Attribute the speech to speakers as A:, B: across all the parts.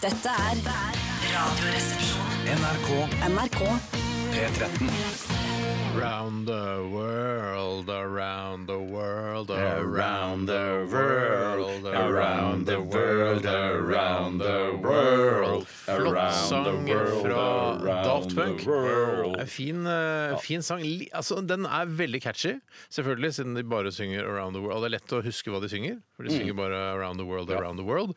A: Dette er Radioresepsjonen.
B: NRK
A: NRK
B: P13.
C: Round the world, around the world,
B: Around the world, around the world, around the world.
C: Flott
B: around
C: sang
B: the world,
C: fra
B: around
C: Daft
B: the
C: Punk.
B: world.
C: En Fin, eh, fin sang. Li- Altså, den er veldig catchy, selvfølgelig, siden de bare synger 'Around the World'. Det er lett å huske hva de synger, for de synger bare 'Around the World', 'Around the World'.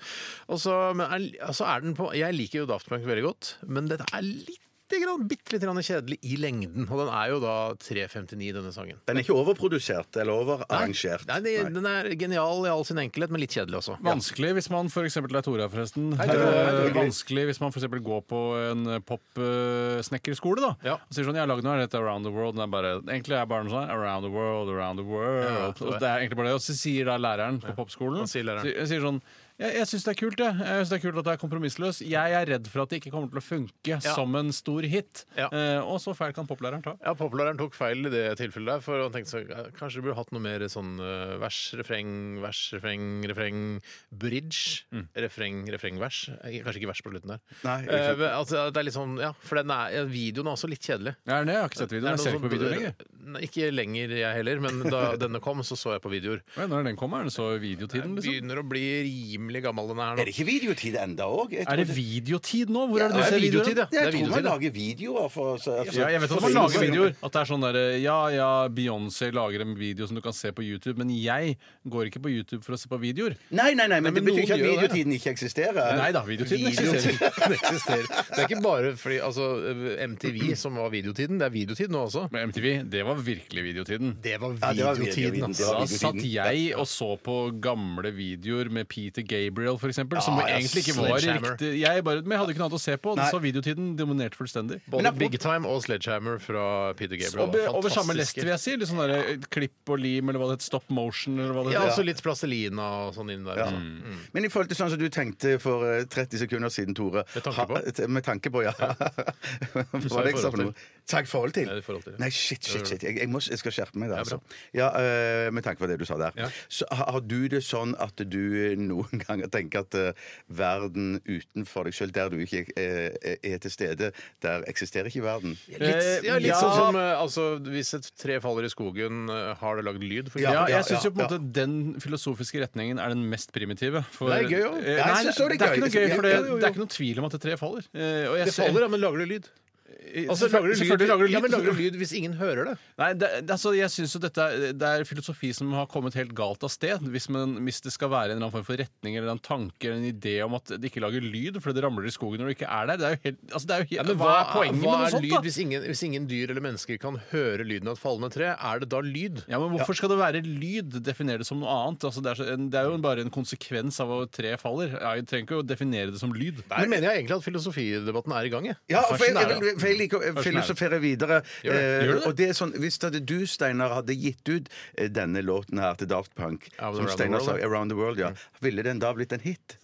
C: Og så- men er, altså er den på, jeg liker jo Daft Punk veldig godt, men dette er litt Grann, bitte litt grann kjedelig i lengden. Og den er jo da 3.59, denne sangen.
D: Den er ikke overprodusert eller overarrangert.
C: Nei, det, Den er genial i all sin enkelhet, men litt kjedelig også.
E: Vanskelig hvis man for eksempel, det er Tora forresten. Eh, vanskelig hvis man for eksempel går på en popsnekkerskole da,
C: Ja.
E: og sier sånn, jeg har lagd noe her, dette er Around the World, den er bare, egentlig er bare noe sånn, Around the World, Around the World,
C: Ja, det er-
E: og det er egentlig bare det, og så sier da læreren på popskolen,
C: han sier læreren.
E: sier- sier sånn, jeg, jeg synes det er kult jeg. jeg synes det er kult at det er kompromissløs Jeg er redd for at det ikke kommer til å funke Som en stor hit
C: Ja.
E: eh, Og så feil kan poplæreren ta
C: Ja, Poplæreren tok feil i det tilfellet der, for han tenkte så, eh, kanskje du burde hatt noe mer sånn eh, vers, refreng, vers, refreng, refreng, bridge. Refreng, refreng, vers. Eh, Kanskje ikke vers på slutten der.
D: Nei, ikke
C: Eh,
D: sant.
C: men altså, det er litt sånn, ja, for den er, ja, videoen er også litt kjedelig.
E: Ja, nei, Jeg har ikke sett videoen, jeg ser
C: Er det noe sånn
E: ikke på videoen
C: som-
E: lenger
C: Nei, Ikke lenger jeg heller, men da denne kom, så så jeg på videoer.
E: Oi, Når den kommer, er det så videotiden liksom?
C: Begynner å bli rimelig gammel den her
B: Er
C: nå.
B: det ikke videotid enda òg?
E: Er det videotid nå? Hvor er
C: Ja,
E: det
C: det
E: du
C: er
E: ser videoer?
C: videotid, ja. Det er
B: Jeg tror man
C: videotid, ja.
B: lager videoer for så- altså,
E: Ja, jeg vet at
B: for-
E: man lager videoer. At det er sånn derre Ja, ja, Beyoncé lager en video som du kan se på YouTube, men jeg går ikke på YouTube for å se på videoer.
B: Nei, nei, nei, men det
C: men
B: betyr ikke at
C: noen gjør det.
B: videotiden ikke eksisterer.
E: Nei da, videotiden eksisterer.
C: Videotid eksisterer. Det er ikke bare fordi altså, MTV som var videotiden, det er videotid nå også.
E: Men MTV, det var virkelig videotiden.
C: Det var
B: Ja, det var videotiden,
C: videotiden,
B: det
C: altså.
B: var
E: Da satt
B: videotiden.
E: jeg og så på gamle videoer med Peter Gabriel, for eksempel, som
C: Ja, ja,
E: egentlig ikke var
C: Sledgehammer.
E: riktig Jeg bare, men jeg hadde ikke noe annet å se på, så videotiden dominerte fullstendig.
C: Både Big Time og Sledgehammer fra Peter Gabriel.
E: Over,
C: var
E: over samme lest,
C: fantastiske.
E: vil jeg si. Litt sånn derre klipp og lim, eller hva det heter. Stop motion, eller hva det
C: Ja,
E: heter.
C: også litt plastelina og sånn inn der.
B: Ja. Men i forhold til sånn som du tenkte for eh, 30 sekunder siden, Tore
C: Med tanke på?
B: ha- eh, med tanke på, ja. Hva var det jeg sa for noe? Takk forhold til?
C: Ja, det er forhold til, ja.
B: Nei, shit, shit, shit. Jeg, jeg, må, jeg skal skjerpe meg der,
C: Ja,
B: altså.
C: bra.
B: Ja, eh, med tanke på det du sa der.
C: Ja.
B: Så ha- har du det sånn at du noen ganger tenker at eh, verden utenfor deg sjøl, der du ikke eh, er til stede, der eksisterer ikke verden?
C: Litt, ja, litt
E: Eh, Ja.
C: sånn som eh, altså, hvis et tre faller i skogen, eh, har det lagd lyd? For
E: Ja,
C: eksempel?
E: jeg syns jo på en
B: ja.
E: måte den filosofiske retningen er den mest primitive. For,
C: Det er gøy, jo.
E: Eh,
C: Jeg
E: Nei,
B: synes
E: det,
B: også
E: er
B: det er
E: ikke
B: gøy.
E: noe gøy, for det,
B: Jo, jo, jo.
E: det er ikke noe tvil om at det treet faller. Eh, og jeg
C: Det
E: ser- Eh,
C: faller, ja, men lager det lyd? Altså, lager det lyd,
E: Selvfølgelig lager det lyd.
C: Ja, men lager det lyd hvis ingen hører det?
E: Nei, det, det- altså, jeg synes jo dette er, det er filosofi som har kommet helt galt av sted. Hvis, man, hvis det skal være en eller annen form for retning eller en tanke eller en idé om at det ikke lager lyd fordi det ramler i skogen når det ikke er der. Det er jo helt, altså, det er jo helt, hva, er poenget
C: hva
E: med noe
C: er
E: sånt?
C: lyd
E: da?
C: hvis ingen, hvis ingen dyr eller mennesker kan høre lyden av et fallende tre? Er det da lyd?
E: Ja, men Hvorfor skal det være lyd? Definere det som noe annet. Altså, det, er så, en, det er jo bare en konsekvens av at treet faller. Jeg trenger ikke å definere det som lyd.
C: Nå mener jeg egentlig at filosofidebatten er i gang. Jeg.
B: Ja, for jeg,
E: Karsten er
B: jeg, vil- for jeg liker å filosofere videre.
E: Gjør det. Gjør du
B: Eh,
E: det?
B: og det er sånn, Hvis det hadde du, Steinar, hadde gitt ut eh, denne låten her til Daft Punk,
C: Ja,
B: som
C: Around the
B: Steinar sa,
C: World,
B: 'Around the World',
E: Mm.
B: ja, ville den da blitt en hit?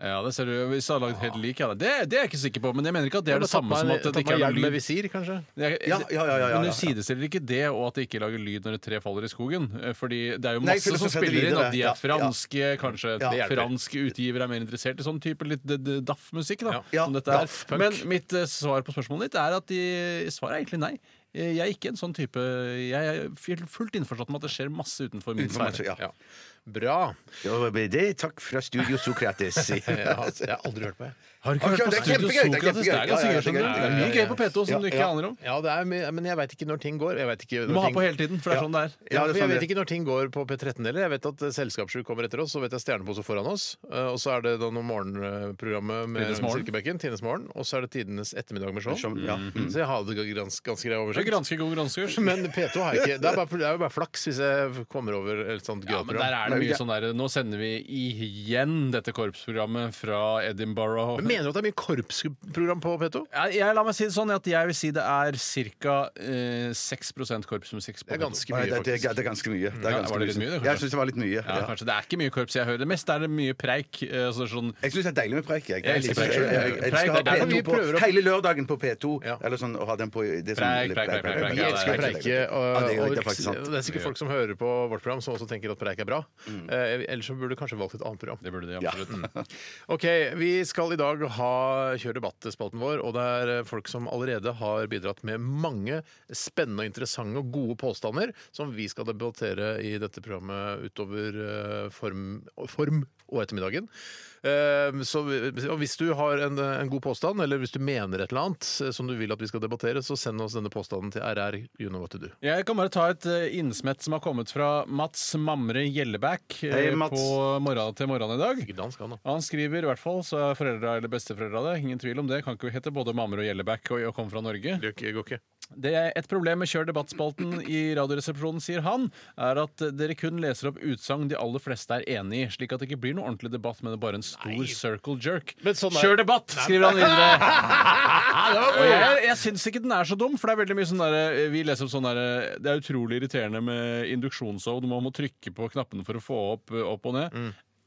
E: Ja, det ser du. Hvis jeg hadde lagd helt lik, ja. det, det er jeg ikke sikker på. Men Ah. jeg mener ikke at det er det samme som at det ikke er
C: hjelm
E: noe
C: med
E: lyd.
C: visir, kanskje?
E: Jeg-
B: Ja, ja, ja, ja, ja,
E: Men
B: ja.
E: du sidestiller ikke det og at det ikke lager lyd når et tre faller i skogen. Eh, Fordi det er jo
B: Nei,
E: masse som
B: filosofere
E: spiller inn,
B: videre.
E: at de
B: Ja,
E: er
B: ja.
E: franske, kanskje
B: Ja.
E: franske fransk utgiver er mer interessert i sånn type litt d- d- daff-musikk, da.
B: Ja.
E: Som dette er.
C: Daft Punk.
E: Men mitt eh, svar på spørsmålet ditt er at de, svaret er egentlig nei. Eh, Jeg er ikke en sånn type Jeg er f- fullt innforstått med at det skjer masse utenfor min
B: Utenom, altså,
E: sfære.
B: ja.
C: Ja. Bra.
B: Ja, men Det er takk fra Studio Sokrates.
C: Jeg har, jeg har aldri hørt på, jeg.
E: Har du
B: Ok,
E: ikke
B: det
E: hørt på
B: er
E: Studio
B: kjempegøy, det er
E: Sokrates?
B: kjempegøy.
E: Det er ganske
B: Ja, ja,
E: gøy. skjønner du.
B: ja,
E: Det
B: ja,
E: er
B: ja,
E: mye
B: ja.
E: gøy på P2 som du ikke
B: Ja, ja.
E: aner om.
C: Ja, det er, mye- men jeg veit ikke når ting går. Jeg vet ikke
E: Du må ha på hele tiden, for det er sånn det er.
B: Ja,
C: Ja, for
B: det er
C: jeg
B: sånn
C: vet
B: det-
C: ikke når ting går på P13 heller. Jeg vet at eh, Selskapssjuk kommer etter oss, så vet jeg Stjernepose foran oss. eh, Og så er det da noe morgenprogrammet med
E: Tidenes morgen.
C: Silkebekken, Tines morgen. Og så er det Tidenes ettermiddag med
B: Som-
C: Skjold.
B: ja.
E: Mm.
C: Så jeg har det ganske, ganske grei
E: Det er
C: oversikt.
E: Granske god granskekurs.
C: Men P2 har jeg ikke Det er bare, det er jo bare flaks hvis jeg kommer over et sånt
E: Ja,
C: gøyalt
E: men der
C: program.
E: er det mye sånn der Nå sender vi igjen dette korpsprogrammet fra Edinburgh.
C: Men Mener du at det er mye korpsprogram på P2?
E: Jeg, jeg, la meg si det sånn at jeg vil si det er ca. Eh, 6 korpsmusikk.
C: Det er ganske
B: Nei,
C: mye,
B: det, det,
C: faktisk.
B: er- det er ganske mye. Det er
E: Ja,
B: ganske
E: var det litt mye, det, kanskje?
B: Jeg syns det var litt mye.
E: ja,
B: Ja.
E: kanskje. Det er ikke mye korps jeg hører. Det meste er det mye preik. eh, Så det er sånn
B: Jeg syns det er deilig med preik. Jeg,
E: Jeg elsker preik.
B: Jeg- jeg- jeg- jeg
E: Preik,
B: skal ha
E: det er derfor
B: P2
C: vi prøver å-
B: på hele lørdagen på P2.
C: Ja.
B: Eller sånn, å ha den på det som-
E: Preik,
B: preik,
E: preik,
B: preik, preik.
E: preik.
C: Vi elsker
E: Ja, det er
C: preike. Og,
B: Ja, det er jo-
C: og
B: det er faktisk sant.
C: det er sikkert folk som hører på vårt program, som også tenker at preik er bra.
E: Mm.
C: Eh, ellers så burde du kanskje valgt et annet program.
E: Det burde de
B: Ja.
E: absolutt.
C: Ok, Vi skal i dag ha kjøre debattspalten vår, og det er eh, folk som allerede har bidratt med mange spennende, og interessante og gode påstander som vi skal debattere i dette programmet utover eh, form, form og ettermiddagen. Eh, Så vi- og hvis du har en, eh, en god påstand, eller hvis du mener et eller annet eh, som du vil at vi skal debattere, så send oss denne påstanden til RR you know what to do.
E: Jeg kan bare ta et eh, innsmett som har kommet fra Mats Mamre Gjellebæk eh,
B: Hei, Mats.
E: på morgenen til morgenen i dag.
C: Ikke dansk, han da.
E: Han skriver i hvert fall, så er foreldra eller besteforeldra det. Ingen tvil om det. Kan ikke hete både Mamre og Gjellebæk og, og komme fra Norge.
C: Det går ikke.
E: Det er et problem med Kjør debattspalten i Radioresepsjonen, sier han, er at dere kun leser opp utsagn de aller fleste er enig i, slik at det ikke blir noe ordentlig debatt, men det er bare en stor circle jerk.
C: Men sånn er-
E: Kjør debatt, skriver han videre. Og jeg, jeg syns ikke den er så dum, for det er veldig mye sånn derre Vi leser opp sånn derre Det er utrolig irriterende med induksjonsshow, man må trykke på knappene for å få opp, eh, opp og ned.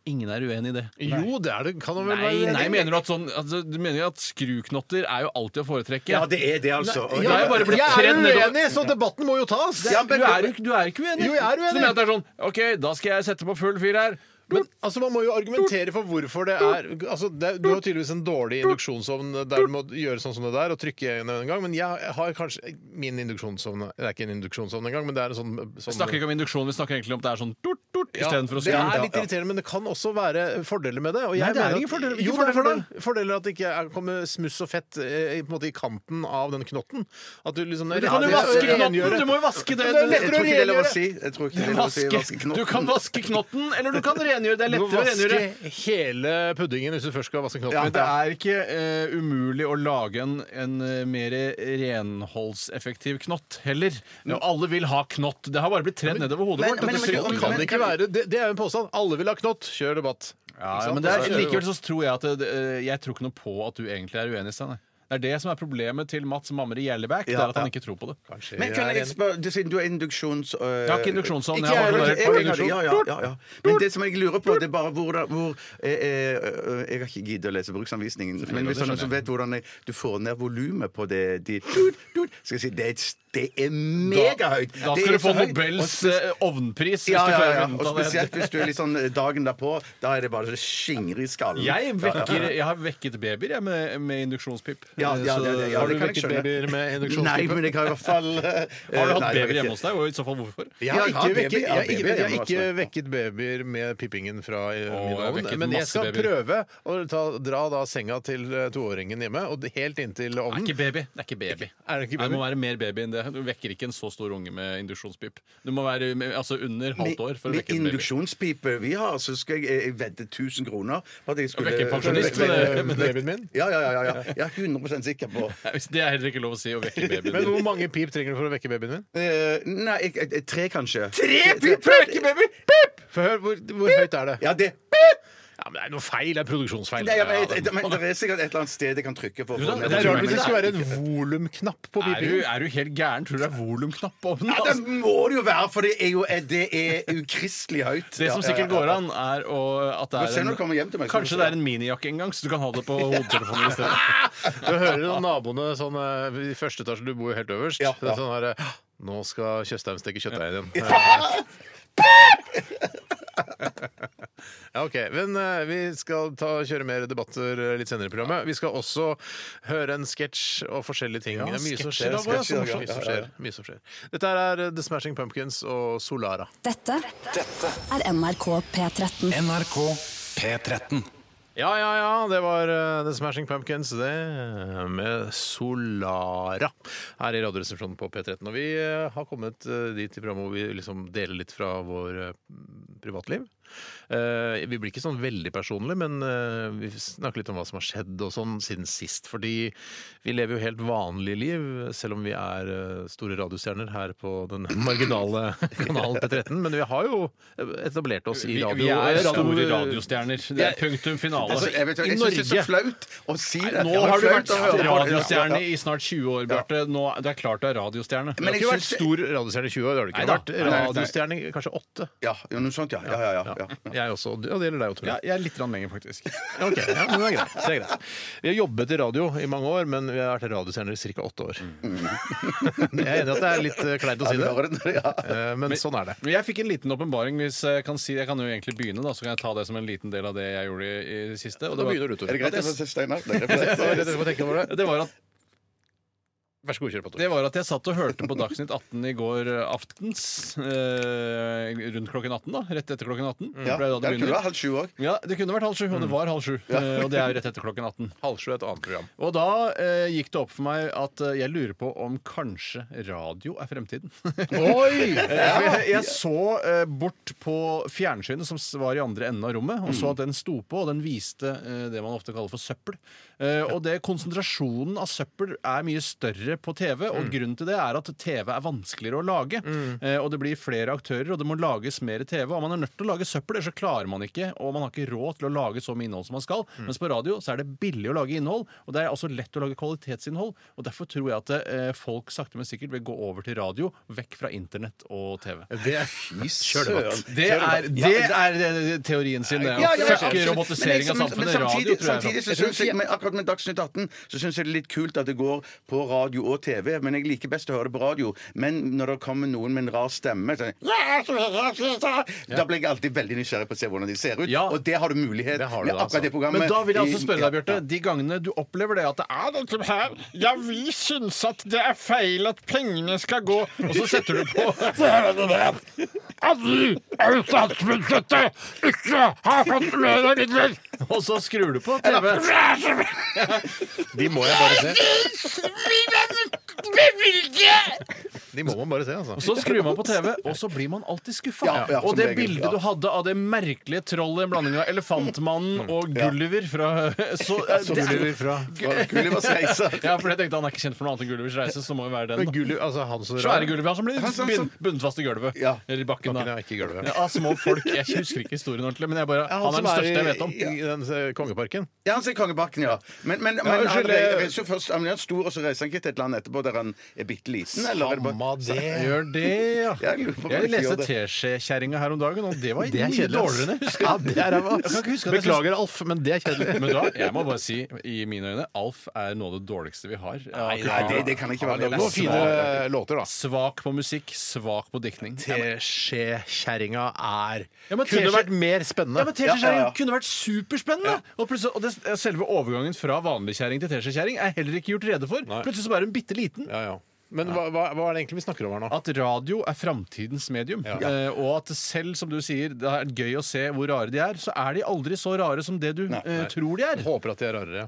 E: Ingen er uenig i det.
C: Jo, det er det. Kan han vel
E: Nei,
C: være
E: nei, mener du at sånn altså, Du mener jo at skruknotter er jo alltid å foretrekke?
D: Ja, det er det, altså.
E: Nei, ja,
D: Ja,
E: jeg bare ble
C: jeg er
E: tredd nedover-
C: uenig, så debatten må jo tas!
E: Ja, men, du, er, jo ikke- du er ikke uenig.
C: Jo, jeg er uenig.
E: Så du mener at det er sånn OK, da skal jeg sette på full fyr her.
C: Men altså, Man må jo argumentere for hvorfor det er altså, det, Du har tydeligvis en dårlig induksjonsovn der du må gjøre sånn som det der og trykke igjen en gang. Men jeg har kanskje min induksjonsovn Det er ikke en induksjonsovn engang, men det er en sånn,
E: Vi
C: sånn
E: snakker ikke om induksjon, vi snakker egentlig om det er sånn dort, dort,
C: ja,
E: istedenfor å
C: Det
E: skru.
C: er litt irriterende, men det kan også være fordeler med det. Og
E: Nei, det er
C: mener
E: ingen
C: at-
E: fordeler. Hvilke
C: Jo, det er
E: fordeler?
C: fordeler. Fordeler at det ikke er- kommer smuss og fett eh, i- på en måte, i kanten av den knotten. At du liksom
E: Du kan jo
B: Ja, det-
E: vaske
B: det-
E: knotten! Du må jo vaske det.
C: Det er
B: Jeg
C: lettere
B: tror ikke det er lov å
C: rengjøre.
B: si. Jeg tror ikke det er lov å si
E: Vaske.
B: vaske
E: Du kan
B: knotten.
E: vaske knotten, eller du kan rengjøre. Det er
C: Du må
E: lettere å rengjøre.
C: vaske hele puddingen hvis du først skal vaske knotten.
E: Men det er ikke eh, umulig å lage en, en eh, mer renholdseffektiv knott heller. Og alle vil ha knott. Det har bare blitt tredd nedover hodet
B: men-
E: vårt.
B: men-
E: Dette
B: men- men-
E: synet kan
C: kan
B: men-
C: ikke være, det, det er jo en påstand. Alle vil ha knott. Kjør debatt.
E: Ja, ja, men det er, likevel så tror jeg at det, det- Jeg tror ikke noe på at du egentlig er uenig, Steinar. Det er det som er problemet til Mats Mamre Gjellebæk. det er at han ikke tror på det.
B: Men kan jeg spørre, du- siden du er induksjons... øh,
E: Jeg har ikke induksjonsovn.
B: Ikke
E: Jeg har
B: jeg,
E: bare
B: jeg- jeg-
E: bare
B: jeg-
E: induksjon.
B: ja, ja, ja, ja. Men det som jeg lurer på, det er bare hvor, hvor eh, eh, øh, Jeg har ikke giddet å lese bruksanvisningen, men hvis det er noen som vet hvordan jeg, du får ned volumet på det de, tut, tut, skal jeg si, det, er et- det er megahøyt!
E: Da
B: Det er
E: skal du få
B: så høyt. Og
E: Nobels
B: spes-
E: eh, ovnpris. hvis
B: ja,
E: du
B: ja,
E: klarer
B: ja.
E: å finne
B: Og
E: ut av det.
B: spesielt hvis du er litt sånn dagen derpå. Da er det bare så skingre i skallen.
E: Jeg, vekker, jeg har vekket babyer jeg, med, med induksjonspip.
B: Ja, ja,
E: Så-
B: ja, ja, ja,
E: har du
B: det kan jeg
E: vekket
B: skjønne.
E: babyer med
B: Nei,
E: induksjonspip?
B: men jeg har i hvert fall eh,
E: Har du
B: nei, jeg
E: hatt babyer
B: ikke.
E: hjemme hos deg? Og i så fall hvorfor?
C: Jeg har
B: Ja,
C: ikke,
B: baby-
C: vekket, jeg,
B: ja,
C: har ikke,
B: baby-
C: jeg har ikke
B: hjemme hos meg.
C: vekket babyer med pippingen fra eh,
E: jeg
C: min
E: har
C: ovn,
E: vekket
C: men jeg
E: masse
C: skal
E: babyer.
C: prøve å ta, dra da senga til eh, toåringen hjemme, og det- helt inntil
E: Det er
C: ovnen.
E: ikke baby. Det er ikke baby.
C: Er det ikke
E: Nei,
C: baby?
E: må være mer baby enn det. Du vekker ikke en så stor unge med induksjonspip. Du må være med- altså, under halvt år for å
B: Med
E: vekke en baby.
B: induksjonspipe vi har, så skal jeg, eh, vedde 1000 kroner på at jeg skulle
E: vekke en pensjonist
C: Men, eh,
E: Men det-
C: babyen min.
B: Ja, ja, ja, ja, ja. Jeg er 100 sikker på
E: Nei, hvis- Det er heller ikke lov å si å vekke babyen.
C: Men
E: din.
C: hvor mange pip trenger du for å vekke babyen min?
B: Eh, Nei, jeg, jeg- jeg, tre, kanskje.
C: baby! Pip! Få høre, hvor, hvor høyt er det?
B: Ja, det
C: Ja, men Det er noe feil. Det er produksjonsfeil.
B: Nei, ja, men, jeg- jeg- men Det er sikkert et eller annet sted jeg kan trykke på.
E: Jo da,
C: Det er rart hvis det
E: Men
C: skulle være en volumknapp på
E: Er du,
C: pipingen.
E: er du helt gæren? Tror du det er volumknapp på ovnen?
B: Ja, det må det jo være, for det er jo det er ukristelig høyt.
E: Det som sikkert går an, er å, at det
B: Nå ser jeg
E: er
B: når du kommer hjem til meg, så
E: Kanskje
B: skal du
E: det er en minijakke en gang, så du kan ha det på hodetelefonen i stedet.
C: Du hører jo naboene sånn eh, I første etasje, du bor jo helt øverst.
B: Ja,
C: Det
B: ja.
C: er sånn her, eh, Nå skal Tjøstheim steke kjøttdeig igjen. Ja, ok. Men eh, vi skal ta, kjøre mer debatter eh, litt senere i programmet. Vi skal også høre en sketsj og forskjellige ting. det er mye som
B: sketsjer,
C: skjer. da, bare, så
B: sketsjer, ja,
C: morsomt. Mye som
B: ja, ja.
C: skjer. Mye som skjer. Dette her er eh, The Smashing Pumpkins og Solara.
A: Dette er NRK P13.
F: NRK P13.
C: Ja, ja, ja, det var eh, The Smashing Pumpkins, det, eh, med Solara. Her i Radioresepsjonen på P13. Og vi eh, har kommet eh, dit i programmet hvor vi liksom deler litt fra vår eh, privatliv. Eh, vi blir ikke sånn veldig personlige, men eh, vi snakker litt om hva som har skjedd og sånn siden sist. Fordi vi lever jo helt vanlige liv, selv om vi er eh, store radiostjerner her på den marginale kanalen P13. Men vi har jo eh, etablert oss i
E: Vi,
C: radio.
E: vi er
C: radio-
E: store radiostjerner. Det er punktum finale.
B: Altså, jeg vet, jo, jeg
E: I
B: syns det er så
E: Norge
B: flaut å si det.
E: Nå
B: Ja, det er
E: har du
B: flaut
E: vært
B: å høre på.
E: radiostjerne i snart 20 år, Bjarte. Nå, det er klart du er radiostjerne.
C: Du har
B: jeg
C: ikke vært
B: syns-
C: stor radiostjerne i 20 år. Det har du ikke
E: Nei da.
C: vært
E: Nei, nei,
B: nei.
C: radiostjerne i kanskje åtte.
B: Ja, ja, noe sånt, ja. ja, ja, ja,
C: Jeg også, og det og det gjelder deg òg, Tore.
E: Ja, jeg er litt rann lenger, faktisk.
C: Ok, ja, men det er greit. Det er greit. Vi har jobbet i radio i mange år, men vi har vært radiostjerner i ca. åtte år. Jeg er enig i at det er litt eh, kleint å si Mm. det, Eh, men sånn er det.
E: Men jeg fikk en liten åpenbaring. hvis Jeg kan si Jeg kan jo egentlig begynne, da, så kan jeg ta det som en liten del av det jeg gjorde i, i siste. Og
C: Da
E: det, var,
C: begynner du,
B: Er
C: Tore.
B: det greit?
E: At jeg-
B: Jeg... Steinar? Det er greit.
C: Ja, det er det du får tenke over det.
E: det, var at,
C: Vær så god, kjør på, Tore.
E: det var at jeg satt og hørte på Dagsnytt 18 i går eh, aftens. Eh, rundt klokken 18, da. Rett etter klokken 18.
B: Ja,
E: for det er da det
B: det kunne
E: begynner.
B: vært halv sju òg.
E: Ja, Det kunne vært halv sju, og det var halv sju. Eh, Og det er jo rett etter klokken 18.
C: Halvsju er et annet program.
E: Og da eh, gikk det opp for meg at eh, jeg lurer på om kanskje radio er fremtiden. Oi! jeg, jeg så eh, bort på fjernsynet som s- var i andre enden av rommet, og så at den sto på, og den viste eh, det man ofte kaller for søppel. Eh, og det konsentrasjonen av søppel er mye større på TV, og grunnen til det er at TV er vanskeligere å lage.
B: Mm.
E: Eh, og det blir flere aktører, og det må lages mer TV. Og man er nødt til å lage søppel, ellers så klarer man ikke, og man har ikke råd til å lage så mye innhold som man skal.
B: Mm.
E: Mens på radio så er det billig å lage innhold, og det er også lett å lage kvalitetsinnhold. Og derfor tror jeg at eh, folk sakte, men sikkert vil gå over til radio, vekk fra internett og TV.
C: Det er
B: Kjølebatt.
E: Det er, det er eh, teorien sin, det.
B: Ja, ja, ja,
E: Fuck
B: absolutt.
E: robotisering av
B: Men- men- men
E: samfunnet. Radio
B: samtidig-
E: tror jeg.
B: samtidig så synes jeg, men akkurat med Dagsnytt 18 så syns jeg det er litt kult at det går på radio og TV. Men jeg liker best å høre det på radio. Men når det kommer noen med en rar stemme sånn, Da blir jeg alltid veldig nysgjerrig på å se hvordan de ser ut.
E: Ja.
B: Og det har du mulighet
C: Det har du
B: med
C: da,
B: akkurat det
C: altså.
B: programmet.
E: Men da vil jeg altså
B: I-
E: spørre deg,
B: ja,
E: Bjarte. De gangene du opplever det at det er dette her Ja, vi syns at det er feil at pengene skal gå Og så setter du på
C: Altså,
E: Og så skrur du på TV.
C: De må jeg bare se. De må man bare se, altså.
E: Så skrur man på TV, og så blir man alltid skuffa.
B: Ja, ja,
E: og
B: som
E: det
B: regel,
E: bildet
B: ja.
E: du hadde av det merkelige trollet, en blanding av
B: Mm.
E: Elefantmannen og Gulliver fra så, eh, det er-
C: Gulliver fra
B: ja. Gullivers reiser.
E: Ja, for jeg tenkte han er ikke kjent for noe annet enn Gullivers reise, så må jo være den.
C: Men
E: da.
C: Gulliver, altså han som
E: Svære Gulliver, han som blir
B: som-
E: bind- bundet fast i gulvet.
B: Ja.
E: Eller i bakken,
C: Bakken
E: da.
C: er ikke i gulvet.
E: Ja, Av små folk. Jeg husker ikke historien ordentlig, men jeg bare, han, er den
C: som
E: største jeg vet om.
C: i- I den eh, kongeparken.
B: Ja, han sier Kongebakken, ja. Men, men, men
C: unnskyld,
B: han
C: eh,
B: reiser jo først Han er stor, og så reiser han ikke til et land etterpå der han er bitte liten? Eller er det bare
C: Mamma, det
E: Gjør det, ja.
B: Jeg lurer på om
E: Jeg
B: det sier
E: leste
B: det.
E: Teskjekjerringa her om dagen, og det var
C: Det er
E: mye
C: kjedelig, ass.
E: dårligere enn jeg husker.
C: Ja, det er ræva, ass.
E: Jeg kan ikke huske at jeg
C: Beklager, Alf, men det er kjedelig.
E: Men da, jeg må bare si, i mine øyne, Alf er noe av det dårligste vi har.
B: Nei, det, det kan ikke være
C: Det er noen fine eh, låter, da.
E: Svak på musikk, svak på diktning.
C: Teskjekjerringa er
E: Ja, men
C: Kunne
E: teskje-
C: vært mer
E: Ja, men
C: spennende.
E: Teskjekjerring kunne vært superspennende! Og, plutselig- og det, selve overgangen fra vanlig kjerring til teskjekjerring er heller ikke gjort rede for. Plutselig så bare hun bitte liten.
C: Ja, ja. Men hva, hva, hva er det egentlig vi snakker om her nå?
E: At radio er framtidens medium. Eh, og at selv som du sier, det er gøy å se hvor rare de er, så er de aldri så rare som det du eh, tror de er.
C: Håper at de er rarere, ja.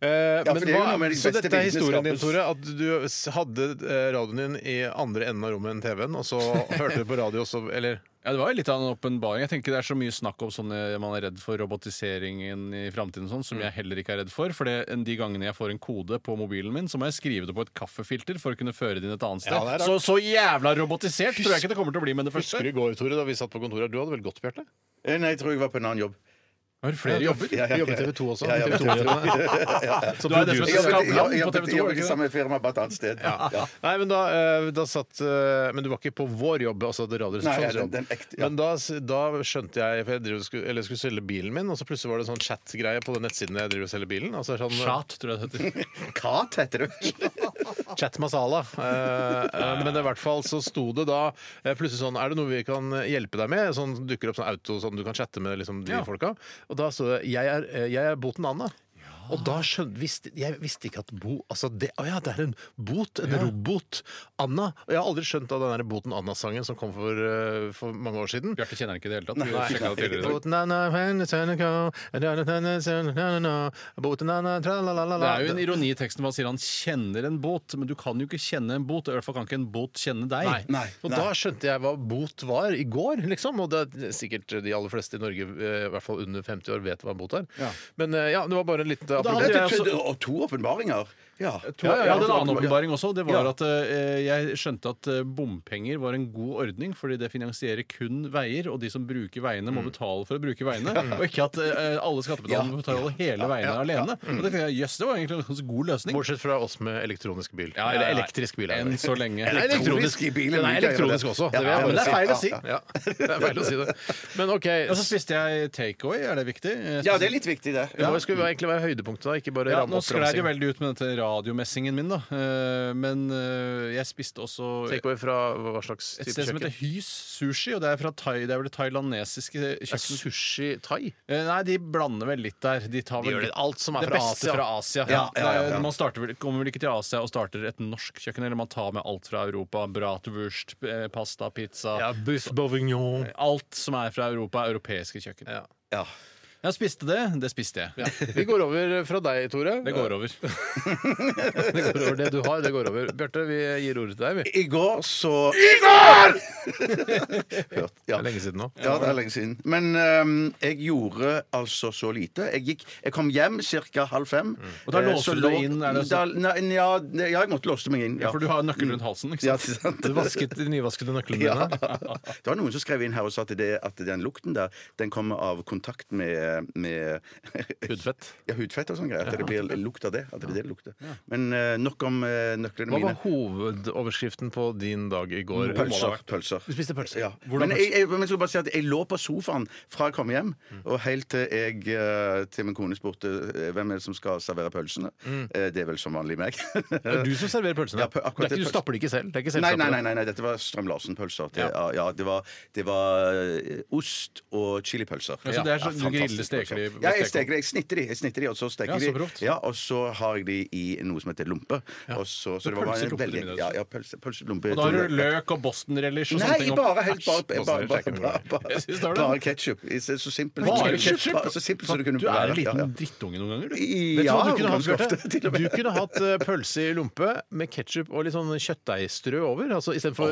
C: Eh,
B: for
C: men
B: det er jo
C: hva-
B: noe med de
C: så
B: beste
C: dette er
B: bildene
C: historien din,
B: skapes.
C: Tore. At du s- hadde eh, radioen din i andre enden av rommet enn TV-en, og så hørte du på radio også, eller
E: Ja, Det var jo litt av en åpenbaring. Jeg tenker Det er så mye snakk om sånne man er redd for robotiseringen i framtiden, sånn,
C: Mm.
E: som jeg heller ikke er redd for. For det, en- de gangene jeg får en kode på mobilen min, så må jeg skrive det på et kaffefilter for å kunne føre det inn et annet sted.
C: Ja, det er
E: så,
C: rart.
E: så jævla robotisert tror jeg ikke det kommer til å bli med det første.
C: Husker du i går, Tore, da vi satt på kontoret? Du hadde vel gått, Bjarte?
B: Eh, Nei, jeg tror jeg var på en annen jobb.
E: Har du flere jobber?
C: Du jobber i TV 2 også.
B: Ja, ja, ja.
C: TV 2
E: Du er det som er
B: Jeg jobbet-
E: så skavlan
B: jeg
E: på
B: jobbet-
E: TV 2.
B: jeg jobbet i samme firma, bare et annet sted. Ja.
C: Nei, men da, eh, da satt eh, Men du var ikke på vår jobb, altså det
B: Nei,
C: Radioresepsjonens
B: den-
C: jobb.
B: den ekte, ja.
C: Men da, s- da skjønte jeg For jeg driver, og skulle, eller skulle selge bilen min, og så plutselig var det sånn chat-greie på den nettsiden jeg driver og selger bilen. Altså sånn
E: Chat, tror jeg det heter.
B: Kat heter det.
C: Chat masala. Eh, eh, men i hvert fall så sto det da eh, plutselig sånn Er det noe vi kan hjelpe deg med? Sånn dukker opp sånn auto som du kan chatte med liksom, de
E: Ja.
C: folka. Og da sto det Jeg er, eh, jeg er boten Anna. Og da skjønte visste, Jeg visste ikke at bo Altså det, å ja, det er en bot. En robot. Anna. Og jeg har aldri skjønt av den der Boten Anna-sangen som kom for, eh, for mange år siden.
E: Bjarte kjenner ikke det i det hele tatt. Vi sjekket det tidligere i dag.
C: Boten Anna, when it's gonna go, da, da, da, da, da, da, da, Boten Anna,
E: Det
C: tralalala.
E: er jo en ironi i teksten hvor han sier han kjenner en båt, men du kan jo ikke kjenne en båt. I hvert fall kan ikke en båt kjenne deg.
C: Nei.
B: Nei,
C: Og
B: nei.
C: da skjønte jeg hva bot var i går, liksom. Og det er sikkert de aller fleste i Norge, eh, i hvert fall under 50 år, vet hva en bot er. Men eh, ja, det var bare en liten
E: da hadde
B: Dette
E: jeg også-
B: trodde- Og to åpenbaringer. Ja.
E: To, jeg hadde en annen
B: åpenbaring.
E: åpenbaring også. Det var
B: Ja.
E: at eh, jeg skjønte at eh, bompenger var en god ordning, fordi det finansierer kun veier, og de som bruker veiene,
C: Mm.
E: må betale for å bruke veiene. Og ikke at eh, alle skattebetalere må betale hele veiene alene.
C: Mm.
E: Og det tenkte jeg, jøss, det var egentlig en ganske god løsning.
C: Bortsett fra oss med elektronisk bil.
E: Ja, ja, ja.
C: Eller elektrisk bil. er det
E: Enn
C: vel.
E: så lenge.
C: Nei, elektronisk
B: Elektronisk i bilen,
C: Den er
B: liker jeg
C: elektronisk
B: det.
C: også.
B: Ja,
C: Det vil
B: ja,
C: jeg bare
B: men det er
C: si.
B: feil å si.
C: Ja, det er feil å si det. Men OK.
E: Og så spiste jeg takeaway, er det viktig?
B: Ja, det er litt viktig, det.
C: Hva skulle egentlig være høydepunktet, da? Ikke bare
E: Ja,
C: ramme opp
E: nå sklei
C: ramsing.
E: det veldig ut med dette radiomessingen min, da. Eh, Men eh, jeg spiste også
C: Take away fra hva slags
E: et
C: type
E: sted som heter
C: kjøkken?
E: Hys Sushi, og det er fra thai, det er vel det thailandesiske
C: Er
E: kjøkkenet.
C: Sushi thai?
E: Eh, Nei, de blander vel litt der. De tar
C: De
E: vel
C: gjør
E: litt
C: det. Alt som er
E: det
C: fra
E: beste
C: Asia.
E: fra Asia.
B: Ja, ja, ja, ja.
E: Nei, Man starter, vel- kommer vel ikke til Asia og starter et norsk kjøkken, eller man tar med alt fra Europa. Bratwurst, eh, pasta, pizza.
C: buff bourguignon.
E: Alt som er fra Europa, er europeiske kjøkken.
C: Ja.
B: Ja.
E: Jeg spiste det. Det spiste jeg.
C: Ja. Vi går over fra deg, Tore.
E: Det går over.
C: Det går over det du har. Det går over. Bjarte, vi gir ordet til deg, vi.
B: I går så Hørt, ja.
C: Det er lenge siden nå.
B: Ja, det er lenge siden. Men ehm, jeg gjorde altså så lite. Jeg, gikk, jeg kom hjem ca. halv fem.
E: Og da
B: Eh,
E: låste
B: så
E: du deg
B: lå-
E: inn, er det
B: Da,
E: så-
B: nei, ja, ne- ja, jeg måtte låse meg inn. Ja.
E: For du har nøkkelen rundt halsen, ikke
B: ja, det
E: sant?
B: er sant.
C: Du vasket de nyvaskede nøklene
B: Ja.
C: dine.
B: Det var noen som skrev inn her og sa at, det, at den lukten der Den kommer av kontakt med, med
C: Hudfett.
B: ja, hudfett og sånn greier. At det blir lukt av det. At det er det det lukter. Men eh, nok om eh, nøklene
C: Hva
B: mine.
C: var hovedoverskriften på din dag i går?
B: Pølser. pølser.
C: Du spiste pølser?
B: Ja. Men jeg, jeg, men jeg skal bare si at jeg lå på sofaen fra jeg kom hjem, og helt til jeg eh, til min kone spurte eh, hvem er det som skal servere pølsene.
E: Mm.
B: Eh, Det er vel som vanlig meg.
C: Det er du som serverer pølsene.
B: Ja, pø- akkurat det
C: det er ikke, du stapper de ikke selv. Det er ikke
B: Nei,
C: selvstappet.
B: nei, nei, nei, nei, dette var Strøm-Larsen-pølser. Det- Ja. Ja, det var, det var eh, ost og chilipølser.
E: Ja, så det er sånn du
B: fantastisk
E: griller, steker
B: pølser.
E: de-
B: Ja, jeg
E: steker.
B: steker de. Jeg snitter de, jeg snitter de og så steker
E: Ja,
B: de.
E: så proft.
B: Ja, og så har jeg de i noe som heter lompe. Og så, så det var
E: pølselompe
B: en
E: til
B: veldig
E: middag.
B: Ja, ja pølse, pølselompe.
E: Og da har
B: til
E: du
B: middag.
E: løk og bostonrelish og sånne
B: Nei,
E: ting. altså, opp.
B: bare helt bare, bare, bare, bare, bare,
E: Jeg synes det var
B: bare,
E: det.
B: ketchup. Det er Så simpelt
E: Bare
B: Bare-
E: ketsjup!
B: Så altså, simpelt som det kunne
E: Du er en
B: være. Ja, ja.
E: liten drittunge noen ganger, du.
C: Vet du
B: Ja,
C: hva du kunne hatt,
B: ganske
C: Bjarte?
B: ofte, til og med.
C: Du kunne hatt eh, pølse i lompe med ketsjup og litt sånn kjøttdeigstrø over. Altså istedenfor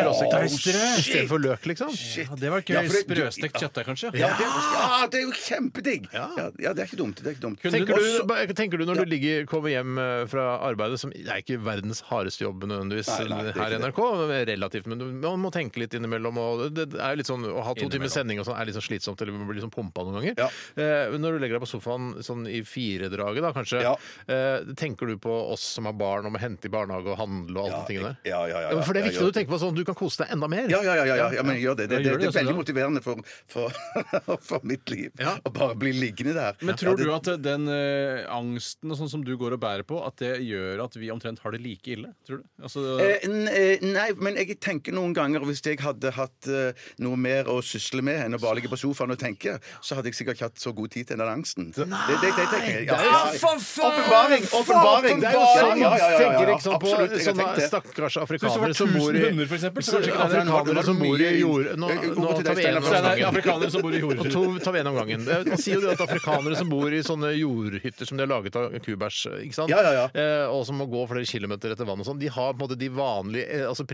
E: kjøttdeigstrø!
C: Istedenfor løk, liksom.
B: Shit.
E: Det var
B: Ja,
E: gøy.
B: for det- du-
E: Sprøstekt kjøttdeig, kanskje?
B: Ja, det, ja, det er jo kjempedigg! Ja. ja, det er ikke dumt. Det er ikke dumt.
C: Tenker du,
B: Også-
C: ba- tenker du når du ligger, kommer hjem eh, fra arbeidet, som det er ikke verdens hardeste jobb nødvendigvis
B: Nei, nei, det er
C: her i
B: ikke det.
C: NRK, relativt, men du- man må tenke litt innimellom. Og det det er jo litt sånn, å ha to timer sending og sånn er litt sånn slitsomt, eller man blir sånn pumpa noen ganger. Eh, men når du legger deg på sofaen sånn i firedraget, da kanskje,
B: Ja.
C: eh, tenker du på oss som har barn, om å hente i barnehage og handle og alle de tingene der?
B: Ja, ja, ja, ja.
C: For det er
B: Jeg
C: viktig
B: gjør
C: at du tenker på sånn, du kan kose deg enda mer.
B: Ja, ja, ja, ja, ja, ja, men jeg gjør det. Det,
E: Ja,
B: det,
E: gjør
B: det
E: det,
B: er veldig
E: så bra.
B: motiverende for, for, for mitt liv
C: Ja.
B: å bare bli liggende der.
E: Men tror
B: ja, det,
E: du at den eh, angsten og sånn som du går og bærer på, at det gjør at vi omtrent har det like ille? Tror du? Altså,
B: Eh, n- eh, Nei, men jeg tenker noen ganger Hvis jeg hadde hatt eh, noe mer å sysle med enn å bare ligge på sofaen og tenke, så hadde jeg sikkert ikke hatt så god tid til den angsten. Det, det, det, det tenker jeg. Ja, ja, ja. Åpenbaring! Åpenbaring!
C: Det er jo sant!
B: Ja, ja, ja, ja,
C: Tenker
B: ja.
C: Sånn ikke
E: liksom
C: sånn på
B: Absolutt, jeg har
C: sånne
B: tenkt det.
C: stakkars
E: hvis det
C: afrikanere
E: var
C: som bor
E: 1000
C: i
E: hunder, for eksempel, så kanskje
C: Så
E: ikke det er
C: Afrikanere som bor i jord... Nå,
B: Jeg- jeg-
C: nå
B: over til
C: tar
B: deg,
C: vi en
B: Steinar,
C: om
B: for
E: Steinar,
C: gangen.
E: afrikanere som bor i
C: Og
E: jordhuset.
C: to tar vi en om gangen. Eh, Man sier jo det at afrikanere som bor i sånne jordhytter som de har laget av kubæsj, ikke sant?
B: Ja, ja, ja.
C: Eh, og som må gå flere kilometer etter vann og sånn, de har på en måte de vanlige eh, altså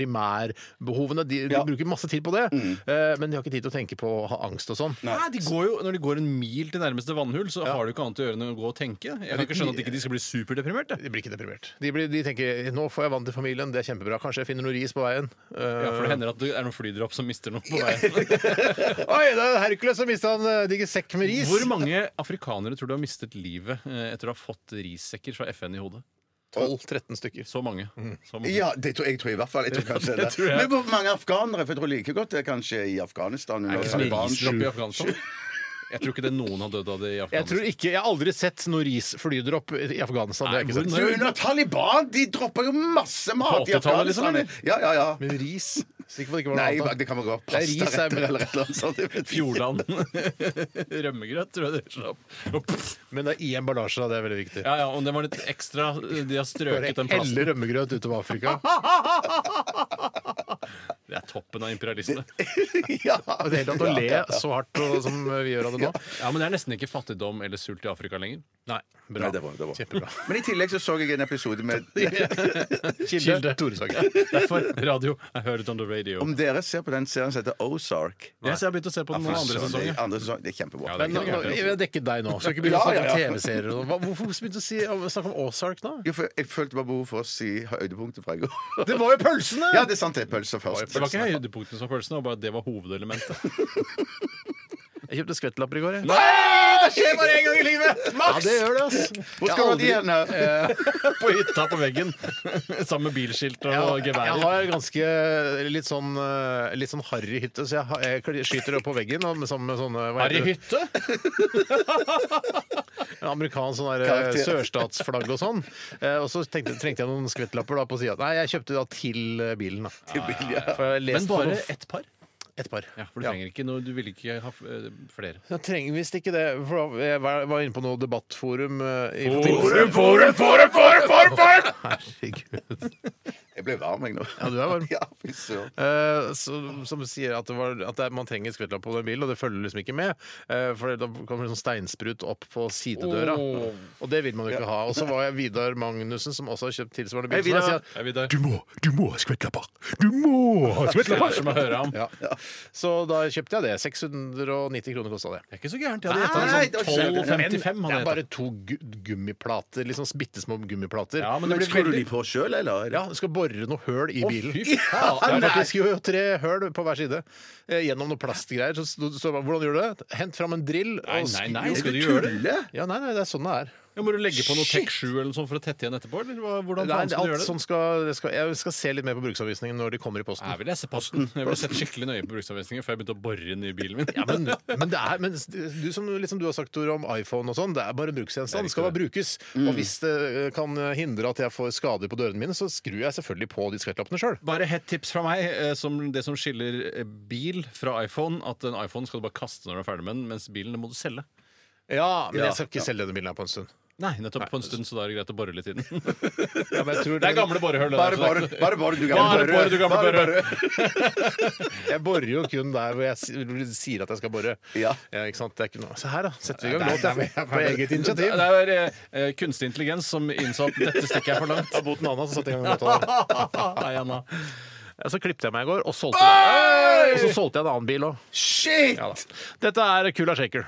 C: primærbehovene. De, de
B: Ja.
C: bruker masse tid på det, eh, men de har ikke tid til å tenke på å ha angst og sånn.
E: Nei, de går jo, Når de går en mil til nærmeste vannhull, så har du ikke annet å gjøre enn å gå og tenke. Jeg kan ikke skjønne at de ikke de skal bli superdeprimerte.
C: De blir ikke deprimert. De, blir, de tenker nå får jeg vann til familien, det er kjempebra. Kanskje jeg finner noe ris på veien. Eh,
E: Ja, for det hender at det er noen flydropp som mister noe på veien.
C: Oi, det er Hercules som mista en eh, digg sekk med ris!
E: Hvor mange afrikanere tror du har mistet livet eh, etter å ha fått rissekker fra FN i hodet?
C: 12-13 stykker.
E: Så mange. Så mange.
B: Mm. Ja, det tror jeg tror i hvert fall. Jeg tror kanskje det.
E: tror jeg.
B: Men hvor mange afghanere? For jeg tror like godt det er kanskje i Afghanistan.
E: Er det
B: under
E: ikke så mye
B: Taliban.
E: risdropp i Afghanistan? Jeg tror ikke det noen har dødd av det i
C: Jeg
E: Afghanistan.
C: tror ikke, jeg har aldri sett noe ris flydropp i Afghanistan. Det har jeg
E: Nei,
C: ikke
E: hvor
C: sett.
B: Du, under Taliban de dropper jo masse mat i
E: 80-tallet, liksom,
B: Afghanistan.
E: eller?
B: ja, ja, ja.
C: Men ris Sikkert det ikke var
B: Nei,
C: noe annet.
B: det kan være
C: Nei, ris er-
B: pastaretter eller et eller annet sånt. jeg vet ikke.
E: Fjordland. Rømmegrøt, tror jeg det slapp.
C: Men det er i emballasje, da. Det er veldig viktig.
E: Ja, ja, og den var litt ekstra De har strøket
C: Bare
E: den plasten.
C: helle rømmegrøt utover Afrika.
E: Det er toppen av imperialisme.
B: ja,
C: Det er helt annet å le så hardt og- som vi gjør av det nå.
E: Ja, Men det er nesten ikke fattigdom eller sult i Afrika lenger.
C: Nei, bra.
D: Nei, det var, det var.
C: Kjempebra.
B: Men i tillegg så så jeg en episode med
C: Kilde Toresaker.
E: Derfor radio. I heard it on the radio.
B: Om dere ser på den serien som heter Ozark
E: Jeg har begynt å se på den andre
B: Så
E: sesongen.
B: det- andre sesong, Det er kjempebra.
E: det er
C: Men nå,
E: ikke noe
C: nå- jeg vil dekke deg nå. Skal ikke begynne å snakke om TV-serier. og- Hva- Hvorfor begynte du å si, å snakke om Ozark nå?
B: Jo, for jeg følte bare behov for å si høydepunktet fra i går.
C: Det var jo pølsene!
B: Ja, det er sant. Det er pølser først.
E: Det var ikke høydepunktene som var følelsen, det var bare at det var hovedelementet.
C: Jeg kjøpte skvettlapper i går. Jeg.
B: Nei, det skjer bare én gang i livet!
C: Ja, det gjør det, altså.
B: Hvor skal man igjen? da?
E: På hytta på veggen. Sammen med bilskilt og
C: Jeg
E: gevær.
C: har ganske litt sånn, eh, litt sånn harry hytte, så jeg, har- jeg kl- skyter opp på veggen og med, sammen med sånne hva heter det?
E: hytte?
C: En amerikansk sånn der, eh,
B: Karakter.
C: sørstatsflagg og sånn. Eh, Og så tenkte, trengte jeg noen skvettlapper da på sida. Nei, jeg kjøpte da til eh, bilen. da. For jeg
E: Men
C: leste
E: bare
C: på noe-
E: ett par?
C: ett par.
E: Ja, for du trenger ikke noe, du vil ikke ha eh, flere.
C: Jeg trenger visst ikke det. For jeg var var inne på noe debattforum. eh, i
E: Forum,
C: forbindelse-
E: forum, forum, forum, forum, forum!
C: Herregud.
B: Jeg ble varm, jeg nå.
C: Ja, du er varm.
B: Ja, fy søren.
C: Eh, så, som sier at, det var, at det er, man trenger skvettlapp på den bilen, og det følger liksom ikke med. Eh, for da kommer det sånn steinsprut opp på sidedøra,
E: Åh.
C: og det vil man jo ikke ha. Og så var jeg Vidar Magnussen, som også har kjøpt tilsvarende
B: Hei,
C: bil. så da
B: Vidar.
C: sier jeg,
E: Er vi der?
C: du må, du må ha skvettlapper! Du må ha skvettlapper!
E: Som å høre ham.
C: Ja. Så da kjøpte jeg det. 690 kroner kosta det.
E: Det er ikke så gærent. Jeg hadde
B: Nei, det
E: gjetta
B: var
E: sånn
B: ikke-
E: 12,55.
C: det
E: hadde
C: er
E: jeg
C: bare to gu- gummiplater. Liksom bitte små gummiplater.
E: Ja, men
C: Men blir
E: det blir
D: Skrur du
E: veldig
D: de på sjøl, eller?
C: Ja, du skal bore noe høl i bilen.
E: fy faen.
C: det er faktisk jo tre høl på hver side. Eh, gjennom noe plastgreier. Så, så, så, hvordan gjør du det? Hent fram en drill. og
E: Nei,
C: skru-
E: nei, nei.
B: Skal
E: Skal
B: du
E: du gjøre det?
B: tulle?
C: Ja, nei, nei, det er sånn det er.
E: Ja, må du legge på noe
C: Shit.
E: Tek 7 eller noe sånt for å tette igjen etterpå? Eller hva- hvordan
C: Nei,
E: faen
C: det er alt
E: skal du
C: sånn
E: gjøre det?
C: som skal, det skal, jeg skal se litt mer på bruksanvisningen når de kommer i posten.
E: Jeg vil lese posten. Jeg ville sett skikkelig nøye på bruksanvisningen før jeg begynte å bore inn i bilen min.
C: Ja, men, men det er men du, som liksom du har sagt Tore, om iPhone og sånn, det er bare en bruksgjenstand. Det skal bare brukes. Og hvis det eh, kan hindre at jeg får skader på dørene mine, så skrur jeg selvfølgelig på de skvettlappene sjøl.
E: Bare hett tips fra meg. eh, Som det som skiller eh, bil fra iPhone, at en iPhone skal du bare kaste når du er ferdig med den, mens bilen det må du selge.
C: Ja, men jeg skal ikke selge denne bilen her på en stund.
E: Nei, nettopp på en stund, så da er det greit å bore litt i den.
C: Ja, men jeg tror
E: Det er gamle borehull. det
B: Bare
E: der, så
B: bare,
E: det er ikke-
B: bare, bare du
E: Bare
B: gamle
E: bore, du gamle
B: Bare
E: bore.
C: Jeg borer jo kun der hvor jeg s- sier at jeg skal bore.
B: Ja.
C: ikke sant? Det er ikke noe. Se her, da. Setter vi i gang
E: Nei,
C: låt jeg, på- på eget
E: Det
C: initiativ.
E: er eh, eh, kunstig intelligens som innså at dette stikket er for langt.
C: Av boten Anna som satte i gang låta.
E: Nei, Anna.
C: Ja, Så klippte jeg meg i går, og solgte den. Og så solgte jeg en annen bil òg.
B: Shit!
C: Dette er Kula Shaker.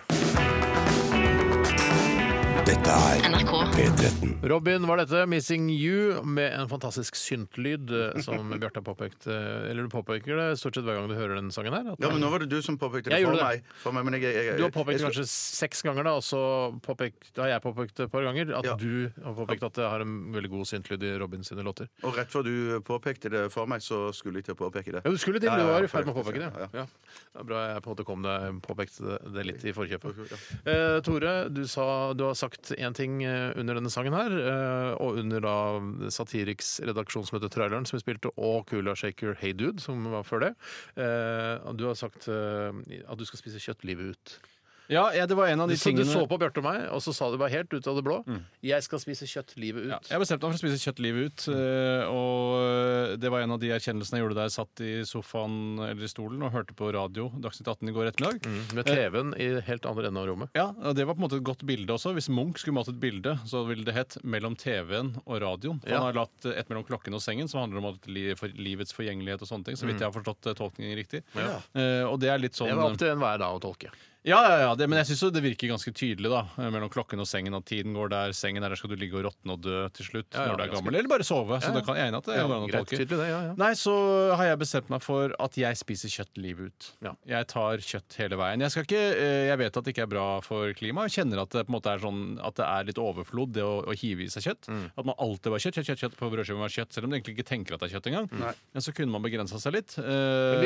F: Dette er
A: NRK.
F: P13.
C: Robin var dette, 'Missing You', med en fantastisk syntlyd, eh, som Bjarte har påpekt. eh, Eller du påpeker det stort sett hver gang du hører den sangen her. at
B: Ja, men nå var det du som påpekte det
C: Jeg
B: for
C: gjorde det.
B: meg. For meg men jeg, jeg, jeg,
C: Du har påpekt
B: jeg,
C: det
B: skulle-
C: kanskje seks ganger, da, og så påpekt, har jeg påpekt det et par ganger at
B: Ja.
C: du har påpekt at det har en veldig god syntlyd i Robin sine låter.
B: Og rett før du påpekte det for meg, så skulle jeg til å påpeke det.
C: Ja, du skulle til,
B: Ja, ja,
C: du var
B: ja,
C: i ferd med å
B: for-
C: påpeke det.
B: ja,
C: Ja. Det er bra jeg på en måte kom deg påpekte det- det litt i forkjøpet. Eh, Tore, du, sa, du har sagt én ting eh, under denne sangen her, eh, og under da Satiriks redaksjonsmøte Traileren som vi spilte, og Kula Shaker Hey Dude, som var før det. Eh, og du har sagt eh, at du skal spise kjøtt livet ut.
E: Ja, ja, det var en av de
C: Du, så- du
E: tingene
C: så på Bjarte og meg, og så sa du bare helt ut av det blå 'Jeg skal spise kjøtt livet
E: Ja,
C: ut'.
E: jeg bestemte meg for å spise kjøtt livet ut. eh, Og eh, det var en av de erkjennelsene jeg gjorde da jeg satt i sofaen eller i stolen og hørte på radio Dagsnytt 18 i går ettermiddag.
C: Med TV-en i helt andre enden av rommet.
E: Ja, og Det var på en måte et godt bilde også. Hvis Munch skulle malt et bilde, så ville det hett 'Mellom TV-en og radioen'. For
C: Ja.
E: Han har latt eh, et 'Mellom klokken og sengen', som handler om at li- for livets forgjengelighet og sånne ting. Så vidt jeg har forstått eh, tolkningen riktig. Eh, og det er litt sånn
C: Mm. Det var opp til enhver da å tolke.
E: Ja, ja, ja, det, men jeg syns jo det virker ganske tydelig, da. eh, Mellom klokken og sengen, at tiden går der. Sengen er der skal du ligge og råtne og dø til slutt
C: ja,
E: når du er
C: ganske.
E: gammel. Eller bare sove. Så
C: Ja, ja.
E: da kan jeg enig at det
C: Ja,
E: går an å
C: greit,
E: tolke.
C: tydelig det, ja, ja.
E: Nei, så har jeg bestemt meg for at jeg spiser kjøtt livet ut.
C: Ja.
E: Jeg tar kjøtt hele veien. Jeg, skal ikke, eh, jeg vet at det ikke er bra for klimaet. Jeg kjenner at det på en måte er sånn At det er litt overflod, det å, å hive i seg kjøtt.
C: Mm.
E: At man alltid var kjøtt, kjøtt, kjøtt, kjøtt på brødskiva med kjøtt. Selv om du egentlig ikke tenker at det er kjøtt engang. Men så kunne man begrensa seg litt. Eh,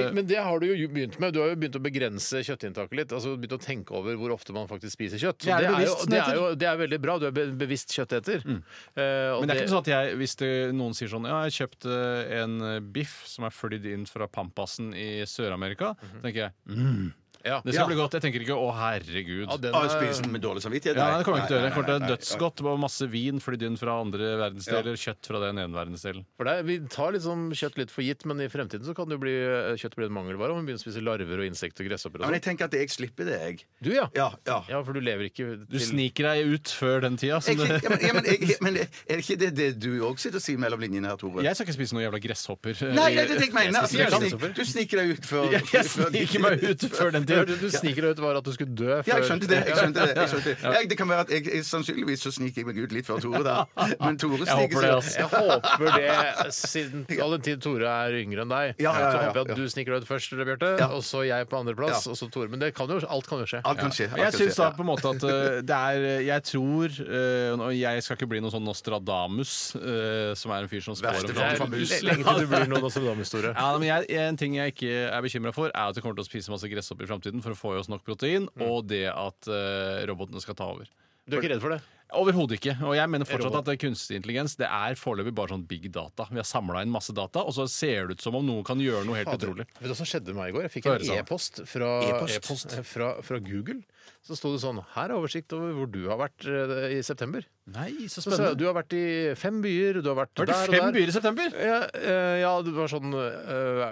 C: Men, men det har du jo begynt med. Du har jo begynt å begrense kjøttinntaket litt. Altså begynt å tenke over hvor ofte man faktisk spiser kjøtt. Så
E: Jeg er
C: det, er jo,
E: bevisst, Mm.
C: det, er jo, det er veldig bra. Du er be bevisst kjøtteter. Eh, og
E: Men det er ikke sånn at jeg, hvis det, noen sier sånn Ja, jeg eh, kjøpte en biff som er flydd inn fra Pampasen i Sør-Amerika, tenker jeg mm,
C: Ja.
E: Det skal bli godt. Jeg tenker ikke 'Å, herregud'.
C: Ja, den
B: Å,
C: er-
B: Spise den med dårlig samvittighet?
E: Ja, nei, det kommer jeg ikke til å
B: nei,
E: gjøre. Jeg
B: nei,
E: kommer til å
B: nei, nei.
E: Dødsgodt. Bare masse vin flydd inn fra andre verdensdeler, kjøtt fra den ene verdensdelen.
C: For det, er- vi tar liksom kjøtt litt for gitt, men i fremtiden så kan det jo bli, eh, kjøtt bli en mangelvare om vi begynner å spise larver og insekter og gresshopper.
B: Ja, men
C: og sånn.
B: jeg tenker at jeg slipper det, jeg.
C: Du, ja.
B: Ja, ja.
C: Ja, for du lever ikke
E: Du
C: til-
E: sniker deg ut før den tida. Som
B: Jeg,
E: det...
B: ja, men, ja, men, jeg, men er det ikke det, det du òg sitter og sier mellom linjene her, Tore?
E: Jeg skal ikke spise noen jævla gresshopper.
B: Nei, det er det jeg mener.
E: Jeg spiser
B: Altså, du,
E: ikke
B: snik,
E: gresshopper.
B: du sniker deg ut før
E: Jeg, jeg sniker meg ut før den
C: Det hørte
E: tida.
C: du sniker deg ut var at du skulle dø
B: Ja, jeg
C: før-
B: skjønte det. jeg skjønte Det jeg skjønte det. Jeg, det kan være at jeg, jeg, sannsynligvis så sniker jeg meg ut litt før Tore, da. Men Tore
E: håper
B: sniker
E: det, altså.
B: seg
E: ass.
C: Jeg håper det, siden all den tid Tore er yngre enn deg.
B: Ja, ja, ja,
C: Så håper jeg
B: ja.
C: at du sniker deg ut først, Bjarte, og så jeg på andreplass, og så Tore. Men det kan jo, alt kan jo skje.
B: Alt kan skje.
E: Men Jeg
B: alt kan
E: synes da
B: skje.
E: på en måte at eh, det er eh, Jeg tror eh, Og jeg skal ikke bli noen sånn Nostradamus, eh, som er en fyr som spår
B: Verste
E: om
C: Det
B: Faen,
C: er
E: framtiden.
B: faen,
C: lenge til du blir noen Nostradamus-Tore.
E: Ja, men jeg, En ting jeg ikke er bekymra for, er at vi kommer til å spise masse gresshopp i framtiden for å få i oss nok protein,
C: Mm.
E: og det at eh, robotene skal ta over.
C: Du er ikke redd for det?
E: Overhodet ikke. Og jeg mener fortsatt
C: Robot.
E: at eh, kunstig intelligens det er foreløpig bare sånn big data. Vi har samla inn masse data, og så ser det ut som om noen kan gjøre noe helt utrolig.
C: Vet du hva som skjedde med meg i går? Jeg fikk
E: Få
C: en
E: høre, Sanne.
C: e-post fra,
E: E-post?
C: eh, fra, fra Google. Så sto det sånn Her er oversikt over hvor du har vært eh, i september.
E: Nei, så
C: Så sa jeg, du har vært i fem byer, du har vært
E: Var det
C: der og
E: fem
C: der.
E: byer i september?
C: Ja, eh, ja, det var sånn eh,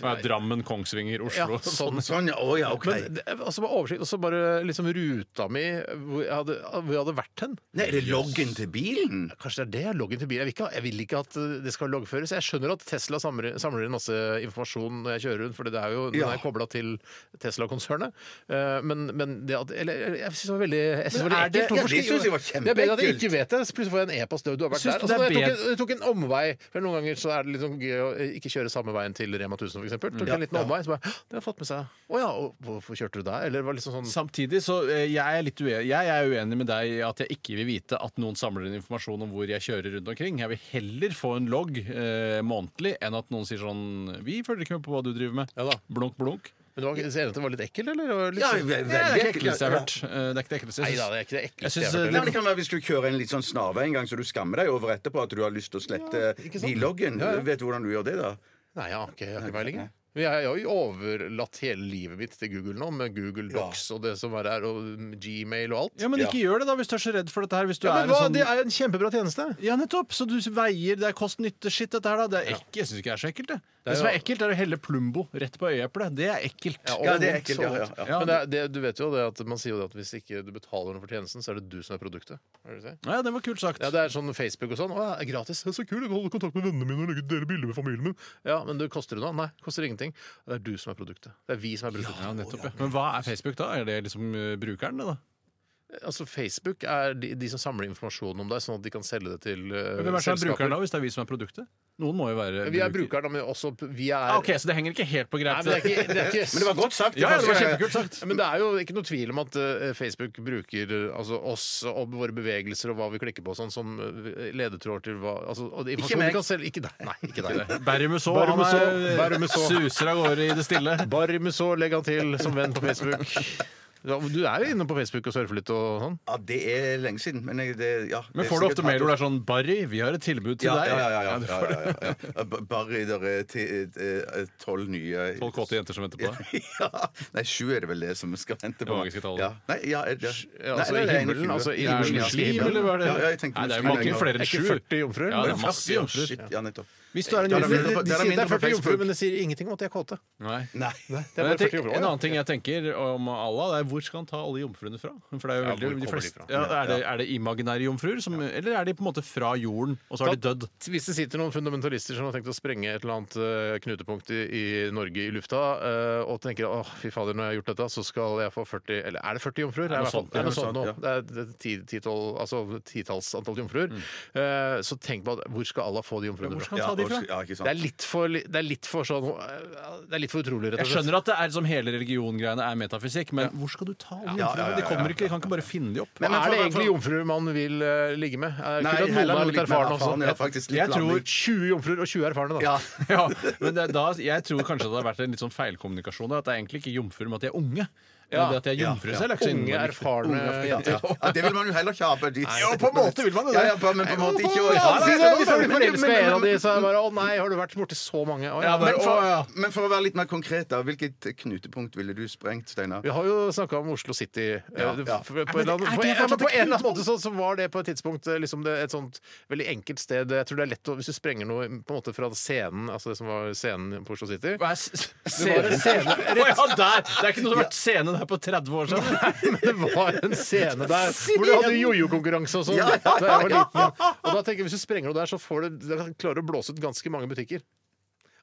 E: Ja, Drammen, Kongsvinger,
C: ja,
E: Oslo.
C: sånn.
B: Sånn, ja. Å ja, OK.
C: Men det, altså bare oversikt, og så bare liksom ruta mi hvor jeg hadde, hvor jeg hadde vært hen.
B: Nei, er det loggen til bilen?
C: Kanskje det er det jeg logger inn til bilen. Jeg vil, ikke, ha- jeg vil ikke at eh, det skal loggføres. Jeg skjønner at Tesla samler, samler inn masse informasjon når jeg kjører rundt, for det er jo, den
B: Ja.
C: er kobla til Tesla-konsernet. Eh, Men, men det at Eller eller, jeg syns det var veldig jeg synes det var
B: Men
C: veldig
B: er det-
C: ekkelt. Hvorfor
B: ja, det
C: skal-
B: synes jeg var
C: Det er bedre at jeg
B: kjempeekkelt.
C: ikke vet det. så Plutselig får jeg en e-post. Du har vært
E: Syns
C: der.
E: du det
C: Altså,
E: er
C: jeg, tok
E: bedre-
C: en, jeg tok en omvei. For Noen ganger så er det liksom gøy å eh, ikke kjøre samme veien til Rema 1000, f.eks.
B: Mm.
C: Tok en liten omvei, så bare «Hå, Det har fått med seg. Å ja, og hvorfor kjørte du der? Eller det var liksom sånn
E: Samtidig så eh, jeg er litt uenig, jeg er uenig med deg i at jeg ikke vil vite at noen samler inn informasjon om hvor jeg kjører rundt omkring. Jeg vil heller få en logg eh, månedlig enn at noen sier sånn Vi følger ikke med på hva du driver med.
C: Ja da.
E: Blunk, blunk.
C: Men du var enig i at det var litt ekkelt, eller? Det var Litt,
B: Ja, ve- veldig
E: Det er ikke det
B: ekkelt,
E: ekleste jeg har
B: ja.
E: hørt. Eh, Det er ikke det ekleste.
C: Nei
E: Jeg
C: da, det
E: synes-
C: er ikke det
E: Jeg
C: ekleste
E: synes,
C: jeg har hørt.
B: Nei, men det kan være Hvis du kjører en litt sånn snarvei en gang, så du skammer deg over etterpå at du har lyst til å slette
C: ikke sant?
B: billoggen.
C: Ja, ja.
B: Vet du hvordan du gjør det, da?
C: Nei, jeg har ikke, jeg har ikke peiling. jeg. Men Jeg jeg har jo overlatt hele livet mitt til Google nå, med Google Docs og det som er her, og mm, Gmail og alt.
E: ja, men ikke gjør det, da, hvis du er så redd for dette her. Hvis du
C: Ja,
E: er
C: men
E: en
C: hva?
E: sånn...
C: Det er jo en kjempebra tjeneste.
E: Ja, nettopp! Så du veier Det er kost-nytte-skitt, dette her, da. Det er ikke, jeg syns ikke det er så ekkelt, det. Det, som er
C: jo-
E: ekkelt, er å helle Plumbo rett på øyeeplet. Det er ekkelt.
C: og
B: Ja, det er
C: vondt,
B: ekkelt,
C: og
B: ja, ja,
C: vondt.
B: ja.
E: Ja,
C: Men det er, det, du vet jo det at man sier jo det at hvis ikke du betaler noe for tjenesten, så er det du som er produktet. Er det det du sier?
E: Ja, det var kult sagt.
C: Ja, Det er sånn Facebook og sånn. Å, ja, gratis. Det er så kult. Jeg kan holde kontakt med vennene mine og legge dele bilder med familien min. Ja, Men det koster det noe? Nei, koster ingenting. Det er du som er produktet. Det er vi som er produktet.
E: Ja, nettopp, ja. Men hva er Facebook, da? Er det liksom eh, brukeren, det, da?
C: Altså, Facebook er de, de som samler informasjon om deg, sånn at de kan selge det til uh,
E: Hvem er det som er brukeren da, hvis det er vi som er produktet? Noen må jo være
C: Vi er brukeren, da, men også vi er
E: Ah, ok, Så det henger ikke helt på
C: Nei,
E: greit?
C: men det er ikke, det er ikke
B: Men det var godt sagt.
E: Ja, ja, det var kjempekult sagt.
C: Men det er jo ikke noe tvil om at eh, Facebook bruker eh, altså, oss og våre bevegelser og hva vi klikker på og sånn, som eh, ledetråder til hva altså, og det- informasjon
B: meg.
C: vi kan selge- Ikke deg. Nei, ikke deg.
E: Bermuså, han
C: Bermuså,
E: er,
C: Bermuså.
E: suser av gårde i det stille.
C: Barmuså legger han til som venn på Facebook. Ja, Du er jo inne på Facebook og surfer litt og sånn.
B: Ja, det er lenge siden. Men, jeg, det, ja,
E: Men får du ofte mail hvor det er sånn 'Barry, vi har et tilbud til
B: ja,
E: deg'?
B: ja, ja, ja, ja,
E: du
B: ja,
E: får det.
B: ja, ja, ja. B- Barry, der er ti- eh, tolv nye
E: Tolv kåte jenter som venter på deg.
B: Ja. Nei, sju er det vel det som skal vente på.
E: Hvor mange skal tale?
B: Ja. Nei, ja, er det,
C: Ja, altså,
B: nei, det er
C: i
B: en
C: himmelen,
B: tjue.
C: altså,
B: Ja,
C: i
E: Er du
C: himmelen,
B: muslim,
E: muslim, eller hva er det?
B: Ja, ja, jeg tenkte
E: Nei, det er jo
B: muslim,
E: mange
B: ja.
E: flere
C: Er
E: enn
C: ikke
E: sju.
C: 40 jomfruer?
E: Ja, det er masse
B: Shit,
E: jomfruer.
B: Ja, nettopp.
E: Hvis du er en
B: Ja,
C: De,
B: det er mindre
C: sier
E: jomfru
B: på- det
C: det
B: er mindre
C: er
B: på
C: 40 jomfruer,
B: Facebook.
C: men det sier ingenting om at de er kåte.
E: Nei.
B: Nei.
C: Det er
E: Men
C: bare 40
E: jeg tenker,
C: jomfruer,
E: en
C: ja.
E: annen ting jeg tenker om Allah, det er hvor skal han ta alle jomfruene fra? For det er jo
C: Ja,
E: veldig,
C: hvor
E: de
C: kommer de
E: fleste,
C: fra?
E: ja, er, det, er det imaginære jomfruer, som, eller er de på en måte fra jorden, og så har de
C: Da-
E: dødd?
C: Hvis det sitter noen fundamentalister som har tenkt å sprenge et eller annet eh, knutepunkt i, i Norge i lufta, eh, og tenker åh, fy fader, når jeg har gjort dette, så skal jeg få 40 Eller er det 40 jomfruer? Det er
E: noe
C: i hvert fall-
E: sånt,
C: det er noe
E: ja.
C: sånt nå. Det er det er ti- titall- altså, titalls antall jomfruer.
B: Mm.
C: Eh, Så tenk på at hvor skal Allah få de jomfruene
E: Hvor
C: fra?
E: skal han ta de fra?
B: Ja, ikke sant.
C: Det er litt for, li- det er litt for sånn eh, Det er litt for utrolig, rett
E: Jeg
C: og slett.
E: skjønner at det er som hele religiongreiene er metafysikk, men hvor skal du ta alle
B: Ja, ja,
E: jomfruene?
B: ja,
E: De
B: ja,
E: kommer
B: ja,
E: ikke, de kan ikke bare finne de opp.
B: Men- men
C: er det
B: for-
C: egentlig
B: for-
C: jomfruer man vil eh, ligge med? Eh,
B: Nei,
C: Kunne
B: heller
C: noen er
B: noe
C: litt
B: litt mer
C: erfarne også.
B: erfaren, ja, faktisk litt
E: Jeg tror-
B: blanding.
C: 20 jomfruer og 20 erfarne, da.
B: Ja.
E: Ja, men det, er da, jeg tror kanskje det har vært en litt sånn feilkommunikasjon. da, At det er egentlig ikke jomfruer, men at de er unge. Men det at jeg er jomfru, så er lakse innmari
C: Unge,
E: viktig.
C: erfarne
B: Ja,
C: jenter.
B: det vil man jo heller ikke ha på de
C: Jo, på en måte vil man jo det.
B: Ja, ja, på, men på en måte ikke
C: Ja,
B: Ja, men-
C: si det,
B: men-
C: Hvis jeg blir
B: men-
C: forelska i
B: men-
C: en av de, så er jeg bare Å nei, har du vært borti så mange? Å, ja.
E: Ja,
B: Men
E: bare,
B: for,
E: å, ja.
B: men for å være litt mer konkret, da. Hvilket knutepunkt ville du sprengt, Steinar?
C: Vi har jo snakka om Oslo City. eh,
B: ja.
C: f- På, en eller annen- på, en- ja, men på en eller annen måte så, så var det på et tidspunkt eh, liksom det, et sånt veldig enkelt sted. Jeg tror det er lett å, Hvis du sprenger noe på en måte fra scenen, altså det som var scenen på Oslo City
E: Hva er s- scene? scene. Å ja, der! Det er ikke noe som har vært scene der på 30 år siden.
C: Men det var en scene der hvor du hadde jojo-konkurranse og sånn. Da jeg var liten, ja. Og da tenker jeg hvis du sprenger noe der, så får du, du klarer å blåse ut ganske mange butikker.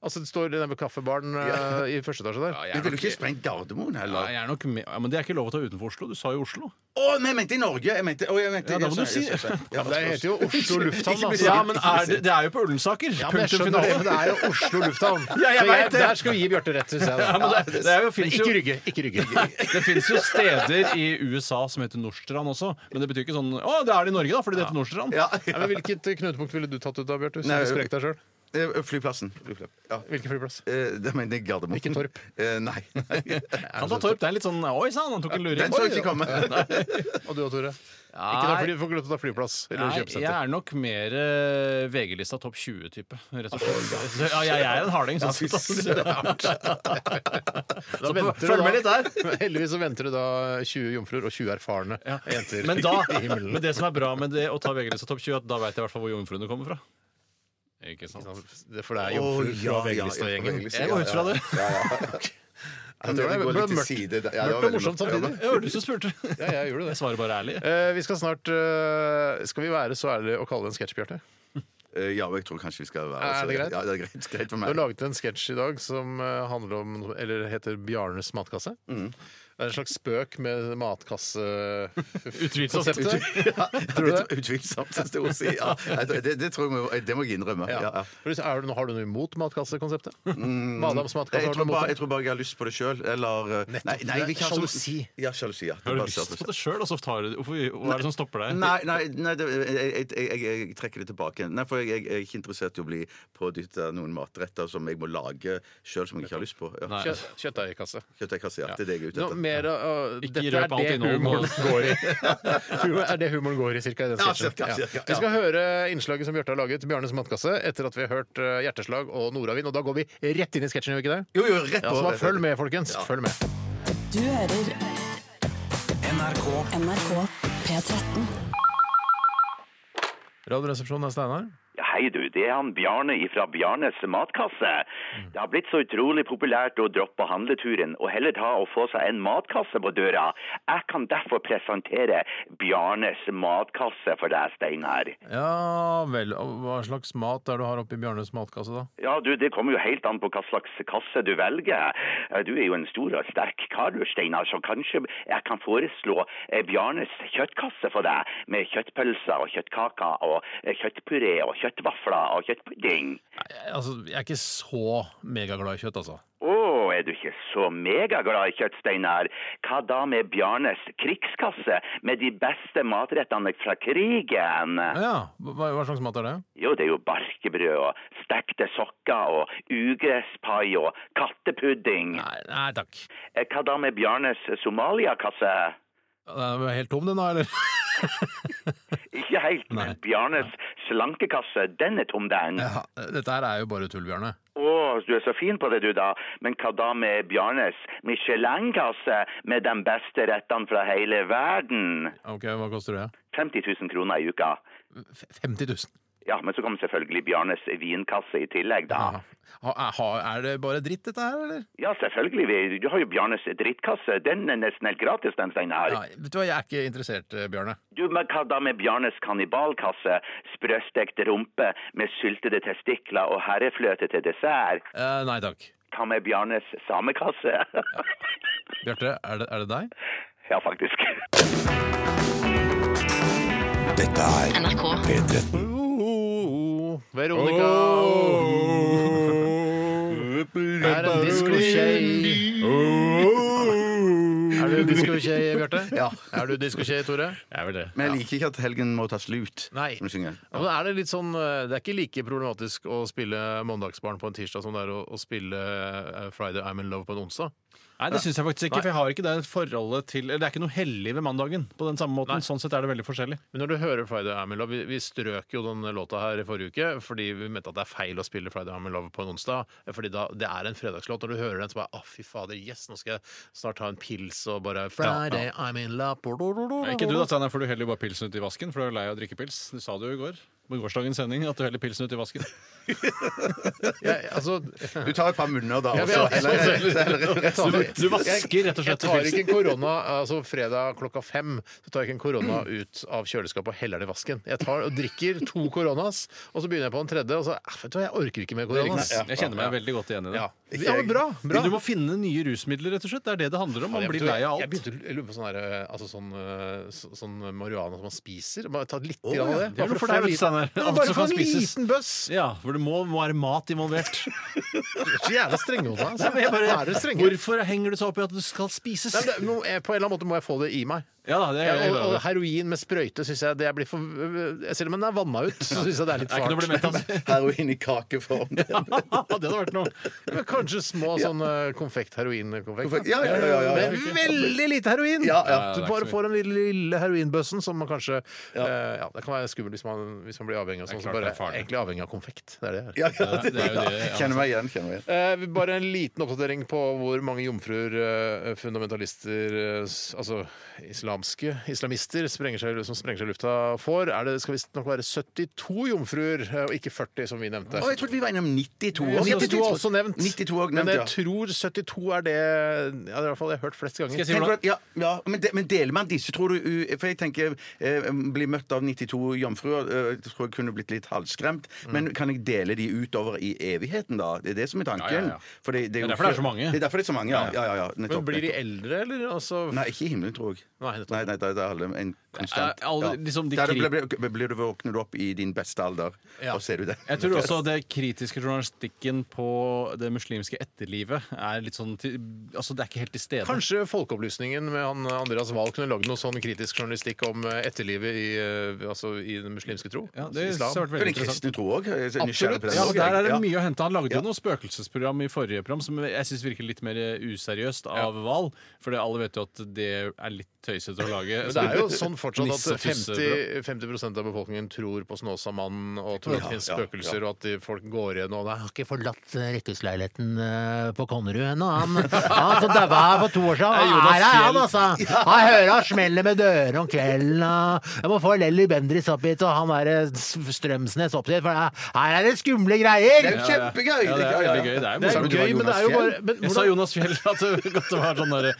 C: Altså Det står den der kaffebaren eh, i første etasje der.
B: Du ville jo ikke sprengt Gardermoen
E: Ja,
B: heller.
E: jeg er nok med. Ja, men det er ikke lov å ta utenfor Oslo. Du sa jo Oslo.
B: Å, nei, jeg mente i Norge! Jeg mente, å, jeg mente,
E: Ja, da må
B: jeg-
E: du si-
B: jeg- jeg- jeg-
C: Ja, men Det heter jo Oslo lufthavn. da.
E: Ja, men er det, det er jo på Ullensaker.
C: Ja, men jeg
E: Punktum
C: skjønner det, men
E: finale.
C: det er jo Oslo lufthavn.
E: Ja, jeg
C: Så
E: vet det.
C: Der skal vi gi Bjarte rett, syns jeg. Da.
E: Ja, men det, det, er jo,
C: Men
E: finnes
C: ikke
E: jo,
C: rygge. Ikke rygge.
E: det finnes jo steder i USA som heter Nordstrand også, men det betyr ikke sånn Å, det er det i Norge, da, fordi det heter Nordstrand.
B: Ja,
C: Nei, men hvilket knutepunkt ville du tatt ut av, Bjarte? Hvis
B: Nei,
C: du sprengte deg sjøl?
B: ja. eh, Flyplassen. Flyplass. Ja.
C: Hvilken flyplass?
B: Eh, Da mener jeg Gardermoen.
C: Ikke Torp.
B: Eh, Nei.
E: Han tar Torp. Det er litt sånn Oi sann, han tok en luring.
B: Den så
E: Oi,
B: jeg ikke komme.
C: Og du og Tore? Ikke da, fly, får ikke lov til å ta flyplass eller
E: Nei, jeg
C: kjøpesenter.
E: er nok mer eh, VG-lista topp 20-type, rett og slett. Så, ja, jeg er en harding, sånn sett.
C: Da
E: Så
C: venter du
E: følg
C: da-
E: med litt der.
C: Men Heldigvis så venter du da 20 jomfruer og 20 erfarne
E: Ja.
C: jenter.
E: Men, da,
C: i himmelen.
E: men det som er bra med det å ta VG-lista topp 20, at da veit jeg i hvert fall hvor jomfruene kommer fra. Ikke sant?
C: Det- For det er jomfruer fra VG-lista-gjengen.
E: Jeg går ut fra det.
B: Jeg tror det går litt til side. der. Ja, det var
C: Mørkt og
B: veldig
C: morsomt
B: mørkt.
C: samtidig.
E: Jeg var du som spurte.
C: Ja, jeg gjorde det.
E: Jeg svarer bare ærlig.
C: Eh, vi skal snart eh, Skal vi være så ærlige å kalle det en sketsj, Bjarte?
B: Eh, Ja, og jeg tror kanskje vi skal være
C: Er det
B: så-
C: greit?
B: Ja, det er greit, greit for
C: Du har
B: meg.
C: laget en sketsj i dag som eh, handler om Eller heter 'Bjarnes matkasse'. Det er en slags spøk med
E: Utvilsomt.
C: matkasse-konseptet.
B: Tror du det? Utvilsomt. Det, står å si, ja. Jeg tror- det, det tror jeg må, det må jeg innrømme. Ja. Ja.
C: For hvis- er du- Har du noe imot matkassekonseptet? Madams matkasse,
B: Jeg,
C: har du
B: tror
C: noe imot
B: bare, jeg
C: det?
B: tror bare jeg har lyst på det sjøl, eller eh, Nei, nei, jeg vil ikke ha sånn-
C: Sjalusi.
B: Ja, sjalusi. Ja. Det er
E: Har du
B: bare
C: sånn
E: lyst
B: sjalusi.
E: på det sjøl, og så tar du det? Hvorfor, hva er det som stopper deg?
B: Nei, nei, nei det, jeg, jeg, jeg, jeg trekker det tilbake. Nei, for jeg, jeg, jeg er ikke interessert i å bli pådytta noen matretter som jeg må lage sjøl, som jeg ikke har lyst på. Ja.
E: Nei.
C: Kjøtt, kjøttdeigkasse.
B: Kjøttdeigkasse, ja. Det er det jeg er ute
C: Nå,
B: etter.
C: mer, av-
E: Ikke
C: dette
E: røp
C: er
E: alt
C: det
E: innholdet nå.
C: humoren går i. Humor- er det humoren går i, cirka, i
B: Ja,
C: den sketsjen.
B: cirka,
C: Ja.
B: cirka, ja.
C: Vi skal høre innslaget som Bjarte har laget, 'Bjarnes matkasse', etter at vi har hørt eh, 'Hjerteslag' og 'Nordavind'. Og da går vi rett inn i sketsjen, gjør vi ikke det?
B: Jo, jo, rett
C: Ja,
B: på.
C: så bare følg med, folkens. Følg med.
A: Du hører
F: NRK.
A: NRK P13.
C: Radioresepsjonen er Steinar.
G: Ja, Hei du, det er han Bjarne fra Bjarnes matkasse. Det har blitt så utrolig populært å droppe handleturen og heller ta og få seg en matkasse på døra. Jeg kan derfor presentere Bjarnes matkasse for deg, Steinar.
C: Ja vel. og Hva slags mat er det du har oppi Bjarnes matkasse, da?
G: Ja, du, det kommer jo helt an på hva slags kasse du velger. Eh, Du er jo en stor og sterk kar, du, Steinar, så kanskje jeg kan foreslå eh, Bjarnes kjøttkasse for deg, med kjøttpølser og kjøttkaker og eh, kjøttpuré og kjøttvafler og kjøttpudding.
C: Altså, Jeg er ikke så megaglad i kjøtt, altså.
G: Å, er du ikke så megaglad i kjøtt, Steinar? Hva da med Bjarnes krigskasse med de beste matrettene fra krigen?
C: Ja, Hva, hva slags mat er det?
G: Jo, det er jo barkebrød og stekte sokker og ugresspai og kattepudding.
C: Nei, nei takk.
G: Eh, Hva da med Bjarnes somaliakasse?
C: Den er helt tom, den da, eller?
G: Ikke helt, men Bjarnes slankekasse, den er tom, den. Å,
C: Ja, dette her er jo bare tull, Bjarne.
G: du er så fin på det, du, da. Men hva da med Bjarnes Michelin-kasse med de beste rettene fra hele verden?
C: Ok, Hva koster det?
G: 50 000 kroner i uka.
C: F- 50 000.
G: Ja, men så kom selvfølgelig Bjarnes vinkasse i tillegg, da.
C: Ja. Ha- Er, ha- er det bare dritt, dette her, eller?
G: Ja, selvfølgelig. vi- Du har jo Bjarnes drittkasse. Den er nesten helt gratis, den, Steinar.
C: Nei, vet du hva, Jeg er ikke interessert, eh, Bjarne.
G: Du, men hva da med Bjarnes kannibalkasse? Sprøstekt rumpe med syltede testikler og herrefløte til dessert.
C: Eh, nei takk.
G: Hva med Bjarnes samekasse?
C: Bjarte, er det, er det deg?
G: ja, faktisk.
F: Dette er P13.
C: Veronica Det er en diskoskje. Er du diskoskje, Bjarte?
B: Ja.
C: Er du diskoskje, Tore?
E: Jeg er vel det.
B: Men jeg liker ikke at helgen må ta slutt.
C: Nei.
B: Som synger.
C: Ja, men er det, litt sånn, eh, det er ikke like problematisk å spille Mandagsbarn på en tirsdag som det er å, å spille eh, Friday I'm in love på en onsdag.
E: Nei, det syns jeg faktisk ikke. For jeg har ikke det forholdet til Eller det er ikke noe hellig ved mandagen på den samme måten.
C: Nei.
E: Sånn sett er det veldig forskjellig.
C: Men når du hører Friday I'm in love Vi, vi strøk jo den låta her i forrige uke fordi vi mente at det er feil å spille Friday I'm in love på en onsdag. eh, Fordi da, det er en fredagslåt. Når du hører den, så bare Å, fy fader, yes, nå skal jeg snart ta en pils og bare Friday I'm in love
E: Nei, Ikke du da, Steinar, for du heller jo bare pilsen ut i vasken. For du er jo lei av å drikke pils. Du sa det jo i går. På gårsdagens sending at du heller pilsen ut i vasken.
C: Ja, altså,
B: Du tar et par munner da
C: Ja,
B: også.
C: vi har-
B: eller- eller-
E: Du vasker rett
C: Jeg
E: og slett
C: tar
E: pilsen.
C: ikke en korona altså fredag klokka fem Så tar jeg ikke en korona ut av kjøleskapet og heller det i vasken. Jeg tar og drikker to koronas, og så begynner jeg på en tredje, og så "Ah, vet du, hva, jeg orker ikke mer koronas.
E: Jeg kjenner meg veldig godt igjen i det.
C: Ja, ja men bra! bra.
E: Men du må finne nye rusmidler, rett og slett. Det er det det handler om. Man
C: Jeg
E: blir
C: begynte-
E: lei av
C: Jeg
E: alt.
C: begynte å lure på sånn, der, altså sånn, eh, så- sånn marihuana som man spiser. Bare ta litt
E: ja.
C: grann av det.
E: Det er
C: Bare
E: noe
C: for
E: for
C: å
E: deg,
C: få
E: vet du,
C: litt-
E: Steinar.
C: Ja,
E: Alt
C: Bare
E: som
C: for
E: kan
C: en
E: spises.
C: liten bøss!
E: Ja, for det må være mat involvert.
C: Dere er Så jævla strenge mot meg.
E: Nei,
C: Altså.
E: men jeg
C: Er dere strenge?
E: hvorfor henger du så opp i at du skal spises?
C: Nei, men det, må- jeg- på en eller annen måte må jeg få det i meg.
E: Ja da, det
C: Ja,
E: er jeg
C: og,
E: glad
C: og
E: i.
C: heroin med sprøyte syns jeg det blir for jeg- Selv om den er vanna ut, så syns jeg det er litt
E: Det er ikke noe å bli
C: svart.
E: mett av. det
B: Heroin i kakeform.
E: hadde vært noe.
C: Men Kanskje små sånn eh, konfekt, heroinkonfekt.
B: Ja, ja, ja, ja, ja.
C: Men veldig lite heroin!
B: Ja, ja.
E: Ja,
C: Du
E: det er
C: bare
E: ikke så
C: får den lille, lille heroinbøssen som man kanskje eh, ja, Det kan være skummelt hvis man, hvis man blir avhengig av sånn. Så
E: Det er klart det
C: bare
E: er farlig.
C: egentlig avhengig av konfekt. Det er det. jeg er.
B: Ja, ja,
E: Det er jo det. ja.
B: Kjenner meg igjen. kjenner meg igjen
C: Eh, vi- bare en liten oppdatering på hvor mange jomfruer eh, fundamentalister, eh, s- altså islamske islamister, sprenger seg, som sprenger seg i lufta, får. Er det skal visstnok være 72 jomfruer, eh, og ikke 40, som vi nevnte.
B: Å, jeg trodde vi var innom 92.
C: Og 92 er også nevnt.
B: 92 er også
C: men
B: nevnt,
C: jeg
B: ja.
C: tror 72 er det ja, det er i hvert fall jeg har hørt flest ganger.
E: Skal jeg si
B: Tenker du
E: hvordan
B: at, ja, ja, men, de, men deler man disse, tror du u- For jeg tenker eh, Bli møtt av 92 jomfruer eh, tror jeg kunne blitt litt halvskremt.
E: Mm.
B: Men kan jeg dele de utover i evigheten, da? Det er det som er tanken.
E: Ja, ja, ja.
B: For det, det,
E: er
B: jo
E: derfor det er
B: ikke-
E: så mange.
B: Det er derfor det er så mange, ja. ja, ja, ja nettopp,
C: Men blir de
B: nettopp.
C: eldre, eller? Altså,
B: Nei, ikke i himmelen, tror jeg.
C: Nei, nettopp.
B: nei, nei da- da er alle en konstant.
E: Er alle- liksom de
B: Der
E: kri-
B: blir, blir, blir du våknet opp i din beste alder,
C: Ja.
B: og ser du det.
E: Jeg tror også det kritiske journalistikken på det muslimske etterlivet er litt sånn til, Altså, det er ikke helt til stede.
C: Kanskje Folkeopplysningen med han eh, Andreas Wahl kunne lagd noe sånn kritisk journalistikk om eh, etterlivet i, eh, altså, i den muslimske tro?
E: Ja, det
C: Islam.
E: har vært
B: For
E: veldig
B: den
E: interessant.
B: kristne tro òg.
C: Absolutt.
E: Ja, og Der er det mye å hente. Han lagde jo
B: Ja.
E: noe spøkelsesprogram i forrige program som jeg syns virker litt mer useriøst av Val. For det- alle vet jo at det er litt tøysete å lage.
C: Men det er jo sånn fortsatt
E: Nisse og
C: at
E: tusse,
C: 50, 50 av befolkningen tror på Snåsamannen og tror det finnes spøkelser, og at de, folk går igjen og «Nei, 'Jeg har ikke forlatt eh, rekkehusleiligheten eh, på Konnerud ennå, han. Han som daua her for to år siden. Han er her, han, altså. Han hører han smeller med dører om kvelden. og Jeg må få Lelly Bendriss opp hit, og han derre Strømsnes opp dit, for her er det skumle
B: Det
C: greier.
B: er jo kjempegøy!
E: Ja, det er veldig gøy. Det er jo
B: Sa
E: morsomt.
B: du det var
C: gøy, men det er jo
B: Jonas Fjell?
C: bare men,
E: Jeg sa Jonas Fjell at det at det var sånn derre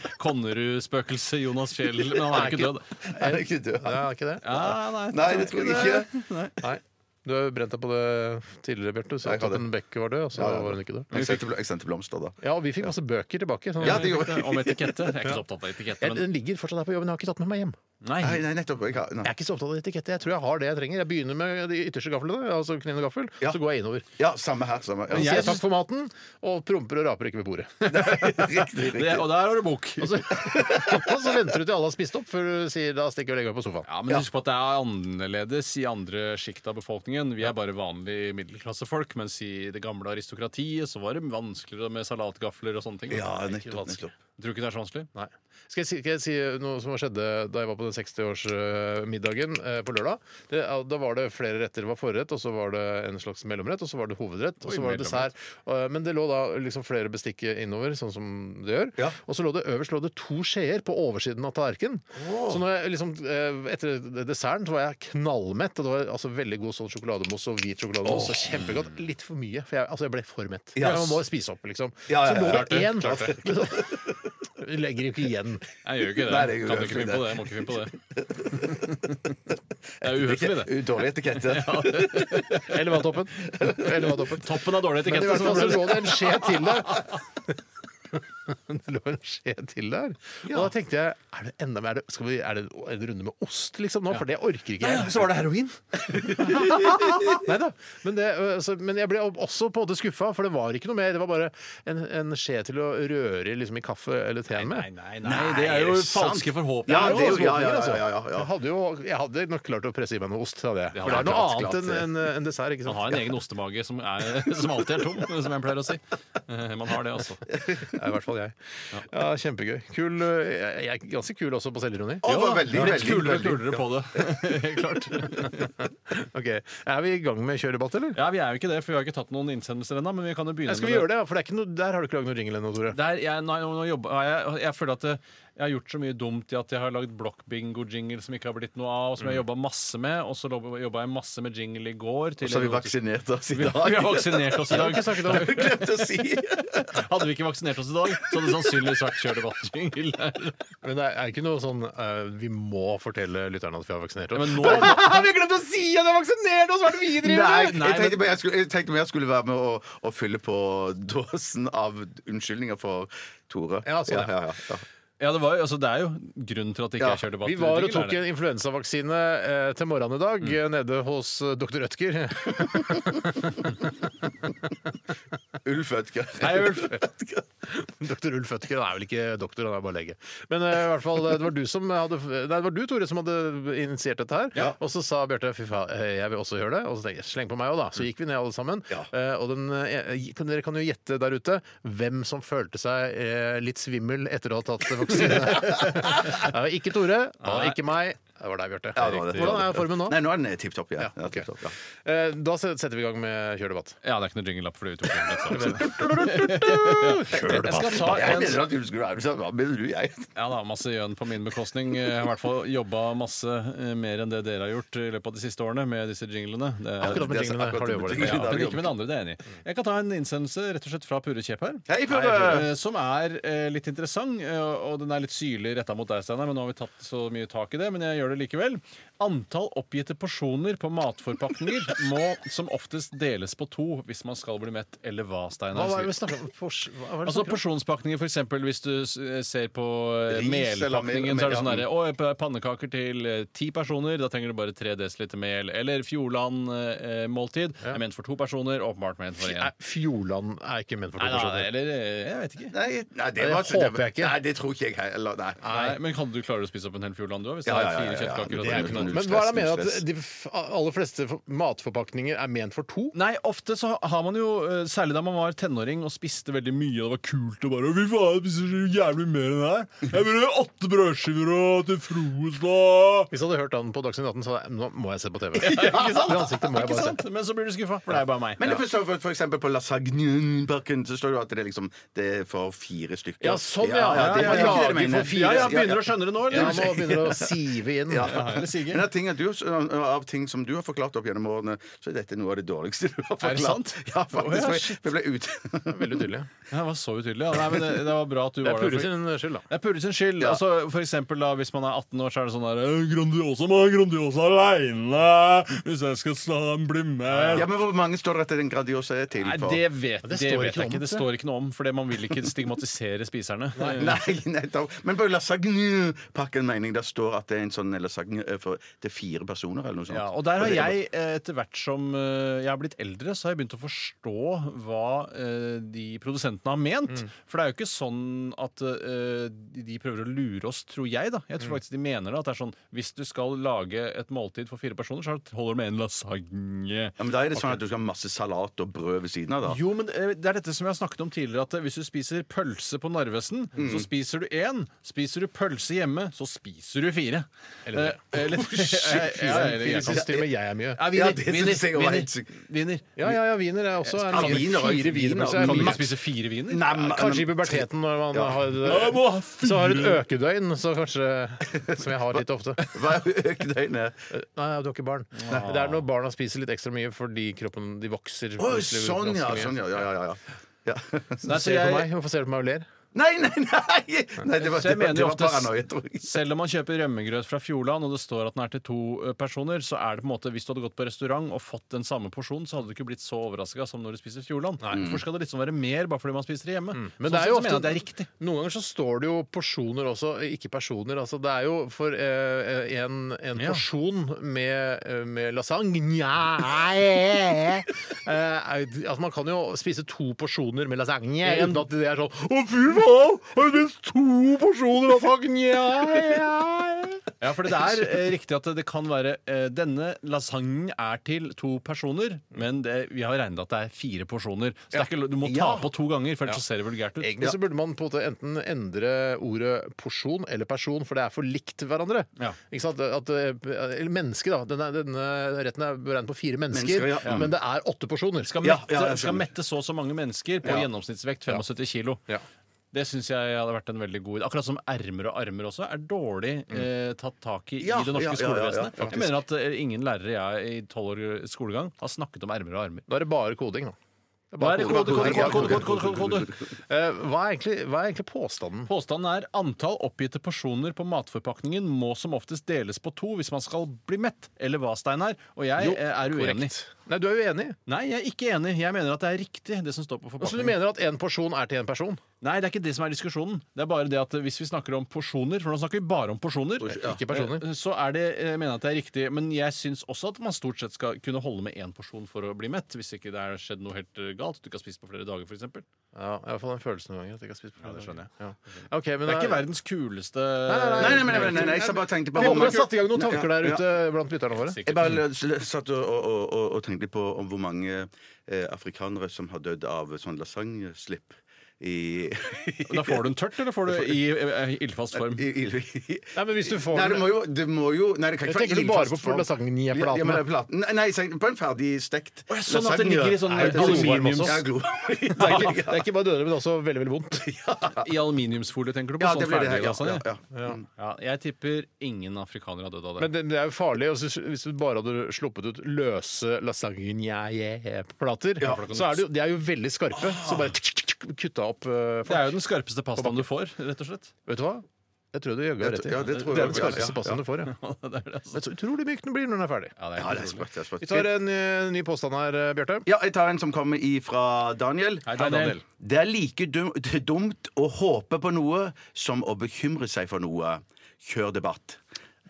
E: Konnerud-spøkelse Jonas Fjell, men han er jo ikke død.
B: Er det ikke død?
C: Ja, ikke det?
E: Ja, nei,
B: Nei, det tror jeg ikke.
C: Nei. Du har jo brent deg på det tidligere, Bjarte. Du sa
B: Jeg
C: at
B: hadde.
C: en Bekke var død, og så var hun ikke død.
B: Jeg sendte, bl- jeg sendte blomster, da.
C: Ja, og vi fikk masse bøker tilbake. Sånn.
B: Ja, det gjorde
E: Etikette, Om etikette. Jeg er ikke så opptatt av etikette,
C: Jeg-
E: men
C: Den ligger fortsatt her på jobben, jeg har ikke tatt med meg hjem.
E: nei.
B: Nei, nei, nettopp. Jeg, har- nei.
C: Jeg er ikke så opptatt av etikette. Jeg tror jeg har det jeg trenger. Jeg begynner med de ytterste gaflene, altså kniv og gaffel,
B: Ja.
C: så går jeg innover.
B: Ja, samme her. Samme. Ja.
C: Så sier jeg
E: synes-
C: takk for maten, og promper og raper ikke ved bordet.
B: Riktig, riktig.
E: Det, og der har du bok.
C: Og så, og så venter du til alle har spist opp, før du sier da stikker jeg og legger meg på sofaen.
E: Ja, Men husk på at det er annerledes i andre sjikt av befolkningen. Vi er bare vanlige middelklassefolk, mens i det gamle aristokratiet så var det vanskeligere med salatgafler og sånne ting.
B: Ja,
E: Det er ikke
B: nettopp,
E: vanskelig.
B: nettopp.
E: Jeg tror ikke det er så vanskelig.
C: Nei. Skal jeg, si, skal jeg si noe som skjedde da jeg var på den 60-årsmiddagen eh, på lørdag? Det, ja, da var det flere retter. Det var forrett, og så var det en slags mellomrett, og så var det hovedrett, og
E: Oi,
C: så var det
E: mellomrett.
C: dessert. Og, eh, Men det lå da liksom flere bestikk innover, sånn som det gjør.
B: Ja.
C: Og så lå det øverst lå det to skjeer på oversiden av tallerkenen. Så når jeg liksom, eh, etter desserten så var jeg knallmett, og det var altså veldig god sånn sjokolademousse og hvit sjokolademousse. Kjempegodt. Litt for mye, for jeg, altså jeg ble for mett.
B: Ja.
C: Jeg må spise opp, liksom.
B: Ja, ja,
C: Så
B: ja.
C: lå det én
E: Klart det,
C: Vi legger jo ikke igjen.
E: Jeg gjør jo ikke det.
B: Nei, det gjør
E: kan
B: jeg
E: du ikke
B: ikke
E: finne på det. Jeg må ikke finne på det. Det er uhøflig, det.
B: Dårlig etikette.
C: Eller vanntoppen. Eller vanntoppen.
E: Toppen av
C: Men sånn- i
E: dårlig altså. etikette.
C: hvert fall så
E: så ble det-
C: lå det en skje til der. det lå en skje til der. Og da tenkte jeg er det enda mer, er det, skal vi, er det en runde med ost liksom nå? For det orker ikke jeg. Så var det heroin! Nei da. Men, det, ø, altså, men jeg ble også på en måte skuffa, for det var ikke noe mer. Det var bare en, en skje til å røre i, liksom, i kaffe eller teen med.
E: nei, nei, det er jo falske forhåpninger.
B: Ja,
C: Ja,
B: det er jo, ja, ja,
C: altså.
B: ja, ja, ja,
C: Jeg,
B: ja.
C: hadde jo, jeg hadde nok klart å presse i meg noe ost. Hadde jeg. For det
E: Ja,
C: er noe
E: klart,
C: annet
E: klart
C: enn en, en dessert. Ikke
E: Man
C: sant?
E: har en egen ostemage som, er, som alltid er tom, som jeg pleier å si. Eh, Man har det, altså.
C: Ja, I hvert fall jeg. Ja, Kjempegøy. Kul, øh, jeg er ganske kul også på selvironi.
B: Å, det var veldig,
E: Litt
B: veldig,
E: kulere og
B: veldig.
E: kulere på det. Helt klart.
C: Ok, Er vi i gang med kjøredebatt, eller?
E: Ja, vi er jo ikke det, for vi har ikke tatt noen innsendelser ennå, men vi kan jo begynne
C: Ja, skal vi gjøre det? ja? For det er ikke noe, der har du ikke lagd noen ringel ennå, Tore.
E: Der, jeg, nei, nå, nå jobber, nei, jeg, jeg føler at det, jeg har gjort så mye dumt i at jeg har lagd blokkbingo-jingle som ikke har blitt noe av, og som jeg har jobba masse med. Og så jobba jeg masse med jingle i går. til-
B: Så har vi vaksinert oss i
E: Vi,
B: dag.
E: vi har vaksinert oss i dag.
B: Jeg glemte å si!
E: Hadde vi ikke vaksinert oss i dag, så hadde det sannsynligvis vært kjør debatt-jingle. der.
C: Men det er- er ikke noe sånn øh, Vi må fortelle lytterne at vi har vaksinert
E: Ja,
C: oss.
E: men nå
C: vi glemte å si at vi har vaksinert oss! Hva er det vi
B: Nei,
E: nei,
B: jeg tenkte, bare jeg skulle, jeg tenkte bare jeg skulle være med og, og fylle på dåsen av unnskyldninger for Tore.
C: Ja, sånn, ja.
B: ja, ja, ja.
E: Ja, det, var, jo- altså, det er jo grunnen til at det ikke
B: Ja,
E: er kjør debatt.
C: Vi var og
E: jingle, er
C: tok
E: det. Mm.
C: en influensavaksine eh, til morgenen i dag eh, nede hos eh, dr. Rødtger.
B: Ulf Ødger.
C: Hei, Ulf. Dr. Ulf Ødtger han er vel ikke doktor, han er bare lege. Men eh, i hvert fall, det var du som hadde Nei, det var du, Tore, som hadde initiert dette her. Og så sa Bjarte fy faen, eh, jeg vil også gjøre det. Og så tenkte jeg sleng på meg òg, da. Så gikk vi ned alle sammen. Eh, Og den, eh, kan, dere kan jo gjette der ute hvem som følte seg eh, litt svimmel etter å ha tatt vaksine. det var ikke Tore, det var ikke meg. Det var deg, Bjarte.
B: Ja, det var det.
C: Hvordan er formen nå?
B: Nei, nå er den tipp topp. Ja.
C: Ja,
B: Ja,
C: ok.
B: tipp topp, ja.
C: Eh, Da set- setter vi i gang med kjørdebatt.
E: Ja, det er ikke noe jingle-lapp fordi vi tok en debatt.
C: Jeg skal ta
B: Jeg
C: en
B: mener at du skulle være med, så hva mener du? Jeg
E: Ja da, masse gjøn på min bekostning. Eh, Jeg har i hvert fall jobba masse eh, mer enn det dere har gjort eh, i løpet av de siste årene med disse jinglene. Det er,
C: Akkurat med
B: Det er så-
C: tingene har
B: akkurat
C: du
B: med
C: jobbet litt.
B: tingene.
E: ja,
B: der
E: men
B: vi
E: ikke med det andre, det er jeg enig i. Jeg kan ta en innsendelse rett og slett fra Pure Kjepp her.
B: Hei, Pure!
E: eh, Som er eh, litt interessant, eh, og den er litt syrlig retta mot deg, Steinar, men nå har vi tatt så mye tak i det. Men jeg gjør det likevel. Antall oppgitte porsjoner på matforpakninger må som oftest deles på to hvis man skal bli mett, eller hva,
C: Hva
E: Steinar?
C: var det vi snakket om? Pors- hva var det vi
E: Altså
C: snakket om?
E: Porsjonspakninger, f.eks. hvis du s- ser på eh,
B: Ris eller
E: melpakningen,
B: mel-
E: så er det sånn
B: mel,
E: derre
B: ja.
E: Å, p- pannekaker til eh, ti personer, da trenger du bare 3 dl mel. Eller Fjordland-måltid. er Ment for to personer, åpenbart ment for én.
C: Nei, Fjordland er ikke ment for
E: Nei, nei,
C: proporsjoner.
E: eller eh, Jeg vet ikke.
B: Nei, nei, det,
C: Nei,
B: var,
C: det håper jeg ikke.
B: Nei, det tror ikke jeg heller. Nei.
E: Nei, men kan du klare å spise opp en hel Fjordland, du òg? Hvis det
B: Ja,
E: er
B: ja, ja,
E: fire
B: ja, ja.
E: kjøttkaker og
B: Det
E: tre
B: er jo ikke noe
E: kebabs?
C: Men hva er det med
B: Null
C: at
B: stress.
C: de f- aller fleste for- matforpakninger er ment for to?
E: Nei, ofte så har man jo, eh, særlig da man var tenåring og spiste veldig mye, og det var kult og bare Fy faen, jeg spiser så jævlig mer enn det her. Jeg vil ha åtte brødskiver og til frokost og
C: Hvis jeg hadde hørt han på Dagsnytt 18, så hadde jeg nå må jeg se på TV. Det ansiktet må jeg
E: Ikke
C: bare se.
E: sant? Men så blir du skuffa, for det er bare meg.
B: Men jeg forstår for, for eksempel på lasagnen-pakken så står det jo at det er, liksom, det er for fire stykker.
C: Ja, sånn, ja.
B: det,
C: Ja,
B: det er ikke
C: ja,
B: det du
C: lager for
B: mener.
C: fire.
E: Ja, ja, begynner å skjønne det nå,
C: Ja,
E: eller?
C: nå begynner det å sive inn.
E: Eller Sige?
B: Men av ting, at du, av ting som du har forklart opp gjennom årene, så er dette noe av det dårligste du har forklart.
E: Er det sant?
B: Ja, faktisk.
E: Å, ja,
B: for jeg-
E: shit.
B: for jeg ble ute.
C: Veldig tydelig.
E: Ja, det var så utydelig. Ja. Nei, men det, det var bra at du
C: Det
E: var
C: er
E: der.
C: Purre
E: for-
C: sin eh, skyld, da.
E: Det er Purre sin skyld. Altså, for eksempel da, Hvis man er 18 år, så er det sånn der «Eh, Grandiosa må ha Grandiosa aleine! Hvis jeg skal sla bli med
B: Ja, men hvor mange står det at den Grandiosa er til
E: Nei,
B: for?
E: det vet, det
C: står ikke
E: vet jeg
C: om
E: ikke.
C: det.
E: Det står ikke noe om, for det- man vil ikke stigmatisere spiserne.
B: Nei, nettopp. Men på lasagne-pakken mener jeg det står at det er en sånn lasagne eh, for, til fire personer eller noe sånt.
E: Ja, og der har
B: det er
E: jeg, eh, etter hvert som eh, jeg har blitt eldre, så har jeg begynt å forstå hva eh, de produsentene har ment. For det er jo ikke sånn at eh, de- de prøver å lure oss, tror jeg, da. Jeg tror faktisk de mener det. At det er sånn hvis du skal lage et måltid for fire personer, så holder det med en lasagne.
B: Ja, men Da er det sånn at du skal ha masse salat og brød ved siden av, da.
E: Jo, men eh, det er dette som jeg har snakket om tidligere, at eh, hvis du spiser pølse på Narvesen, så spiser du én. Spiser du pølse hjemme, så spiser du fire.
C: Eller
E: Eh, eller, ja, eller,
C: Jeg
E: jeg-
C: synes til og med jeg er mye.
E: ja,
B: Ja, det synes jeg var helt sykt.
E: vinner.
C: Ja, ja, ja, wiener er også en
B: Ja, wiener,
C: fire
B: wiener,
C: wienerpølser er
E: Kan du
C: mye.
E: ikke spise fire viner?
B: Nei, men-
C: Kanskje i puberteten når man har Så har et økedøgn, så kanskje Som jeg har litt ofte.
B: Hva er økedøgnet?
C: Nei, du har ikke barn. Det er når barna spiser litt ekstra mye fordi kroppen de vokser.
B: Å,
C: plutselig
B: sånn, ja!
C: ganske mye.
B: Sånn, ja, ja, ja, ja. ja.
C: Du
E: Nei, så
C: ser på
E: jeg,
C: meg. Hvorfor ser du på meg og ler?
B: Nei, nei, nei! nei det var,
E: Så
B: det var,
E: jeg mener
B: det
E: jo
B: var
E: ofte,
B: paranoia, tror jeg.
E: Selv om man kjøper rømmegrøt fra Fjordland, og det står at den er til to eh, personer, så er det på en måte, hvis du hadde gått på restaurant og fått den samme porsjonen, så hadde du ikke blitt så overraska som når du spiser Fjordland. Hvorfor skal det liksom være mer bare fordi man spiser det hjemme?
C: Men det er jo
E: Sånn sett så mener
C: ofte,
E: jeg at det er riktig.
C: Noen ganger så står det jo porsjoner også, ikke personer. Altså, det er jo for eh, en, en
E: Ja.
C: porsjon med, eh, med lasagne eh, er jo- altså, Man kan jo spise to porsjoner med lasagne uten at det er sånn Å, fy faen! Har du spist to porsjoner lasagne?
E: Ja, for det er eh, riktig at det kan være eh, Denne lasagnen er til to personer, men det, vi har regnet at det er fire porsjoner. Så det er ikke, lo- du må ta
C: Ja.
E: på to ganger, for ellers så ser det vulgært ut.
C: Egentlig så burde man på en måte enten endre ordet porsjon eller person, for det er for likt hverandre.
E: Ja.
C: Ikke sant? At, eh, eller menneske, da. Denne, denne retten er beregnet på fire mennesker,
B: Mennesker, ja. Mm.
C: men det er åtte porsjoner.
E: Skal
B: Ja,
E: mette,
B: ja, jeg
E: skal
B: skjønner.
E: mette så og så mange mennesker på gjennomsnittsvekt 75 kilo.
C: Ja.
E: Det syns jeg hadde vært en veldig god Akkurat som ermer og armer også er dårlig eh, tatt tak i
B: Ja,
E: i det norske
B: ja, ja, ja, ja,
E: skolevesenet. jeg mener at eh, ingen lærere jeg i tolv år skolegang har snakket om ermer og armer.
C: Da er det bare koding, da. Det er
E: Hva er,
C: bare
E: kode, kode, kode, kode, kode, kode, kode, kode.
C: Eh, hva, er egentlig, hva er egentlig påstanden?
E: Påstanden er antall oppgitte porsjoner på matforpakningen må som oftest deles på to hvis man skal bli mett, eller hva, Steinar? Og jeg eh, er uenig.
C: Nei, du er uenig.
E: Nei, jeg er ikke enig. Jeg mener at det er riktig, det som står på
C: Så Altså, du
E: forpakningen.
C: mener at én porsjon er til én person?
E: Nei, det er ikke det som er diskusjonen. Det er bare det at hvis vi snakker om porsjoner, for nå snakker vi bare om porsjoner,
C: Ikke personer.
E: eh, så er det, jeg mener jeg at det er riktig. Men jeg syns også at man stort sett skal kunne holde med én porsjon for å bli mett, hvis ikke det har skjedd noe helt eh, galt. Du ikke har spist på flere dager, f.eks. Det
C: Ja, jeg får den følelsen noen ganger. At jeg ikke har spist på
E: Ja, det skjønner jeg.
C: Ja. Ok, men
E: er
C: da-
E: ikke verdens kuleste
B: Nei, nei, nei, nei, nei, nei, jeg så bare tenkte på
C: Vi
B: hvor
C: håper du
B: mange-
C: har satt i gang noen tanker
B: Ja,
C: der
B: ja.
C: ute blant lytterne våre.
B: Jeg bare lø- s- lø- satt og, og, og- og, og tenkte litt på om hvor mange eh, afrikanere som har dødd av sånn lasagneslipp i,
E: Da får du den tørt, eller får du i eh, ildfast form?
B: i, i
C: Nei, men hvis du får
B: Nei, det må jo, det må jo nei, det kan
C: Jeg
B: ikke være
C: tenker du
B: ildfast
C: bare på
B: form.
C: lasagneplaten.
B: Ja, men det er platen. Nei, nei, jeg tenkte på en ferdig stekt
E: Å, ja, sånn at det ligger i sånn
B: Nei, det er
E: aluminiums-
B: Ja, glo-
C: Det er, ikke, det er ikke bare dødelig, men også veldig veldig vondt.
E: I aluminiumsfolie, tenker du på?
B: Ja,
E: sånn
B: det blir det her. Ja,
E: ferdiglasagne?
B: ja, ja. Mm.
E: Ja, jeg tipper ingen afrikanere har dødd av det.
C: Men det, det er jo farlig. og Hvis, hvis du bare hadde sluppet ut løse lasagneplater, så er det jo, de er jo veldig skarpe.
B: Ah.
C: Så bare kutta opp eh,
E: det
C: folk.
E: er jo den skarpeste pastaen du får, rett og slett.
C: Vet du hva? Jeg tror du jaggu har rett. i.
B: Ja, det tror
C: Det er
B: jeg
C: den
B: også, ja,
C: skarpeste pastaen du får, ja.
E: Ja, det er det, altså.
C: Det er så utrolig myk den blir når den er ferdig.
E: Ja, det er
B: Ja,
E: helt
B: det er
E: utrolig.
B: sprøtt. det er sprøtt.
C: Vi tar en eh, ny påstand her, eh, Bjarte.
B: Ja, jeg tar en som kommer ifra Daniel.
E: Hei, Daniel.
B: Det er like dum, dumt å håpe på noe som å bekymre seg for noe. Kjør debatt.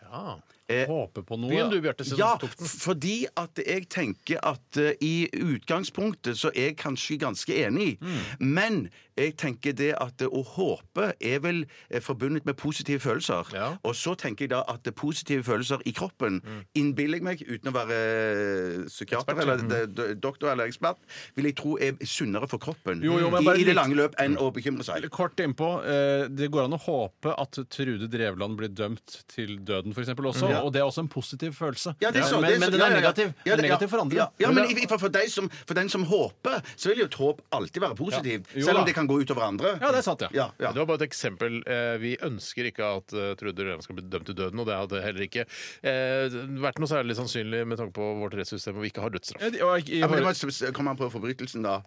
C: Ja.
B: Eh,
E: Håper på noe.
C: Begynn du, Bjarte. siden
B: Ja,
C: du tok den.
B: fordi at jeg tenker at eh, i utgangspunktet så er jeg kanskje ganske enig,
E: Mm.
B: men jeg tenker det at eh, å håpe er vel eh, forbundet med positive følelser.
C: Ja.
B: Og så tenker jeg da at det er positive følelser i kroppen
E: Mm.
B: innbiller jeg meg, uten å være eh, psykiater eller
E: Mm.
B: de- de- doktor eller ekspert, vil jeg tro er sunnere for kroppen
E: Jo, jo, men
B: i,
E: bare
B: i det
E: litt- Mm.
B: lange løp enn å bekymre seg.
E: Kort innpå. eh, Det går an å håpe at Trude Drevland blir dømt til døden, f.eks. også. Og det er også en positiv følelse.
B: Ja, det er så,
E: men,
B: det er så-
E: men den
B: ja,
E: er
B: ja, ja.
E: negativ.
B: Ja,
E: Den er
B: det-
E: negativ for andre.
B: Ja, ja men i- for, for, deg som, for den som håper, så vil jo et håp alltid være positivt.
E: Jo
B: Selv om
E: da.
B: det kan gå utover andre.
E: Ja, det er sant, ja.
B: Ja, ja.
C: Det var bare et eksempel. Eh, Vi ønsker ikke at eh, Trude Drevland skal bli dømt til døden, og det hadde heller ikke eh, vært noe særlig sannsynlig med tanke på vårt rettssystem hvor vi ikke har dødsstraff.
E: Ja, de- og i- i-
B: Ja, men det var, kom an på forbrytelsen, da.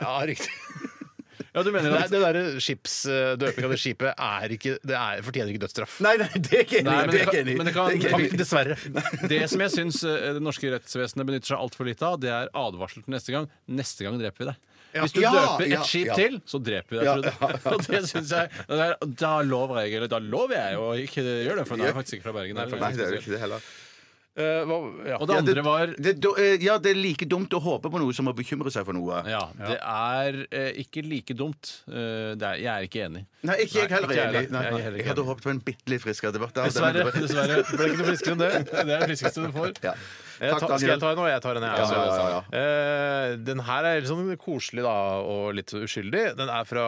C: Ja, riktig.
E: Ja, du mener
C: Nei,
E: at
C: det derre skipsdøpinga til skipet er ikke, det er, fortjener ikke dødsstraff.
B: Nei, nei, det er ikke enig.
E: Nei,
B: det
E: men
B: er
E: det
B: ikke
E: kan-
B: enig.
E: men det kan-
B: Det er ikke enig.
C: Dessverre.
E: Det som jeg syns eh, det norske rettsvesenet benytter seg altfor lite av, det er advarsel til neste gang. Neste gang dreper vi deg. Hvis du
B: Ja,
E: døper et
B: ja,
E: skip
B: ja.
E: til, så dreper vi deg, Trude. Og det syns jeg det er, Da lover jeg, eller da lover jeg å ikke gjøre det, for den er faktisk ikke fra Bergen. den er
B: Nei,
E: faktisk
B: det er jo
E: spesiell.
B: ikke det heller.
C: Eh, hva- ja.
E: Og det andre var
B: Det, er do- eh, ja, det er like dumt å håpe på noe som å bekymre seg for noe.
E: ja, det er eh, ikke like dumt. Eh, det er, jeg er ikke enig.
B: Nei, ikke jeg heller.
E: ikke jeg
B: enig.
E: heller.
B: Nei,
E: Jeg er heller
B: jeg
E: ikke
B: hadde håpet på en bitte litt friskere debatt. da.
E: Dessverre.
B: Den-
E: dessverre. Ble ikke noe friskere enn det. Det er det friskeste du får.
B: Ja.
C: Jeg
B: Takk,
C: tar, skal
B: Daniel.
C: jeg ta en, og jeg tar en, jeg.
B: Ja,
C: også.
B: ja, ja,
C: Eh, den her er litt sånn koselig da, og litt uskyldig. Den er fra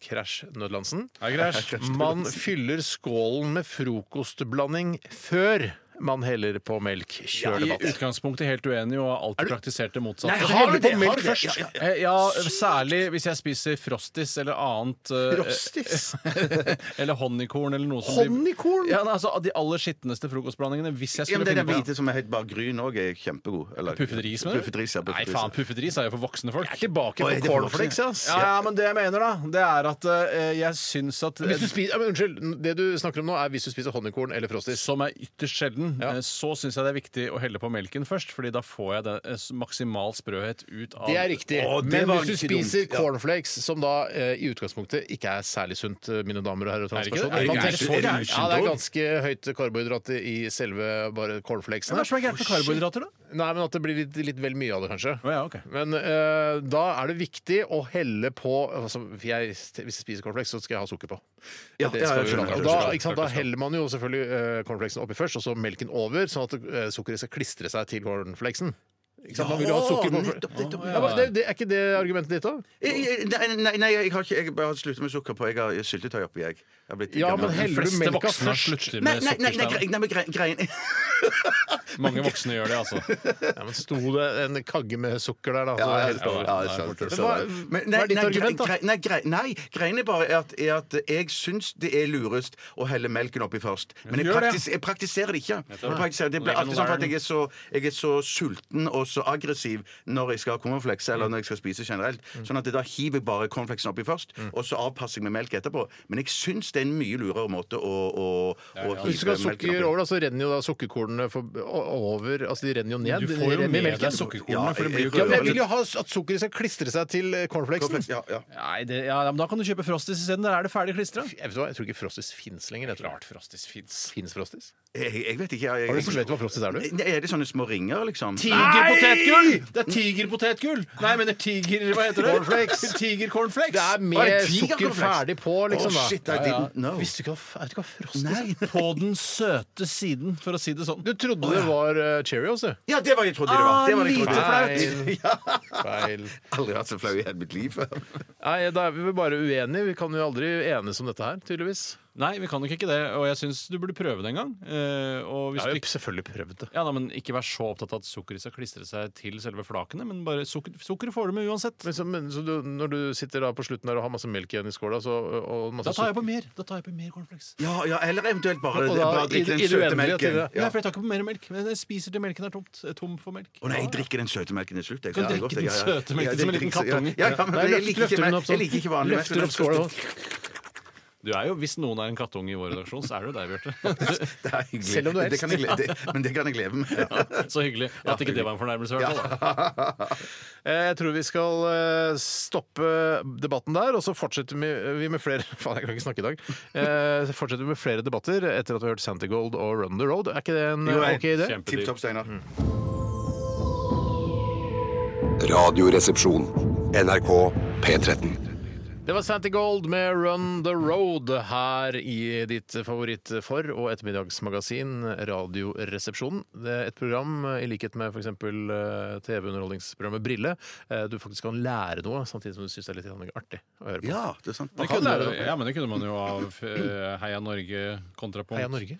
C: Crash Nødlandsen.
E: Hei, Crash.
C: Man fyller skålen med frokostblanding før man heller på melk. Kjør
E: I
C: debatt.
E: utgangspunktet helt uenig og har alltid praktisert det motsatte.
B: Nei,
E: Jeg
B: har du
E: heller
B: det?
E: på
B: Har
E: melk
B: du det?
E: først.
B: Ja,
E: Eh, Ja, særlig hvis jeg spiser Frostis eller annet eh,
B: Frostis?
E: Eller honningkorn eller noe som
C: Honningkorn?
E: Blir, ja, nei, altså, De aller skitneste frokostblandingene, hvis jeg
B: Ja, men
E: skulle
B: det er den
E: finne på
B: hvite som er helt bare gryn òg, er kjempegod. Eller-
E: Puffet ris, mener du?
B: Puffet ris, ja. puffet
E: Nei,
B: ris, ja.
E: faen, puffet ris er jo for voksne folk.
C: Jeg er
B: Oi,
C: tilbake på
B: det får man
C: cornflakes,
B: ikke.
C: ass.
E: Ja, ja, men det jeg mener, da, det er at eh, jeg syns at
C: Hvis du spiser, ja, men unnskyld, det du snakker om nå, er hvis du spiser honningkorn eller Frostis.
E: eh, som er ytterst sjelden,
C: Ja.
E: eh, så syns jeg det er viktig å helle på melken først, fordi da får jeg den, eh, s- maksimal sprøhet ut av
C: Det er riktig.
B: Å, det
C: Men
B: var
C: hvis du
B: ikke dumt.
C: spiser
B: Ja.
C: cornflakes, som da eh, i utgangspunktet ikke er særlig sunt, eh, mine damer og herrer og
E: Er det ikke det?
C: transpersoner
E: Er det
C: Man
E: ikke- er det
C: tenker-
E: så
C: Ja,
B: gærent?
C: det er ganske høyt karbohydrat i selve bare
E: Hva
C: cornflakesene.
E: er det som er gærent med karbohydrater, da?
C: Nei, men at det blir litt, litt vel mye av det, kanskje.
E: Å ja, ok.
C: Men eh, da er det viktig å helle på altså, jeg, Hvis jeg spiser cornflakes, så skal jeg ha sukker på.
B: Ja,
C: Det
B: ja,
C: skal
B: jeg
C: vi jo
B: skjønner,
C: ha.
B: jeg
C: og da,
B: skjønner.
C: ikke sant, da heller man jo selvfølgelig eh, cornflakesen oppi først, og så melken over, sånn at eh, sukkeret skal klistre seg til cornflakesen. Ikke sant? Man vil jo ha sukker på
B: nettopp, nettopp.
C: ja, men det, det, Er ikke det argumentet ditt, da?
B: Jeg- jeg- Nei, nei, nei, jeg har ikke Jeg har sluttet med sukker på. Jeg har syltetøy oppi, jeg. jeg har blitt
C: Ja,
B: gammel.
C: men
E: De
C: heller du
E: fleste
C: melka
E: voksne
C: først?
E: slutter
B: Nei,
E: med
B: nei, nei, nei,
E: sukkerstein.
B: gre- nei, men gre- greien
E: Mange voksne gjør det, altså.
C: Ja, men Sto det en kagge med sukker der, da? så
B: Ja,
C: helt over.
B: ja, det er
C: Nei,
B: sant, det er
C: men hva-
B: sant. Men
C: Hva
B: nei,
C: er ditt
B: nei, grei-
C: argument, da?
B: grei- Nei, grei- nei, greien er bare at, er at jeg syns det er lurest å helle melken oppi først. Men jeg,
E: Gjør det.
B: praktis, jeg praktiserer det ikke. Jeg praktiserer, det blir
E: Legg den
B: alltid sånn for at
E: væren.
B: jeg er, så, jeg er så sulten og så aggressiv når jeg skal ha cornflakes,
C: Mm.
B: eller når jeg skal spise generelt. Sånn at jeg da hiver jeg bare cornflakesen oppi først,
C: Mm.
B: og så avpasser jeg med melk etterpå. Men jeg syns det er en mye lurere måte å, å, å
C: Hvis du skal
B: hive
C: ha
B: melken
C: sukker
B: oppi.
C: over, da, så renner jo da sukkerkornene for, over Altså, de renner jo ned.
E: Du
C: De
E: får jo
C: renner i
E: med
C: melken.
E: deg sukkerkornene,
B: Ja,
E: for det blir jo
C: Ja,
E: ikke
C: men jeg vil jo ha at sukkeret skal klistre seg til eh, cornflakesen.
B: Cornflakes, Ja, ja.
E: Nei, det, ja, men Da kan du kjøpe Frostis isteden. Der er det ferdig klistra.
C: Jeg, vet hva, jeg tror ikke Frostis fins lenger. Jeg tror.
E: Klart Frostis fins.
C: Fins Frostis?
B: Jeg, jeg vet ikke. Jeg,
C: Har du
B: jeg,
C: som vet hva Frostis er, du?
B: Nei, er det sånne små ringer, liksom?
E: Tigerpotetgull! Det er tigerpotetgull! Nei, jeg mener tiger... Hva heter det? Cornflakes. Tigercornflakes.
C: Det er
B: Å,
C: med
B: er det tiger
C: sukker
B: cornflakes?
C: ferdig på, liksom.
B: Oh,
C: da.
B: shit, I didn't know.
C: Visste du ikke hva, vet du ikke hva Frostis er?
B: Nei.
E: På den søte siden, for å si det sånn.
C: Du trodde det var eh, Cheerios, du.
B: Ja, det var jeg trodde det var. Det var jeg trodde.
C: Feil. Feil.
B: Aldri vært så flau i hele mitt liv før.
C: Nei, da er vi vel bare uenige. Vi kan jo aldri enes om dette her, tydeligvis.
E: Nei, vi kan nok ikke det. Og jeg syns du burde prøve det en gang. Eh, og hvis
C: Jeg har
E: du
C: jo
E: ikke
C: selvfølgelig prøvd det.
E: ja, nei, men Ikke vær så opptatt av at sukkeret skal klistre seg til selve flakene, men bare sukker, sukkeret får du med uansett.
C: Men så, men, så du, når du sitter da på slutten der og har masse melk igjen i skåla så, og masse
E: Da tar jeg på mer Da tar jeg på mer cornflakes.
B: Ja, ja, eller eventuelt bare,
C: Og da
B: bare
C: i-
B: drikke
C: i
B: den
C: det
B: søte
C: uendelige til
B: melken.
C: det.
B: Ja.
E: Nei, for jeg tar ikke på mer melk. Men jeg spiser til melken er tomt. er Tom for melk.
B: Å nei, jeg drikker den søte melken til slutt. Jeg,
E: Kan
B: Ja, det er godt,
E: drikke den
B: jeg- ja,
E: søte
B: ja. Ja,
E: melken som en
B: det
E: liten
B: drikker- ja,
E: kattunge.
B: Ja, ja, men
C: Nei,
B: jeg
C: løft-
B: liker
C: løfter
B: ikke,
C: den
B: mel-
C: opp sånn.
B: jeg liker ikke vanlig melk.
C: Løfter opp skåla.
E: Du er jo, Hvis noen er en kattunge i vår redaksjon, så er det jo deg, Bjarte.
B: Det er hyggelig.
C: Selv om du
B: det kan jeg, le- det, Men det kan jeg leve med.
E: Så hyggelig at ikke det var en fornærmelse. i hvert fall, da.
C: Eh, Jeg tror vi skal eh, stoppe debatten der, og så fortsetter vi vi med flere Faen, jeg kan ikke snakke i dag. Eh, Så fortsetter vi med flere debatter etter at vi har hørt Santigold og Run the Road. Er ikke det en eh,
B: Jo, jeg-
C: OK idé?
E: kjempe-
B: Tipp topp, Steinar.
F: Radioresepsjon. NRK P13.
C: Det var Santigold med Run the Road her i ditt favoritt for- og ettermiddagsmagasin Radioresepsjonen. Det er et program eh, i likhet med f.eks. TV-underholdningsprogrammet Brille. eh, Du faktisk kan lære noe samtidig som du syns det er litt grann artig å høre på.
B: Ja, det er sant.
E: Det kunne, ja, men det kunne man jo av eh, Heia Norge kontrapunkt.
C: Heia Norge.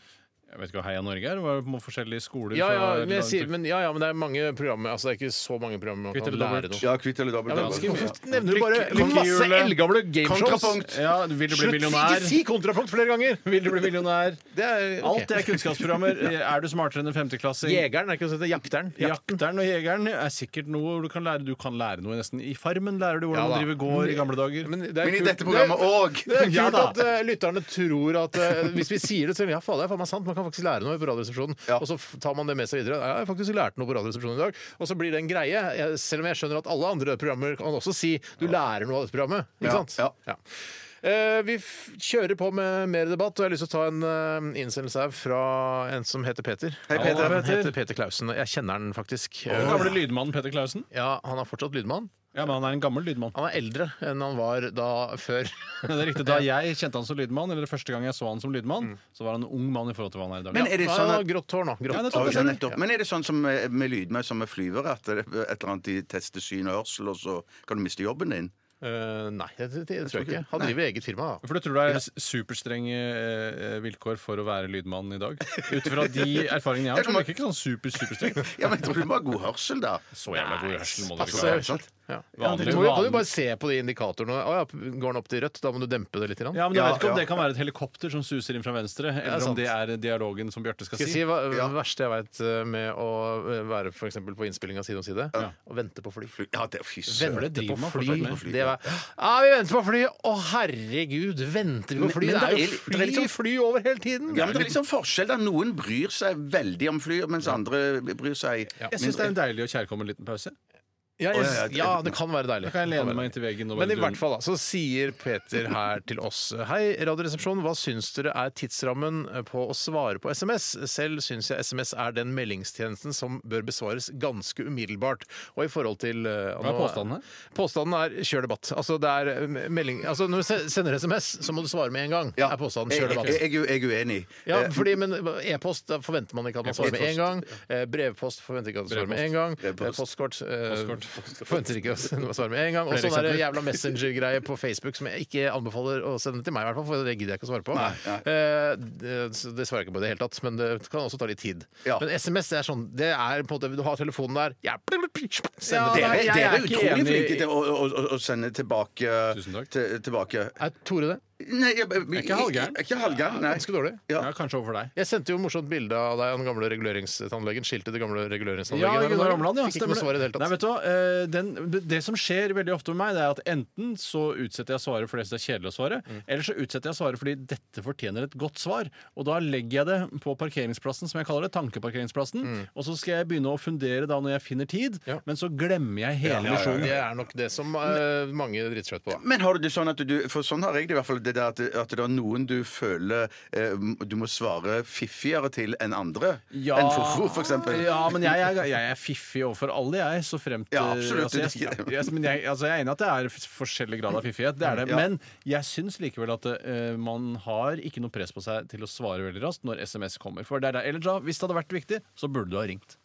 E: Jeg vet ikke hva Heia Norge er. Det var på forskjellige skoler.
C: Ja ja,
E: fra-
C: men jeg sier, men, ja, ja, men det er mange programmer Altså, det er ikke så mange programmer man
E: Kvitt
C: kan
E: eller
C: lære
E: dobbelt?
C: noe.
B: Ja, kvitt eller dobbelt.
C: Ja, men
B: eller?
C: skal vi- nevner du bare masse
E: lykkehjulet.
C: eldgamle gameshows.
B: Kontrapunkt.
E: ja, Vil du bli
C: Slutt, ikke
E: millionær?
C: si kontrapunkt flere ganger!
E: Vil du bli millionær?
C: Det er, ok.
E: Alt det er kunnskapsprogrammer. Er du smartere enn en femteklassing?
C: Jegeren, er ikke det Jakteren.
E: Jakteren og jegeren er sikkert noe hvor du kan lære Du kan lære noe nesten i Farmen. Lærer du
C: Ja,
E: hvordan
C: da.
E: man driver gård i gamle dager.
C: Men, det
B: Men i
C: kult.
B: dette programmet
C: Det-
B: òg!
C: Det er
E: Ja,
C: kult
E: da.
C: at eh, lytterne tror at eh, hvis vi sier det, så er det, ja, faen, det er faen meg sant. Man kan faktisk lære noe på Radioresepsjonen. Og så f- tar man det med seg videre. Ja, Jeg har faktisk lært noe på Radioresepsjonen i dag. Og så blir det en greie. Jeg, selv om jeg skjønner at alle andre programmer kan også si du lærer noe av dette programmet. Ikke sant?
B: ja.
C: Eh, vi f kjører på med mer debatt, og jeg har lyst til å ta en eh, innsendelse her fra en som heter Peter.
B: Hei, Peter.
C: Han heter Peter Klausen. og Jeg kjenner han faktisk.
E: Den gamle lydmannen Peter Clausen.
C: Ja, Han er fortsatt lydmann.
E: Ja, men han er en gammel lydmann.
C: Han er eldre enn han var da før.
E: Det er riktig, Da jeg kjente han som lydmann, eller det første gang jeg så han som lydmann, så var han en ung mann i forhold til hva han er i dag.
B: Men er det
C: Han
B: sånn
C: har
B: at
C: grått hår nå. Grått.
E: Ja, nettopp.
B: Å, ja, nettopp. Men er det sånn som med, med lydmenn som med flyvere, at det, er et eller annet de tester syn og hørsel, og så kan du miste jobben din?
C: Eh, nei, det, det, det tror jeg ikke. Han driver eget firma, da.
E: For du tror det er superstrenge eh, vilkår for å være lydmann i dag? Ut fra de erfaringene jeg har, så virker ikke sånn super, superstrengt.
B: Ja, men jeg tror du må ha god hørsel, da.
E: Så jævla god hørsel må det
C: Passe
E: ikke være.
C: seg. Sånn. Ja.
E: Vanlig-
C: Du må jo- kan
E: vanlig-
C: jo bare se på de indikatorene. Å ja, går den opp til rødt? Da må du dempe det litt. Grann.
E: Ja, men jeg
B: Ja,
E: vet ikke
B: ja.
E: om det kan være et helikopter som suser inn fra venstre, eller om
C: sant.
E: det er dialogen som Bjarte skal
C: Skal jeg
E: si.
C: si hva hva det verste jeg veit med å eh, være for eksempel på innspilling av Side om side? Å vente på fly.
B: Ja, det er fy søren.
C: Vente
E: driver
C: på
E: man
C: fly.
E: fortsatt med.
C: Det var, ja, vi venter på fly! Å, herregud! Venter vi på
B: Men-
C: fly?
B: men
C: Det er
B: det
C: jo
B: er- det er
C: fly,
B: liksom-
C: fly over hele tiden!
B: Ja, men det er liksom forskjell. da Noen bryr seg veldig om fly, mens andre bryr seg
E: Jeg syns det er en deilig og kjærkommen liten pause.
C: Ja,
B: Å, ja, ja.
C: jeg, ja, det kan være deilig.
E: Da kan jeg
C: Det kan
E: lene
C: være
E: meg inntil veggen. og
C: Men i
E: bare
C: hvert fall da, så sier Peter her til oss Hei, Radioresepsjonen, hva syns dere er tidsrammen på å svare på SMS? Selv syns jeg SMS er den meldingstjenesten som bør besvares ganske umiddelbart. Og i forhold til eh,
E: Hva er
C: nå-
E: påstanden her?
C: Påstanden er kjør debatt. Altså, det er eh, melding, altså når du se- sender SMS, så må du svare med en gang.
B: Ja. e-
C: Er påstanden
B: Jeg,
C: kjør
B: jeg,
C: debatt.
B: jeg, er jo- jeg er uenig.
C: Ja,
B: Eh,
C: fordi, men E-post da forventer man ikke at man svarer med en
B: E-post,
C: gang. Eh, Brevpost forventer ikke at man svarer med en gang. Eh, Postkort eh, forventer ikke at man svarer med en gang. Og
E: Flere
C: sånn der
E: eksempler.
C: jævla Messenger-greie på Facebook som jeg ikke anbefaler å sende til meg, i hvert fall, for det gidder jeg ikke å svare på. Eh, det- så det svarer jeg ikke på i det hele tatt, men det kan også ta litt tid.
B: Ja.
C: Men SMS er sånn det er på en måte, Du har telefonen der ja,
E: Ja,
B: Dere,
C: Send det
E: nei,
C: til meg.
E: jeg
B: dere
E: er
B: er
E: ikke
B: utrolig
E: enig i-
B: flinke til å, å, å, å sende tilbake.
E: Tusen takk.
B: til- tilbake.
C: Er Tore det?
B: Nei, jeg, jeg,
E: ikke halvgæren.
B: Ikke halvgæren, nei.
C: Ganske dårlig.
B: Ja.
E: Ja, kanskje overfor deg.
C: Jeg sendte jo morsomt bilde av deg og den gamle reguleringstannlegen. Skilte det gamle reguleringstannlegen.
E: Ja,
C: her om
E: Gunnar
C: dagen.
E: Omland, ja.
C: Fikk ikke noe
E: stemmer
C: svar i det hele tatt.
E: Nei, vet du hva? eh, Den, det som skjer veldig ofte med meg, det er at enten så utsetter jeg svaret fordi jeg synes det er kjedelig å svare,
C: Mm.
E: eller så utsetter jeg svaret fordi dette fortjener et godt svar. Og da legger jeg det på parkeringsplassen, som jeg kaller det, tankeparkeringsplassen, og så skal jeg begynne å fundere da når jeg finner tid,
C: Mm. Ja.
E: men så glemmer jeg hele misjonen.
C: Det er nok det som eh, mange driter seg ut på. da.
B: Men har du det sånn at du For sånn har jeg det i hvert fall. Det der at, at det er noen du føler eh, du må svare fiffigere til enn andre. Enn Fofo, for eksempel.
E: Ja, men jeg, er- jeg er fiffig overfor alle, jeg. Så fremt
B: Ja, absolutt.
E: Altså, jeg, jeg, men jeg, altså, jeg er enig i at det er f- forskjellig grad av fiffighet, det er det.
B: Ja.
E: Men jeg syns likevel at eh, man har ikke noe press på seg til å svare veldig raskt når SMS kommer. For det er det. Eller da, hvis det hadde vært viktig, så burde du ha ringt.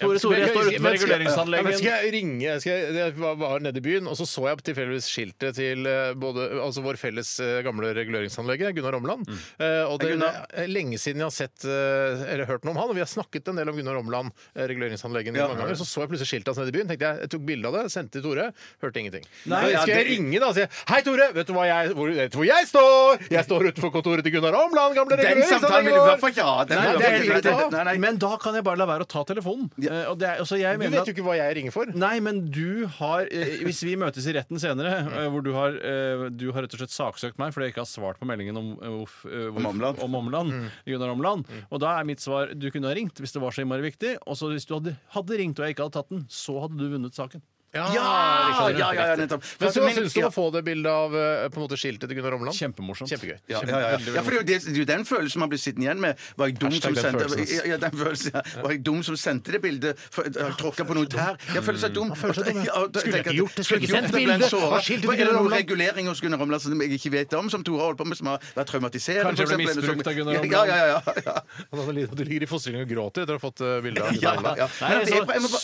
E: Tore Tore
C: Men
E: står ute med
C: skal-
E: reguleringsanleggen.
C: Ja, men Skal jeg ringe skal jeg, Jeg var, var nede i byen, og så så jeg tilfeldigvis skiltet til eh, både, altså vår felles eh, gamle reguleringsanlegg, Gunnar Omland. Eh, og det
B: Gunnar.
C: er lenge siden jeg har sett eh, eller hørt noe om han, og vi har snakket en del om Gunnar Omland, eh, reguleringsanleggen, mange ganger. Så så jeg plutselig skiltet hans nede i byen. tenkte Jeg jeg tok bilde av det, sendte til Tore, hørte ingenting.
E: Nei,
C: Men
E: ja,
C: skal jeg
E: det-
C: ringe da og si Hei, Tore, vet du, hva jeg, hvor, vet du hvor jeg står? Jeg står utenfor kontoret til Gunnar Omland, gamle
B: Den samtalen vil du i hvert
C: reguleringsanleggen vår!
B: fall ikke ha. Den
E: Nei,
B: vil du
E: det
B: i hvert
E: er
B: fall
E: helt
B: ikke ha.
E: riktig.
B: Nei, nei.
E: Men da kan jeg bare la være å ta telefonen. Eh, og det er, altså, jeg
C: Du
E: mener at-
C: vet jo ikke hva jeg ringer for.
E: Nei, men du har eh, Hvis vi møtes i retten senere, eh, hvor du har, eh, du har rett og slett saksøkt meg fordi jeg ikke har svart på meldingen om, eh, hvorf- eh, hvorf-
B: Om Omland.
E: om Omland, Gunnar Omland. Og da er mitt svar du kunne ha ringt hvis det var så innmari viktig. Og så hvis du hadde, hadde ringt og jeg ikke hadde tatt den, så hadde du vunnet saken.
C: Ja,
B: Ja, ja, ja, ja, nettopp.
C: Men så,
B: Men-
C: Hva syns du
B: ja.
C: om å få det bildet av eh, på en måte skiltet til Gunnar Omland?
E: Kjempemorsomt.
C: Kjempegøy.
B: Ja, ja, ja. ja, for det er, jo det, det er jo den følelsen man blir sittende igjen med. Var jeg dum som
C: Hashtag den
B: sendte
C: følelsen, ass.
B: ja, ja, den følelsen, ja. Var jeg dum som sendte det bildet? For- Jeg har tråkka på noe tær. Jeg føler seg dum. Ja, og da- tenker
C: Skulle ikke
B: jeg at-
C: gjort det, skulle ikke sendt
B: det, ble en
C: bildet.
B: såret.
C: Hva skilte
B: For
C: du
B: Er det
C: Gunnar
B: noen
C: Omland?
B: regulering hos Gunnar Omland som jeg ikke vet om, som Tore har holdt på med, som har vært traumatiserende?
E: Kanskje
B: for
E: ble
B: eksempel, eller som-
E: misbrukt av Gunnar Omland?
B: Ja, ja, ja, ja.
C: Han hadde lidd- Du ligger i fosterhjem og gråter etter å ha fått eh, bilde av
B: Ja,
C: Gunnar Omland. altså,
B: ja. Men at jeg- jeg må bare-
E: altså,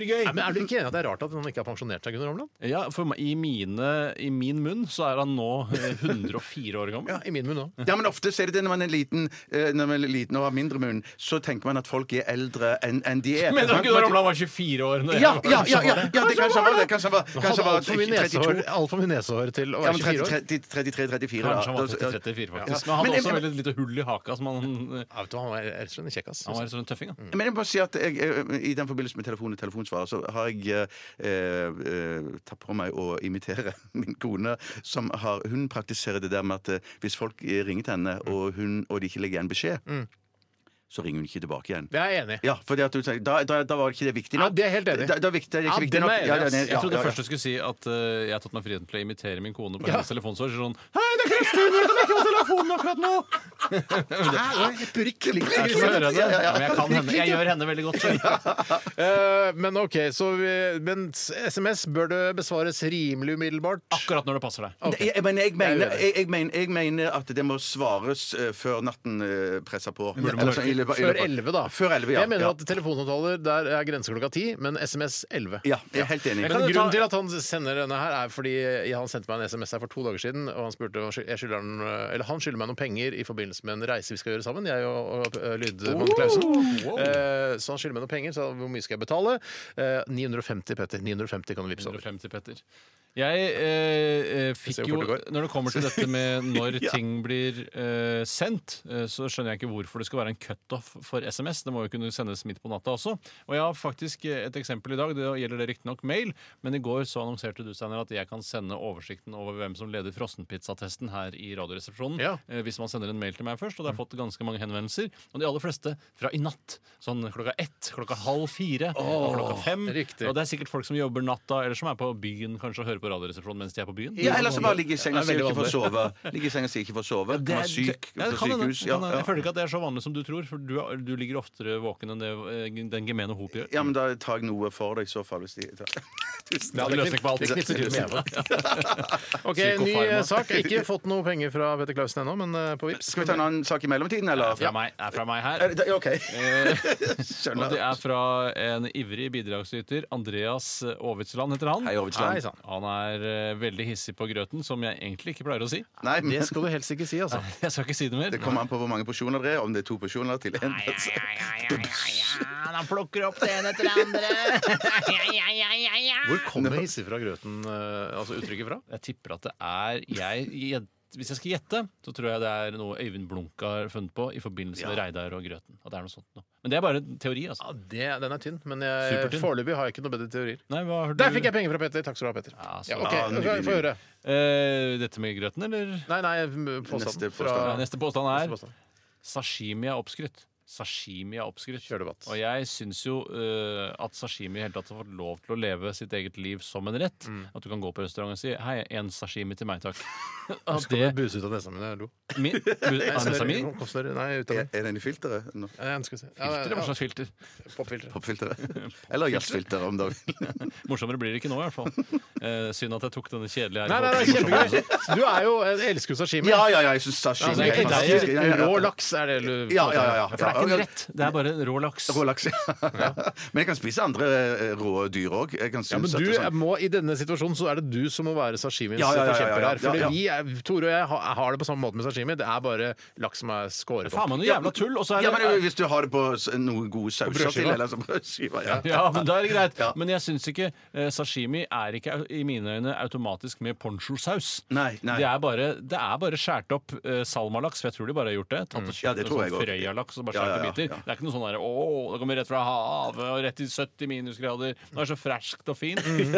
E: Supergøy!
C: Nei, men Er du ikke enig i at det er rart at han ikke har pensjonert seg, Gunnar Omland?
E: Ja, for meg, i, mine, I min munn så er han nå eh, 104 år gammel.
C: Ja, I min munn òg.
B: Ja, men ofte ser du det når man er liten eh, Når man er liten og har mindre munn, så tenker man at folk er eldre enn enn de er.
E: Mener du
B: Man-
E: at Gunnar Omland var 24 år? når jeg
B: Ja,
E: var-
B: ja, ja, ja, ja, det kanskje han var det. Kanskje han var, kanskje
C: Hadde
B: han var
C: altfor mye
B: 32.
C: nesehår, alt for mye nesehår til å
B: Ja,
C: være
B: men
C: 24 år.
B: 33-34, da.
E: Kanskje han var
B: Da-
C: altså,
E: 30-34, faktisk. Men
B: Men
E: han hadde
B: jeg-
E: også veldig lite hull i haka, som han eh,
C: Ja, vet du, hva, han er rett og slett en kjekkas.
E: Han var en sånn tøffing, da.
B: Men jeg må bare si at jeg, eh, i den forbindelse med telefon og telefonsvarer, så har jeg eh, eh, tatt på meg å imitere min kone, som har Hun praktiserer det der med at eh, hvis folk eh, ringer til henne,
C: Mm.
B: og, hun, og de ikke legger igjen beskjed, så ringer hun ikke tilbake igjen.
C: Det er jeg enig i.
B: Ja, fordi at hun sier da, da, da var ikke det viktig
C: Ja,
B: nok.
C: det er helt enig.
B: Da, da, er viktig- det er
C: Ja,
B: ikke viktig
C: den
B: nok.
C: er jeg
B: Ja, den er-
C: enig, ass.
B: ja,
E: Jeg trodde
B: ja, ja.
E: først du skulle si at eh, jeg har tatt meg friheten til å imitere min kone på
C: Ja.
E: hennes telefonsvar. Så sånn Hei, det er Kristine! Jeg kan ikke ha telefonen akkurat nå!
B: Ja,
E: Jeg, hører
B: ja,
E: henne.
B: ja, ja.
E: Men jeg, kan henne. jeg gjør henne veldig godt. så.
C: Eh, men OK, så vi, men SMS bør det besvares rimelig umiddelbart.
E: Akkurat når det passer deg.
B: Det- Jeg, men jeg, mener,
C: Jeg er uenig.
B: jeg, jeg, mener, jeg mener at det må svares eh, før natten eh, presser på.
E: Burde man
B: Eller sånn i løpet av- i
C: Før
B: løpet av-
C: 11, da.
B: Før 11, ja.
C: Jeg mener
B: ja.
C: at telefonavtaler der er grense klokka 10, men SMS 11.
B: Ja, jeg er helt enig.
C: Men
E: Kan du
C: grunnen
E: ta-
C: til at han sender denne her, er fordi han sendte meg en SMS her for to dager siden, og han spurte om jeg skylder han, eller han skylder meg noen penger i forbindelse med en reise vi skal gjøre sammen, jeg og, og øh, lydmann Klausen. Eh, så han skylder meg noen penger, så hvor mye skal jeg betale? Eh, 950, Petter. 950 kan du vippse over.
E: 150 Petter. Jeg eh,
C: ser
E: eh,
C: hvor
E: fikk jo
C: fort det går.
E: Når det kommer til dette med når ting blir eh, sendt, eh, så skjønner jeg ikke hvorfor det skal være en cutoff for SMS. Det må jo kunne sendes midt på natta også. Og jeg har faktisk eh, et eksempel i dag. Det gjelder det riktignok mail, men i går så annonserte du Steiner, at jeg kan sende oversikten over hvem som leder frossenpizzatesten her i Radioresepsjonen.
C: Ja. Mm.
E: eh, Hvis man sender en mail til meg først. Og det har fått ganske mange henvendelser. Og de aller fleste fra i natt. Sånn klokka ett, klokka halv fire, og klokka fem.
C: riktig.
E: Og det er sikkert folk som jobber natta, eller som er på byen kanskje og hører på Radioresepsjonen mens de er på byen.
B: Ja, eller så bare ligge i senga og si
C: Det er
B: ikke
C: veldig
B: får sove. Ligge i senga og si ikke får sove.
E: Det
B: Kommer
E: er-
B: syk
E: Ja,
B: på
E: det kan hende.
B: sykehus.
E: Det kan
B: Ja,
E: hende. Jeg
B: ja.
E: føler ikke at det er så vanlig som du tror, for du, er- du ligger oftere våken enn det eh, den gemene hop gjør.
B: ja, men da tar jeg noe for deg i så fall. Hvis de Tusen
E: Det er en løsning på alt.
C: Det knipser til med øynene. Ok, ny
E: Psykofarma.
C: eh, sak. Jeg har Ikke fått noe penger fra Petter Klausen ennå, men eh, på Vipps.
B: Skal vi ta en annen sak i mellomtiden, eller?
E: Fra meg, er fra meg
B: Er
E: her. Eh,
B: det- ja, OK.
E: Og det
B: Skjønner.
E: er fra en ivrig bidragsyter. Andreas Aavitsland heter han.
B: Hei,
C: Nei
B: Ovitsland.
C: sann.
E: Han er eh, veldig hissig på grøten, som jeg egentlig ikke pleier å si.
B: Nei, men
C: Det skal du helst ikke si, altså.
E: Jeg skal ikke si det mer.
B: det kommer an på hvor mange porsjoner det er. Om det er to porsjoner til én.
E: Han plukker opp det ene etter det andre.
C: Hvor kommer hissig fra grøten, eh, altså uttrykket fra?
E: Jeg tipper at det er jeg, gjed- Hvis jeg skal gjette, så tror jeg det er noe Øyvind Blunk har funnet på i forbindelse med Reidar og Grøten. At det er noe sånt noe. Men det er bare en teori, altså.
C: Ja, det, den er tynn, men jeg-
E: Supertynn.
C: foreløpig har jeg ikke noe bedre teorier.
E: Nei, hva har du-
C: Der fikk jeg penger fra Petter! Takk skal du ha, Petter.
E: Ja, så-
C: Ja, Ah, ok,
B: Ja, nydelig,
C: Få- Få høre.
E: Eh, dette med grøten, eller?
C: Nei, nei, påstanden.
B: Neste
E: Ja,
C: Fra,
E: neste påstand er
C: påstand.
E: sashimi er oppskrytt. Sashimi er oppskrytt.
C: Kjør debatt.
E: Og jeg syns jo eh, at sashimi i hele tatt har fått lov til å leve sitt eget liv som en rett.
C: Mm.
E: At du kan gå på restaurant og si 'hei, en sashimi til meg, takk'. At
C: Det
E: det
C: buset ut av nesa mi da jeg lo.
E: min,
C: Snørr-
E: Sashimi?
C: snørr- Nei, ut av
B: Er
C: den.
B: er den i filteret? Nå.
C: Ja, jeg skal si. Ja,
E: Filter? Hva
C: ja,
E: slags filter?
C: Popfilter.
B: Popfilteret. Eller jazzfilteret, om du vil.
E: Morsommere blir det ikke nå, i hvert fall. Eh, synd at jeg tok denne kjedelige her.
C: Nei, nei, nei, kjempegøy! Du er jo en elsker jo sashimi.
B: Ja, ja, ja. Jeg syns sashimi er
E: det
B: helt
E: er ikke deg.
B: fantastisk. Ja, ja, ja.
C: Rå laks er det du
B: Ja, ja, ja, ja.
E: For det er ikke en rett, det er bare en rå laks.
B: Rå laks. ja. Men jeg kan spise andre eh, rå dyr òg.
C: Ja, men du
B: sånn-
C: må, I denne situasjonen så er det du som må være sashimiens
B: Ja, ja, ja, ja, ja.
C: forkjemper her. Fordi
B: Ja, ja.
C: vi er, Tore og jeg har, har det på samme måte med sashimi. Det er bare laks som er skåret
E: Faen
C: opp.
E: meg noe jævla tull! Og så er
B: ja, men
E: det
B: Hvis du har det på s- noen gode sauser
C: brødskiva.
B: til, eller som brødskiva ja.
E: ja, men da er det greit.
B: Ja.
E: Men jeg syns ikke eh, sashimi er ikke au- i mine øyne automatisk med ponchosaus.
B: Nei, nei.
E: Det er bare, det er bare skåret opp eh, salmalaks, for jeg tror de bare har gjort det. Tatt og
B: Mm. Ja,
E: kjøpt
B: det
E: en
B: tror
E: sånn
B: jeg også.
E: Frøya-laks og bare
B: Ja,
E: skåret
B: ja,
E: i
B: ja,
E: biter.
B: ja.
E: Det er ikke noe sånn derre Å, det kommer rett fra havet og rett til 70 minusgrader. Det er så ferskt og fint.
B: Mm.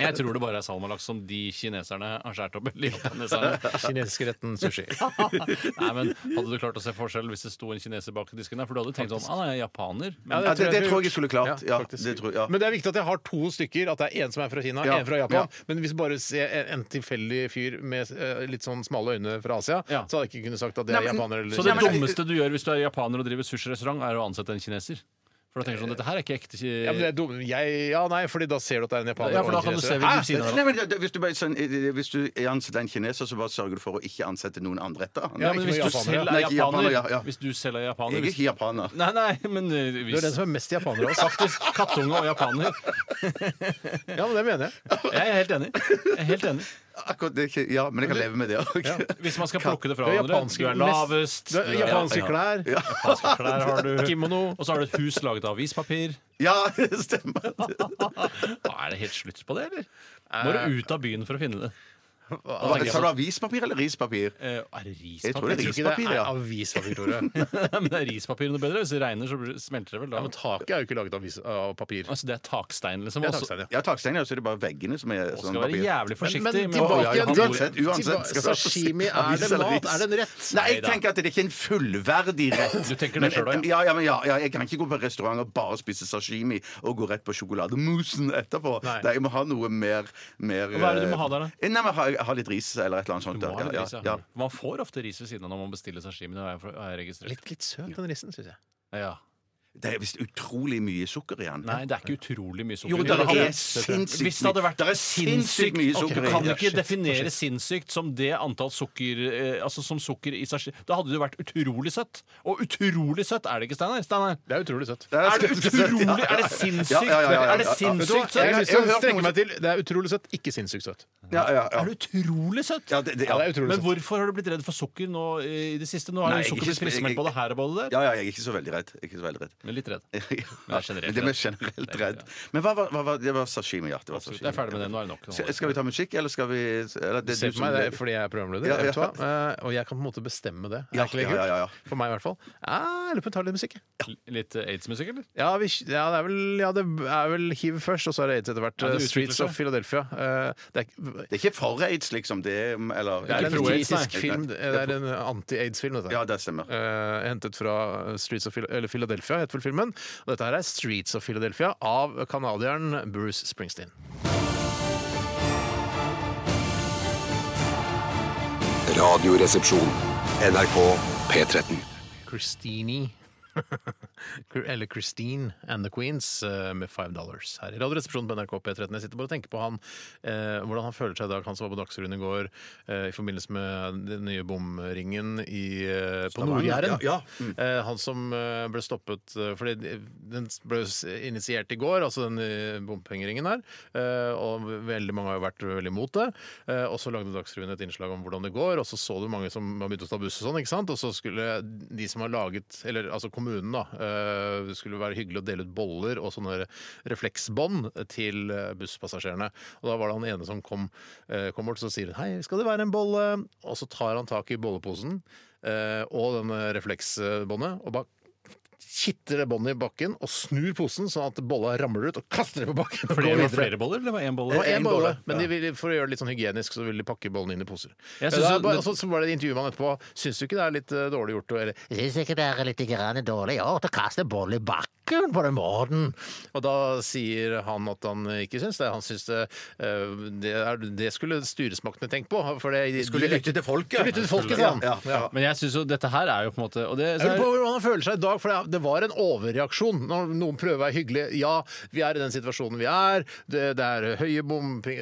E: Jeg tror det bare er salmalaks som de kineserne har skåret opp. eller japaneserne.
C: Kinesiske retten sushi.
E: Nei, men Hadde du klart å se forskjell hvis det sto en kineser bak disken der? For du hadde tenkt sånn Han er japaner. Men
B: Ja, det, det tror jeg jeg
C: gjort.
B: skulle klart. Ja,
C: faktisk.
B: det tror, ja.
C: Men det er viktig at jeg har to stykker. At det er en som er fra Kina,
B: Ja,
C: en fra Japan.
B: ja.
C: Men hvis jeg bare ser en- en tilfeldig fyr med eh, litt sånn smale øyne fra Asia,
E: Ja.
C: så hadde jeg ikke kunnet sagt at det er
B: Nei, men-
C: japaner eller
E: Så det
B: Nei, men-
E: dummeste du gjør hvis du er japaner og driver sushirestaurant, er å ansette en kineser? For da tenker du sånn Dette her er ikke ekte ki-
C: ja, men det er dum. Jeg, ja, nei, fordi da ser du at det er en japaner
E: Ja, for da
C: og en
E: kan du se
C: kineser.
E: ved siden av
B: Ah, Nei, men det- det- hvis, du bare, sånn, eh, hvis du ansetter en kineser, så bare sørger du for å ikke ansette noen andre etter han.
C: Ja,
E: men
C: ikke
E: hvis
C: noe
E: du
C: japaner,
E: selv
C: ja.
E: er
B: Nei, ikke japaner,
E: japaner
B: ja, ja.
E: Hvis du selv er japaner
B: Jeg er
E: hvis,
B: ikke japaner.
E: Nei, nei, men eh,
C: Du er den
E: hvis
C: som er mest japaner av oss.
E: Faktisk. Kattunge og japaner.
C: Ja, men det mener jeg.
E: Jeg er helt enig. Jeg er helt enig.
B: Akkurat det, er ikke- ja, men jeg kan leve med det òg.
E: Hvis man skal plukke det fra
C: Du er
E: hverandre.
C: japanske-
E: Du er lavest.
C: Du har japanske klær,
E: Japanske klær har du.
C: kimono
E: Og så har du et hus laget av avispapir.
B: Ja, det stemmer.
E: Da er det helt slutt på det, eller?
C: Eh,
E: Må du ut av byen for å finne det?
B: Hva- Sa du avispapir eller rispapir?
E: Eh, er det rispapir?
B: Jeg tror det er
C: Ikke det
B: rispapir,
C: er
B: ja.
C: avispapir, Tore.
E: men det er rispapir noe bedre. Hvis det regner, så blir- smelter det vel da.
C: Ja, men taket er jo ikke laget av, vis- av papir.
E: altså, det er takstein, liksom.
C: Det er
E: også-
C: takstein, ja.
B: Ja, takstein, ja, så er det bare veggene som er
E: Og
B: sånn
E: skal være
B: papir.
E: jævlig forsiktig
C: Men- men
E: med
C: tilbake
E: å-
B: igjen.
E: Ja,
B: Uansett,
E: ja,
B: uansett,
C: Tilba-
B: skal-
C: Sashimi, er
B: Avis
C: det
B: eller
C: mat?
B: ris?
C: Er det en rett?
B: Nei, jeg
E: Neida.
B: tenker at det ikke er en fullverdig rett.
E: Du tenker det
B: Men-
E: selv også,
B: ja? Ja, men ja, ja, jeg kan ikke gå på restaurant og bare spise sashimi og gå rett på sjokolademusen etterpå.
C: Nei.
B: Nei. jeg må ha noe mer, mer
E: Hva er det du må ha der, da?
B: eh, Nei, men ha, ha litt ris eller et eller annet sånt.
E: Du må ha
B: ja,
E: litt
B: ja,
E: ris, ja.
B: ja.
E: liksom. Man får ofte ris ved siden av når man bestiller sashimi. Det har jeg, har jeg registrert.
C: Litt, litt søt, den rissen, syns jeg.
E: Ja.
B: Det er visst utrolig mye sukker i den.
E: Nei, det er ikke utrolig mye sukker.
B: Jo,
E: i
B: det
E: det.
B: er sinnssykt
E: Hvis det hadde vært
B: mye- det er sinnssykt mye
E: Ok,
B: sukker i
E: Kan du
B: det.
E: ikke definere sinnssykt som det antall sukker eh, Altså som sukker i seg selv? Da hadde det jo vært utrolig søtt. Og utrolig søtt er det ikke, Steinar? Steinar?
C: Det er utrolig søtt.
B: Ja,
E: Er det
B: skal jeg si.
E: utrolig? Er det
B: Ja,
E: sinnssykt?
B: ja, ja, ja, ja.
E: Er det
C: Jeg
E: sinnssykt søtt?
B: jeg-
C: synes
B: jeg har hørt
C: jeg strekker
B: noen-
C: meg til Det er utrolig søtt, ikke sinnssykt søtt.
B: Ja, ja, ja.
E: Er det utrolig søtt?
B: Ja, det, det, ja.
C: Ja, det er utrolig
E: Men
C: søtt.
E: hvorfor har du blitt redd for sukker nå eh, i det siste? Nå
B: Nei,
E: er
B: jeg er
E: jo sukker
B: ikke sp- jeg-
E: blitt friskmeldt både her og både der.
B: Ja, ja, jeg er ikke så veldig redd. Jeg er ikke så veldig redd.
E: Men litt redd.
B: Ja,
E: er generelt
B: men det
E: redd.
B: er generelt redd. Men hva var, hva var det? var sashimi, ja. Det var sashimi.
E: Jeg er ferdig med det. Nå er det nok.
B: Skal, skal vi ta musikk, eller skal vi eller, det er
C: Se
B: du
C: på
B: som-
C: meg, det er fordi jeg er programleder.
B: Ja,
C: vet du
B: ja.
C: hva? Eh, Og jeg kan på en måte bestemme det. Er
B: Ja,
C: ikke det
B: ja, ja, ja, ja.
C: kult? For meg i hvert fall. Ah, Jeg lurer på om vi tar litt musikk. jeg.
E: Litt eh, aids-musikk, eller?
C: Ja, vi, ja, det er vel, ja, det er vel hiv først, og så er det aids etter hvert. eh,
E: Ja, det utvikler
C: Streets
E: seg.
C: of Philadelphia. Eh, det, er,
B: Det er ikke for aids, liksom. Det er, eller,
C: det er en
E: pro aids, nei.
C: kritisk film. Det er en anti-aids-film, dette.
B: Ja, det stemmer.
C: Eh, hentet fra Streets of Phil eller Philadelphia, het vel filmen. Og dette her er Streets of Philadelphia av canadieren Bruce Springsteen.
F: Radioresepsjon. NRK P13.
C: Christine. Eller Christine and the Queens eh, med Five Dollars her i Radioresepsjonen på NRK P13. Jeg sitter bare og tenker på han, eh, hvordan han føler seg i dag, han som var på Dagsrevyen i går eh, i forbindelse med den nye bomringen i, eh, på Nord-Jæren.
B: Ja,
C: Eh, han som eh, ble stoppet eh, fordi de- den ble s- initiert i går, altså den eh, bompengeringen her. eh, Og veldig mange har jo vært veldig imot det. Eh, Og så lagde Dagsrevyen et innslag om hvordan det går, og så så du mange som har begynt å ta buss og sånn, ikke sant. Og så skulle de som har laget, eller altså kommunen, da, eh, det skulle være hyggelig å dele ut boller og sånne der refleksbånd til eh, busspassasjerene. Og da var det han ene som kom, eh, kom bort, så sier han hei, skal det være en bolle? Og så tar han tak i bolleposen eh, og denne refleksbåndet og bare kitter det båndet i bakken og snur posen sånn at bolla ramler ut og kaster det på bakken. og
E: Fordi
C: går
E: det var
C: videre.
E: flere boller, eller var det én bolle?
C: Det var én
E: En
C: bolle, men de ville, for å gjøre det litt sånn hygienisk, så ville de pakke bollene inn i poser.
E: Jeg
C: Ja,
E: synes
C: da
E: jo-
C: bare- så, så var det intervjuet med han etterpå. Syns du ikke det er litt eh, dårlig gjort? å- Eller syns ikke det er litt grann dårlig gjort å kaste boll i bakken på den måten? Og da sier han at han ikke syns det. Han syns det, eh, det, er, det skulle styresmaktene tenkt på. For det, de
B: Skulle lytte til folket.
C: Lytte til folket, sa han.
B: Ja, ja.
E: Men jeg syns jo dette her er jo på en måte og det,
C: Jeg lurer på hvordan han føler seg i dag, for det- det var en overreaksjon når noen prøver å være hyggelig. Ja, vi er i den situasjonen vi er, det, det er høye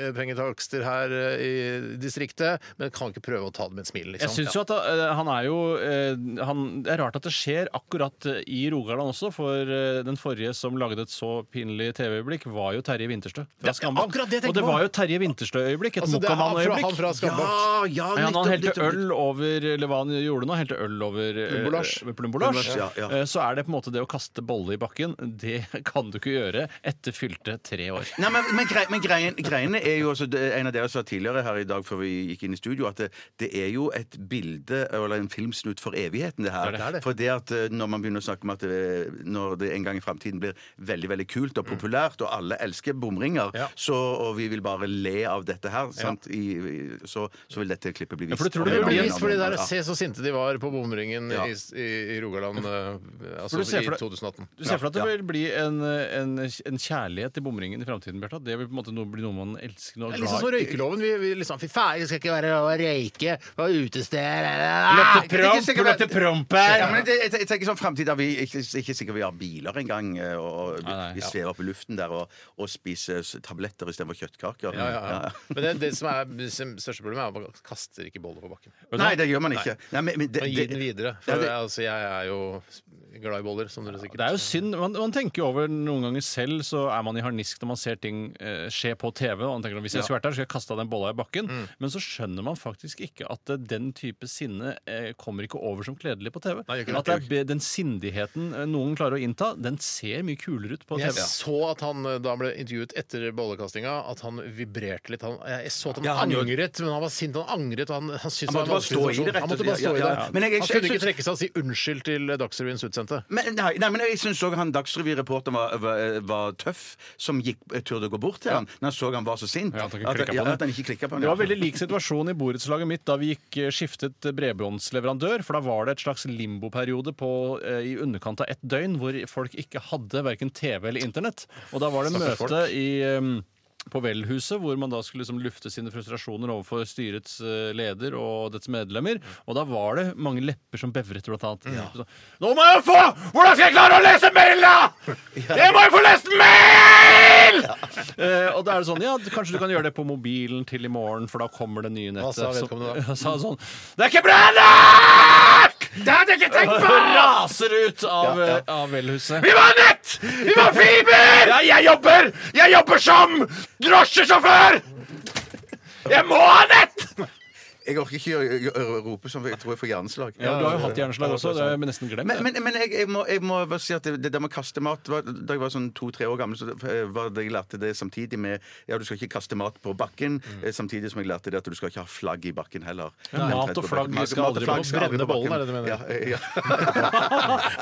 C: bompengetakster her eh, i distriktet, men kan ikke prøve å ta det med et smil, liksom.
E: Jeg syns jo at eh, han er jo eh, han, Det er rart at det skjer akkurat eh, i Rogaland også, for eh, den forrige som lagde et så pinlig TV-øyeblikk, var jo Terje Winterstø fra
C: Det er
E: Skambakk.
C: akkurat det jeg tenker
E: Og det
C: på.
E: var jo Terje Winterstø-øyeblikk, et
C: Altså, det er han fra, han
E: Mokkamann-øyeblikk.
C: fra Skambakk.
B: ja,
E: Ja,
B: nettopp,
E: han helte
B: nettopp, nettopp.
E: øl over eller hva han gjorde nå, helte øl over eh,
C: Plumbolasj.
E: eh, plumbolasj.
B: Plumbolasj, ja, ja.
E: Eh, Så er det på en måte det å kaste bolle i bakken. Det kan du ikke gjøre etter fylte tre år.
B: Nei, men, men, grei, men greien, greiene er jo også, det- En av dere sa tidligere her i dag før vi gikk inn i studio, at det, det er jo et bilde eller en filmsnutt for evigheten, det her.
C: Ja, det er det.
B: For det at eh, når man begynner å snakke om at det, når det en gang i framtiden blir veldig veldig kult og populært, og alle elsker bomringer,
C: Mm. Ja.
B: så, og vi vil bare le av dette her, sant? I, i- så, så vil dette klippet bli vist.
E: for du tror
C: Det
E: det
C: blir
E: Ja,
C: vist fordi der,
B: Ja.
C: Se så sinte de var på bomringen
B: Ja.
C: i, i, i Rogaland eh, altså,
E: du se
C: i
E: for deg-
C: 2018.
E: Du ser for deg at det vil bli en, en, en kjærlighet til bomringen i framtiden, Bjarte? at Det vil på en måte noe, bli noe man elsker noe
C: Det er liksom som
E: glad i?
C: røykeloven. Vi, vi liksom, Fy faen, det skal ikke være å røyke på utesteder
B: Løfte promp, løfte
E: promp
B: Ja, men det, jeg, jeg tenker sånn fremtid der vi ikke, ikke sikkert vi har biler engang. eh, Og, og vi,
E: Nei, nei,
B: vi
E: ja.
B: svever opp i luften der og, og spiser s- tabletter istedenfor kjøttkaker.
C: Ja, ja,
B: Ja,
C: ja.
B: ja.
C: Men det, det som er det som største problemet, er at man kaster ikke boller på bakken.
B: Nei, det gjør man ikke. Nei, men, men det,
C: Man gir den videre. For
B: Ja, det-
C: jeg- altså, jeg er jo glad i boller, som dere sikkert
E: Det er jo synd. Man, man tenker jo over noen ganger selv, så er man i harnisk når man ser ting eh, skje på TV. Og man tenker at hvis jeg skulle vært der, skulle jeg kasta den bolla i bakken. Men så skjønner man faktisk ikke at eh, den type sinne eh, kommer ikke over som kledelig på TV.
C: Nei, gjør ikke
E: at det
C: det.
E: er be- den sindigheten eh, noen klarer å innta, den ser mye kulere ut på
C: jeg
E: TV.
C: så at han eh, da ble intervjuet etter bollekastinga, at han vibrerte litt. Han, jeg så at han
B: Ja, han gjorde-
C: angret, men han var sint. Han angret. og Han, han, syntes
B: Han
C: det var
B: måtte bare
C: en vanskelig
B: stå i det,
C: situasjon.
B: rett og
C: Han måtte
B: slett.
C: bare stå i
B: Ja,
C: det.
B: ja, ja. Men jeg- jeg-
C: han kunne
B: jeg
C: ikke
B: synes-
C: trekke seg og si unnskyld til eh, Dagsrevyens utsendte.
B: men, nei, nei, men jeg syns òg han Dagsrevy-reporteren var, var, var tøff, som gikk turte å gå bort til han når han så han var så sint.
E: Ja, at han ikke
B: at,
E: klikket på
B: ja,
E: han.
B: at han ikke klikka på han.
E: Det
B: ja.
E: var veldig lik situasjon i borettslaget mitt da vi gikk, eh, skiftet bredbåndsleverandør. For da var det et slags limboperiode på, eh, i underkant av ett døgn hvor folk ikke hadde verken TV eller internett. Og da var det møte i eh, på Vel-huset, hvor man da skulle liksom lufte sine frustrasjoner overfor styrets eh, leder og dets medlemmer. Og da var det mange lepper som bevret, blant annet. Så, Nå må jeg få! Hvordan skal jeg klare å lese mail, da?! Jeg må jo få lest mail! Eh, og da er det sånn, ja, kanskje du kan gjøre det på mobilen til i morgen, for da kommer det nye nettet.
C: sa
E: Så-
C: vedkommende da?
E: sa sånn Det er ikke bra nok! Det hadde jeg ikke tenkt på! Raser ut av, ja, av velhuset. Vi må ha nett! Vi må ha fiber! Ja, jeg jobber! Jeg jobber som drosjesjåfør! Jeg må ha nett!
B: Jeg orker ikke å- å å rope sånn, for jeg tror jeg får hjerneslag.
E: Ja, du har jo hatt hjerneslag også. Det har jeg nesten glemt.
B: Men, men, men jeg, jeg, må, jeg må bare si at det, det der med å kaste mat var, Da jeg var sånn to-tre år gammel, så eh, var det, jeg lærte det samtidig med Ja, du skal ikke kaste mat på bakken,
C: Mm.
B: eh, samtidig som jeg lærte det at du skal ikke ha flagg i bakken heller.
E: Nei. Mat og flagg skal aldri på-
B: brenne
C: bollen, er det du mener?
B: Ja, eh, ja.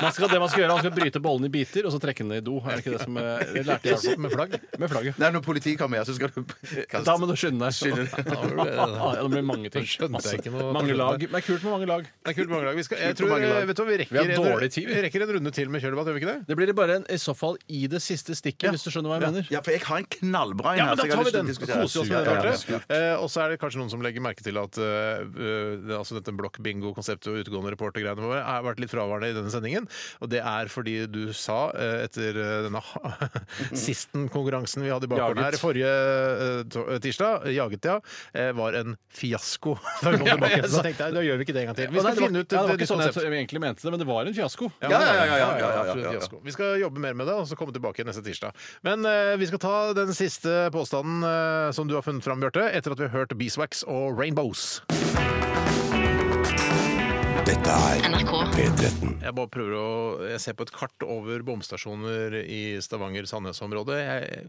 E: man skal, det man skal gjøre, man skal bryte bollen i biter og så trekke den ned i do. Er det ikke det som eh, det lærte jeg altså, med flagg? Med flagget.
B: Nei, når politiet kommer, ja, så skal du kaste
E: Da må du skynde deg.
C: Skynde deg.
E: Ja, det blir mange ting.
C: Da skjønte jeg
E: Masse.
C: ikke noe.
E: Mange lag. Men Det er kult med mange lag.
C: Det er kult mange lag. Vi, skal, jeg
B: Kult med
C: tror, eh,
B: mange lag.
C: vet du, hva, vi, rekker,
E: Vi har
C: en-
E: dårlig tid, vi.
C: vi rekker en runde til med kjølvann, gjør vi ikke det?
E: Det blir det bare en, i så fall i det siste stikket, hvis du skjønner hva jeg mener.
B: Ja, for jeg har en knallbra en
C: Ja, men
B: så
C: da
B: jeg har lyst
C: tar vi
B: til å
C: den.
B: diskutere.
C: Koser oss med
B: Ja, ja,
C: den.
B: ja.
C: Bjarte. Eh, og så er det kanskje noen som legger merke til at eh, eh, det- altså dette blokk-bingo-konseptet og utegående reportergreiene våre har vært litt fraværende i denne sendingen. Og det er fordi du sa eh, etter eh, denne ha- sisten-konkurransen vi hadde i bakgården her
E: Jaget.
C: forrige eh, to- tirsdag, Jaget, ja, eh, var en fiasko. Da vi kom tilbake,
E: jeg
C: til den, så tenkte jeg da gjør vi ikke det en gang til. Vi
E: Å, nei,
C: skal
E: det var-
C: finne ut et
E: ja, Det var
C: nytt
E: ikke sånn
C: konsept.
E: jeg egentlig mente det, men det var en fiasko.
B: Ja, ja, ja, ja, ja, ja,
C: absolutt
B: ja, ja.
C: fiasko. Vi skal jobbe mer med det og så komme tilbake neste tirsdag. Men eh, vi skal ta den siste påstanden eh, som du har funnet fram, Bjarte, etter at vi har hørt Beeswax og Rainbows.
F: Dette er P13.
C: Jeg bare prøver å Jeg ser på et kart over bomstasjoner i Stavanger-Sandnes-området. Jeg,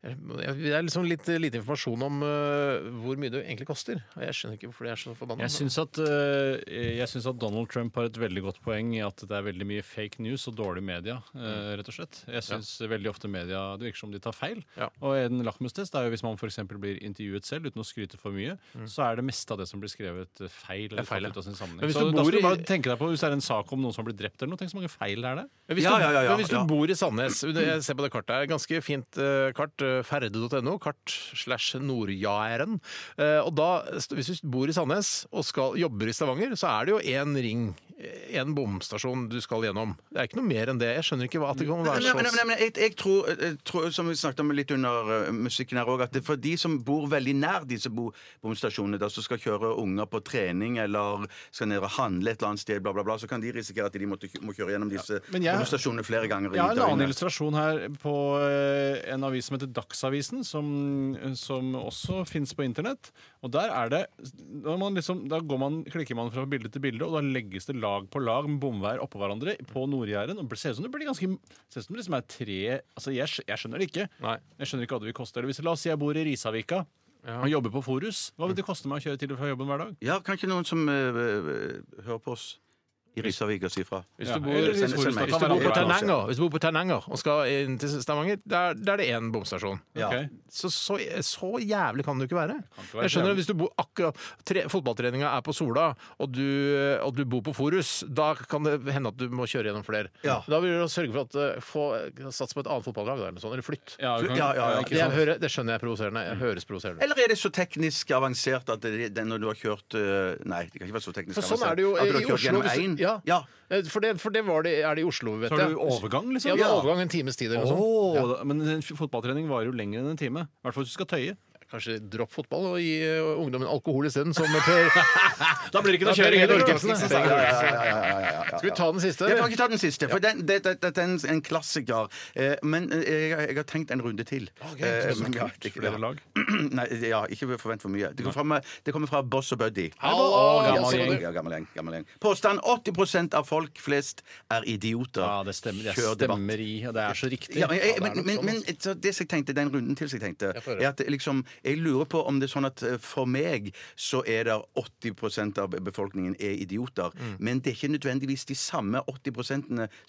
C: jeg, jeg, det er liksom litt lite informasjon om eh, hvor mye det egentlig koster. Og Jeg skjønner ikke hvorfor de er så forbanna.
E: Jeg syns at, eh, jeg syns at Donald Trump har et veldig godt poeng i at det er veldig mye fake news og dårlig media,
C: Mm.
E: eh, rett og slett. Jeg syns veldig ofte media Det virker som de tar feil.
C: Ja.
E: Og en lakmustest er jo hvis man f.eks. blir intervjuet selv uten å skryte for mye, så er det meste av det som blir skrevet eh, feil. Eller
C: Mm. feil, ja.
E: tatt ut av sin sammenheng.
C: Men hvis
E: Så
C: du
E: da
C: bor
E: skal du
C: i-
E: bare tenke deg på hvis det er en sak om noen som har blitt drept eller noe, tenk så mange feil det er der.
C: Men hvis,
B: Ja,
C: du,
B: ja, ja, ja,
C: men hvis du
B: ja.
C: bor i Sandnes under- Jeg ser på det kartet her. Ganske fint eh, kart. eh, Ferde.no. Kart slash Nordjæren. Eh, og da, st- hvis du bor i Sandnes og skal, jobber i Stavanger, så er det jo én ring, én bomstasjon du skal gjennom. Det er ikke noe mer enn det. Jeg skjønner ikke hva at det kan
B: Nei,
C: være
B: nei, nei,
C: så
B: nei, jeg, jeg, tror, jeg tror, som vi snakket om litt under eh, musikken her òg, at det, for de som bor veldig nær disse bo- bomstasjonene, der som skal kjøre unger på trening eller skal ned og handle et eller annet sted, bla, bla, bla, så kan de risikere at de måtte, må kjøre gjennom disse
E: men jeg-
B: bomstasjonene flere ganger. i
E: Jeg har en annen
B: døgnet.
E: illustrasjon her på eh, en avis som heter Dagsavisen, som, som også fins på internett. Og der er det Da, man liksom, da går man, klikker man fra bilde til bilde, og da legges det lag på lag med bomveier oppå hverandre på Nord-Jæren. Og det ser ut som det blir ganske Ser ut som det liksom er tre Altså, jeg, skj- jeg skjønner det ikke.
C: Nei.
E: Jeg skjønner ikke hva det vil koste. Eller hvis La oss si jeg bor i Risavika og jobber på Forus. Hva vil det koste meg å kjøre til og fra jobben hver dag?
B: Ja, kan ikke noen som eh, eh, hører på oss i Risavika, si fra?
C: hvis du
E: Ja,
C: bor,
E: eller
C: hvis
B: send- send meg.
C: du
E: kan være
C: bor på
E: andre veien også.
C: Ternanger, hvis du bor på Ternanger og skal inn til Stavanger, der, der er det én bomstasjon.
E: Ok.
C: Så, så, så jævlig kan det jo ikke være.
E: ikke være
C: jeg skjønner at Hvis du bor akkurat tre, Fotballtreninga er på Sola, og du, og du bor på Forus, da kan det hende at du må kjøre gjennom flere.
B: Ja.
C: Da vil du sørge for at eh, få Sats på et annet fotballag, da, eller, noe sånt, eller flytt.
E: Ja, du kan-
B: Ja, ja, ja.
E: ikke
C: Det, jeg
E: sant?
C: hører, det skjønner jeg er provoserende. Jeg høres provoserende.
B: Eller er det så teknisk avansert at det, det, når du har kjørt eh, Nei, det kan ikke være så teknisk
C: For sånn
B: avansert.
C: er det jo
B: at du
C: i
B: har kjørt
C: Oslo.
B: gjennom
C: hvis-
B: én.
C: ja.
B: Ja.
C: Eh, For, det, for det var det, er det i Oslo, vet
E: Så
C: jeg.
E: har du overgang, liksom?
C: Ja, det er
B: Ja.
C: overgang en times tid eller noe sånt.
E: Åh, da- sånn. Men en f- fotballtrening varer jo lenger enn en time. I hvert fall hvis du skal tøye.
C: Kanskje dropp fotball og gi eh, ungdommen alkohol isteden, som Per
E: Da blir det
C: Da blir det
E: heller.
C: ikke noe kjøring.
B: Ja, ja, ja, ja, ja, ja, ja.
C: Skal vi ta den siste?
B: Jeg kan ikke ta den siste, for den- det- det- dette er en, en klassiker. Eh, men eh, jeg, jeg har tenkt en runde til. Eh, men ja, det-
E: Flere lag.
B: Nei, ja, ikke forvent for mye. Det kommer fra, meg- det kommer fra Boss og Buddy.
C: Hallo,
E: gammel
B: Ja,
E: gjeng.
B: Ja, gammel gjeng, gammel gjeng. Påstand 80 av folk flest er idioter.
E: Ja, det stemmer. Jeg
B: Kjør debatt.
E: stemmer i, og det er så riktig.
B: Ja, men, jeg,
C: Ja, det er
B: men,
C: nok
B: men,
C: sånn,
B: men så det som jeg tenkte, den runden til som jeg tenkte,
C: Jeg får høre.
B: er at liksom Jeg lurer på om det er sånn at eh, for meg så er det 80 av befolkningen er idioter.
C: Mm.
B: Men det er ikke nødvendigvis de samme 80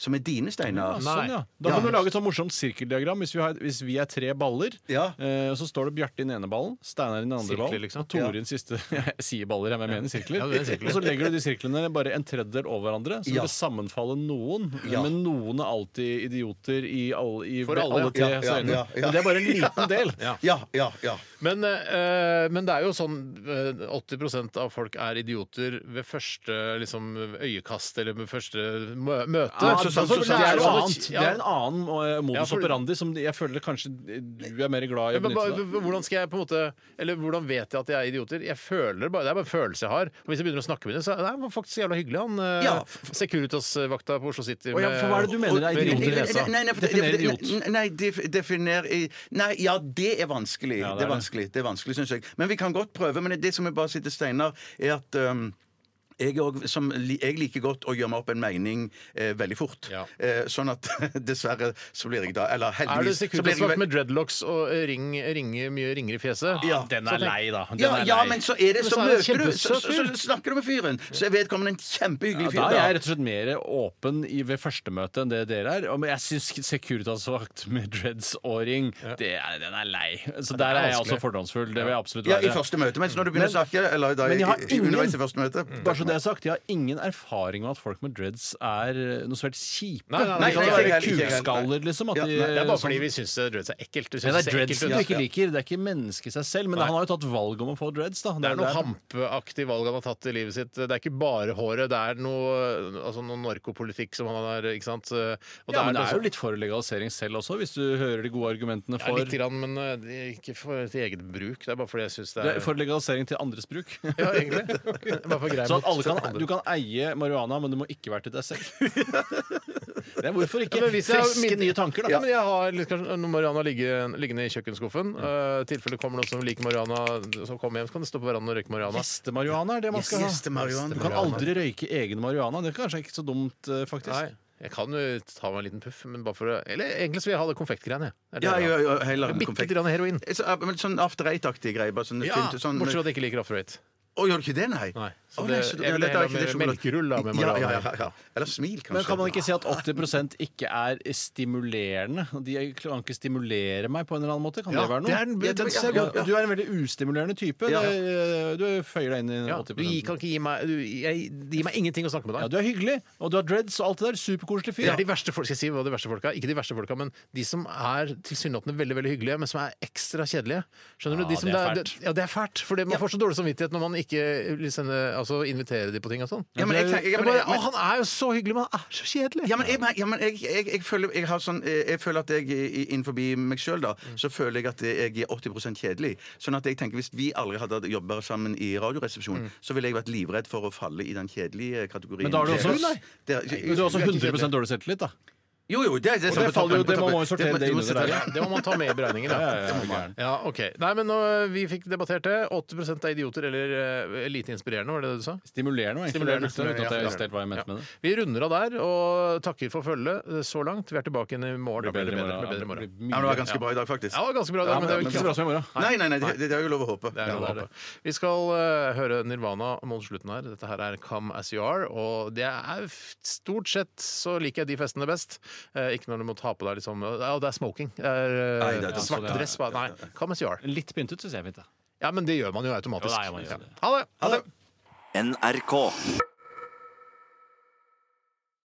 B: som er dine, Steinar.
E: Ja, Sånn, ja. Da kan du lage et sånn morsomt sirkeldiagram. Hvis vi, har, hvis vi er tre baller,
B: Ja.
E: eh, så står det Bjarte i den ene ballen, Steinar i den andre
C: Sirkler,
E: ballen
C: liksom.
E: og Tore i den siste. Jeg sier baller, jeg, men jeg mener sirkler.
C: Ja, du mener sirkler.
E: Og så legger du de sirklene bare en tredjedel over hverandre, så
B: Ja.
E: vil det sammenfalle noen.
B: Ja.
E: Men noen er alltid idioter i alle, i
C: For alle.
E: tre
B: Ja, ja,
E: seriene.
B: ja, ja.
E: Men det er bare en liten del.
B: Ja, ja, ja.
C: Men, eh, men det er jo sånn eh, 80 av folk er idioter ved første liksom, øyekast eller ved første mø møte. Altså,
E: Ja,
B: så- så- så-
E: det, er noe annet. det
C: Ja.
E: er en annen eh, modus
C: Ja, for-
E: operandi som jeg føler kanskje du er mer glad i å
C: Men,
E: benytte
C: ba-
E: deg av.
C: hvordan skal jeg på en måte Eller hvordan vet jeg at de er idioter? Jeg føler bare, Det er bare en følelse jeg har. Og hvis jeg begynner å snakke med dem, så er det var faktisk jævla hyggelig, han eh,
B: Ja.
C: Securitas-vakta på Oslo City.
E: Å ja, for hva er det du mener er
C: med-
E: idioter,
C: med-
E: Lesa?
B: Nei, nei, for-
E: Definer idiot.
B: Nei, Nei, def- definer i- Nei, ja, det er vanskelig.
E: Ja,
B: det er
E: det er det.
B: vanskelig, det er vanskelig, syns jeg. Men vi kan godt prøve. Men det som jeg bare sier til Steinar, er at um, jeg, er også, som, li- jeg liker godt å gjøre meg opp en mening eh, veldig fort.
C: Ja.
B: Eh, sånn at dessverre så blir jeg da Eller
C: Er du
B: heldigvis så blir jeg
C: Securitas-vakt
B: vel-
C: med dreadlocks og eh, ring, ringer, mye ringer i fjeset?
B: Ja.
E: Den er lei, da. Den
B: ja,
E: er
B: ja,
E: lei.
B: men så er det så
C: Men så er det
B: møter du så,
C: kjempesøt
B: så, så snakker du med fyren. Så er vedkommende en kjempehyggelig
E: Ja,
B: fyr.
E: da er jeg rett og slett mer åpen i, ved første møte enn det dere er. Og- Men jeg syns Securitas-vakt med dreads og ring, det er, den er lei. Så der er jeg
C: vanskelig.
E: også fordomsfull. Det vil jeg absolutt
B: ja,
E: være.
B: i første møte. Mens når du begynner å snakke eller da,
E: men jeg har
B: i-
E: ingen- Mm.
B: underveis i første møte
E: Bare så det er sagt, Jeg har ingen erfaring med at folk med dreads er eh, noe så helt kjipe.
C: Nei, nei,
E: det
B: nei,
E: kan jo
B: ikke
E: være
B: helt, ikke helt,
E: kukskaller, liksom. At
B: Ja,
E: de,
B: nei,
C: Det er bare
E: sånn-
C: fordi vi eh, syns dreads Altså, er ekkelt. Vi synes
E: Nei, det er
C: ser ekkelt ut.
E: dreadsen du ikke liker. Det er ikke mennesket i seg selv. Men
C: Nei.
E: han har jo tatt valg om å få dreads. da.
C: Det er noe
E: der-
C: hampeaktig valg han har tatt i livet sitt. Det er ikke bare håret, det er noe, altså noe narkopolitikk som han har ikke sant? Og
E: Ja, men det er jo
C: noe-
E: litt for legalisering selv også, hvis du hører de gode argumentene
C: ja,
E: for
C: litt grann, men eh, det er ikke for til eget bruk. Det er bare fordi jeg syns det
E: Det
C: er
E: er For legalisering til andres bruk.
C: Ja, egentlig. Det er Bare for grei
E: Så Sånn at alle
C: mot-
E: kan, du kan eie marihuana, men det må ikke være til deg selv. Det er hvorfor ikke?
C: Ja, men hvis jeg-
E: Friske
C: min-
E: nye tanker,
C: Ja,
E: da.
C: men jeg har litt, kanskje, noe marihuana ligge, liggende i
E: Mm.
C: kjøkkenskuffen. Eh, I tilfelle det kommer noen som liker marihuana, som kommer hjem, så kan de stå på verandaen og røyke marihuana.
E: Gjeste-marihuana er det man skal ha.
B: Gjeste-marihuana.
E: Du kan aldri røyke egen marihuana. Det er kanskje ikke så dumt, eh, faktisk.
C: Nei. Jeg kan jo ta meg en liten puff, men bare for å Eller egentlig så vil jeg ha det konfektgreiene. jeg. Det
B: Ja,
C: er det jeg
B: ja,
C: vil ha.
B: ja, heller enn
C: Bitte
B: konfekt.
C: litt grann heroin.
B: Så, ja, men sånn after eight-aktig greie. Bare sånn,
C: Ja,
B: fint, sånn,
C: bortsett fra at jeg ikke liker After Eight.
B: Å, gjør du ikke det, nei?
C: Nei. Så
B: Å,
C: det,
B: så-
C: jeg
B: ja,
C: vil
B: dette er
C: heller
B: ikke det
C: ha
B: sjokolade.
C: mer melkeruller med
B: ja,
C: marihuana.
B: ja, ja, ja. Eller smil, kanskje.
E: Men kan man ikke si at 80 ikke er stimulerende? De kan ikke stimulere meg på en eller annen måte? Kan
C: Ja,
E: det være
C: det
E: noe?
C: er den-
E: Ja,
C: den
E: ja,
C: ser-
E: ja, ja. Du er en veldig ustimulerende type.
B: Ja.
E: Det er, eh, Du føyer deg inn i
C: Ja, du
E: 80
C: gi- kan ikke gi meg du, jeg, Det gir meg ingenting å snakke med
E: Ja,
C: deg.
E: du er hyggelig, og du har dreads og alt det der. Superkoselig
C: Det
E: fyr.
C: er de verste folk, skal jeg si hva de verste folka er? Ikke de verste folka, men de som er tilsynelatende veldig veldig hyggelige, men som er ekstra kjedelige. Skjønner
E: Ja,
C: du? De som
E: det er
C: det
E: fælt.
C: det- ja, det er fælt. Fordi man får så dårlig samvittighet når man ikke vil sende, altså, inviterer de på ting og sånn.
B: Ja, men jeg tenker- ja,
C: Jeg
B: men-
C: bare, «Å, han er jo så hyggelig, men han er så kjedelig!
B: Ja, men, jeg, ja, men jeg, jeg, jeg, føler, jeg, har sånn, eh, jeg føler at jeg i- innenfor meg sjøl, da,
C: Mm.
B: så føler jeg at jeg er 80 kjedelig. Sånn at jeg tenker hvis vi aldri hadde jobba sammen i Radioresepsjonen,
C: Mm.
B: så ville jeg vært livredd for å falle i den kjedelige kategorien.
E: Men da har du også-
B: Det-
E: Nei.
B: det-
E: Men du har også 100 dårlig selvtillit, da.
B: Jo, jo, det, det, er
E: Og
B: sånn
E: det
B: på toppen,
E: faller jo-
B: på
E: det må
B: toppen.
E: man jo sortere det
B: du må
E: inn under
B: sette-
E: der,
C: Ja, Det må man ta med i beregningen. da.
E: Ja, ja, ja, ja.
C: Ja, ok. Nei, men nå, eh, Vi fikk debattert det. 80 er idioter eller eh, lite inspirerende, var det det du sa?
E: Stimulerende, egentlig.
C: Stimulerende,
E: det er riktig, uten at jeg
C: ja.
E: justerte hva jeg mente med det.
C: Vi runder av der og takker for følget eh, så langt. Vi er tilbake igjen i morgen. Da
E: Blir bedre i morgen.
C: Blir bedre i morgen.
B: Ja, men det var ganske bra i dag, faktisk.
C: Ja, det var ganske bra i
E: Ja,
C: dag, men det er jo
E: men
C: ikke
E: ikke så bra som i morgen.
B: Nei, nei, nei, det, det er jo lov å håpe.
C: Det er jo det. Vi skal eh, høre Nirvana mot slutten her. Dette her er Come As You Are. Og det er f- stort sett så liker jeg de festene best. Eh, ikke når du må ta på deg liksom Ja, det er smoking. Det er, eh,
B: Nei, det er ikke
C: svart
B: sånn.
C: dress. Bare, nei, Come As You Are.
E: Litt pyntet syns jeg er fint. da
C: Ja, men det gjør man jo automatisk.
E: Ja, nei, man gjør
C: Ja.
E: det.
C: Ha det!
B: Ha det.
H: NRK.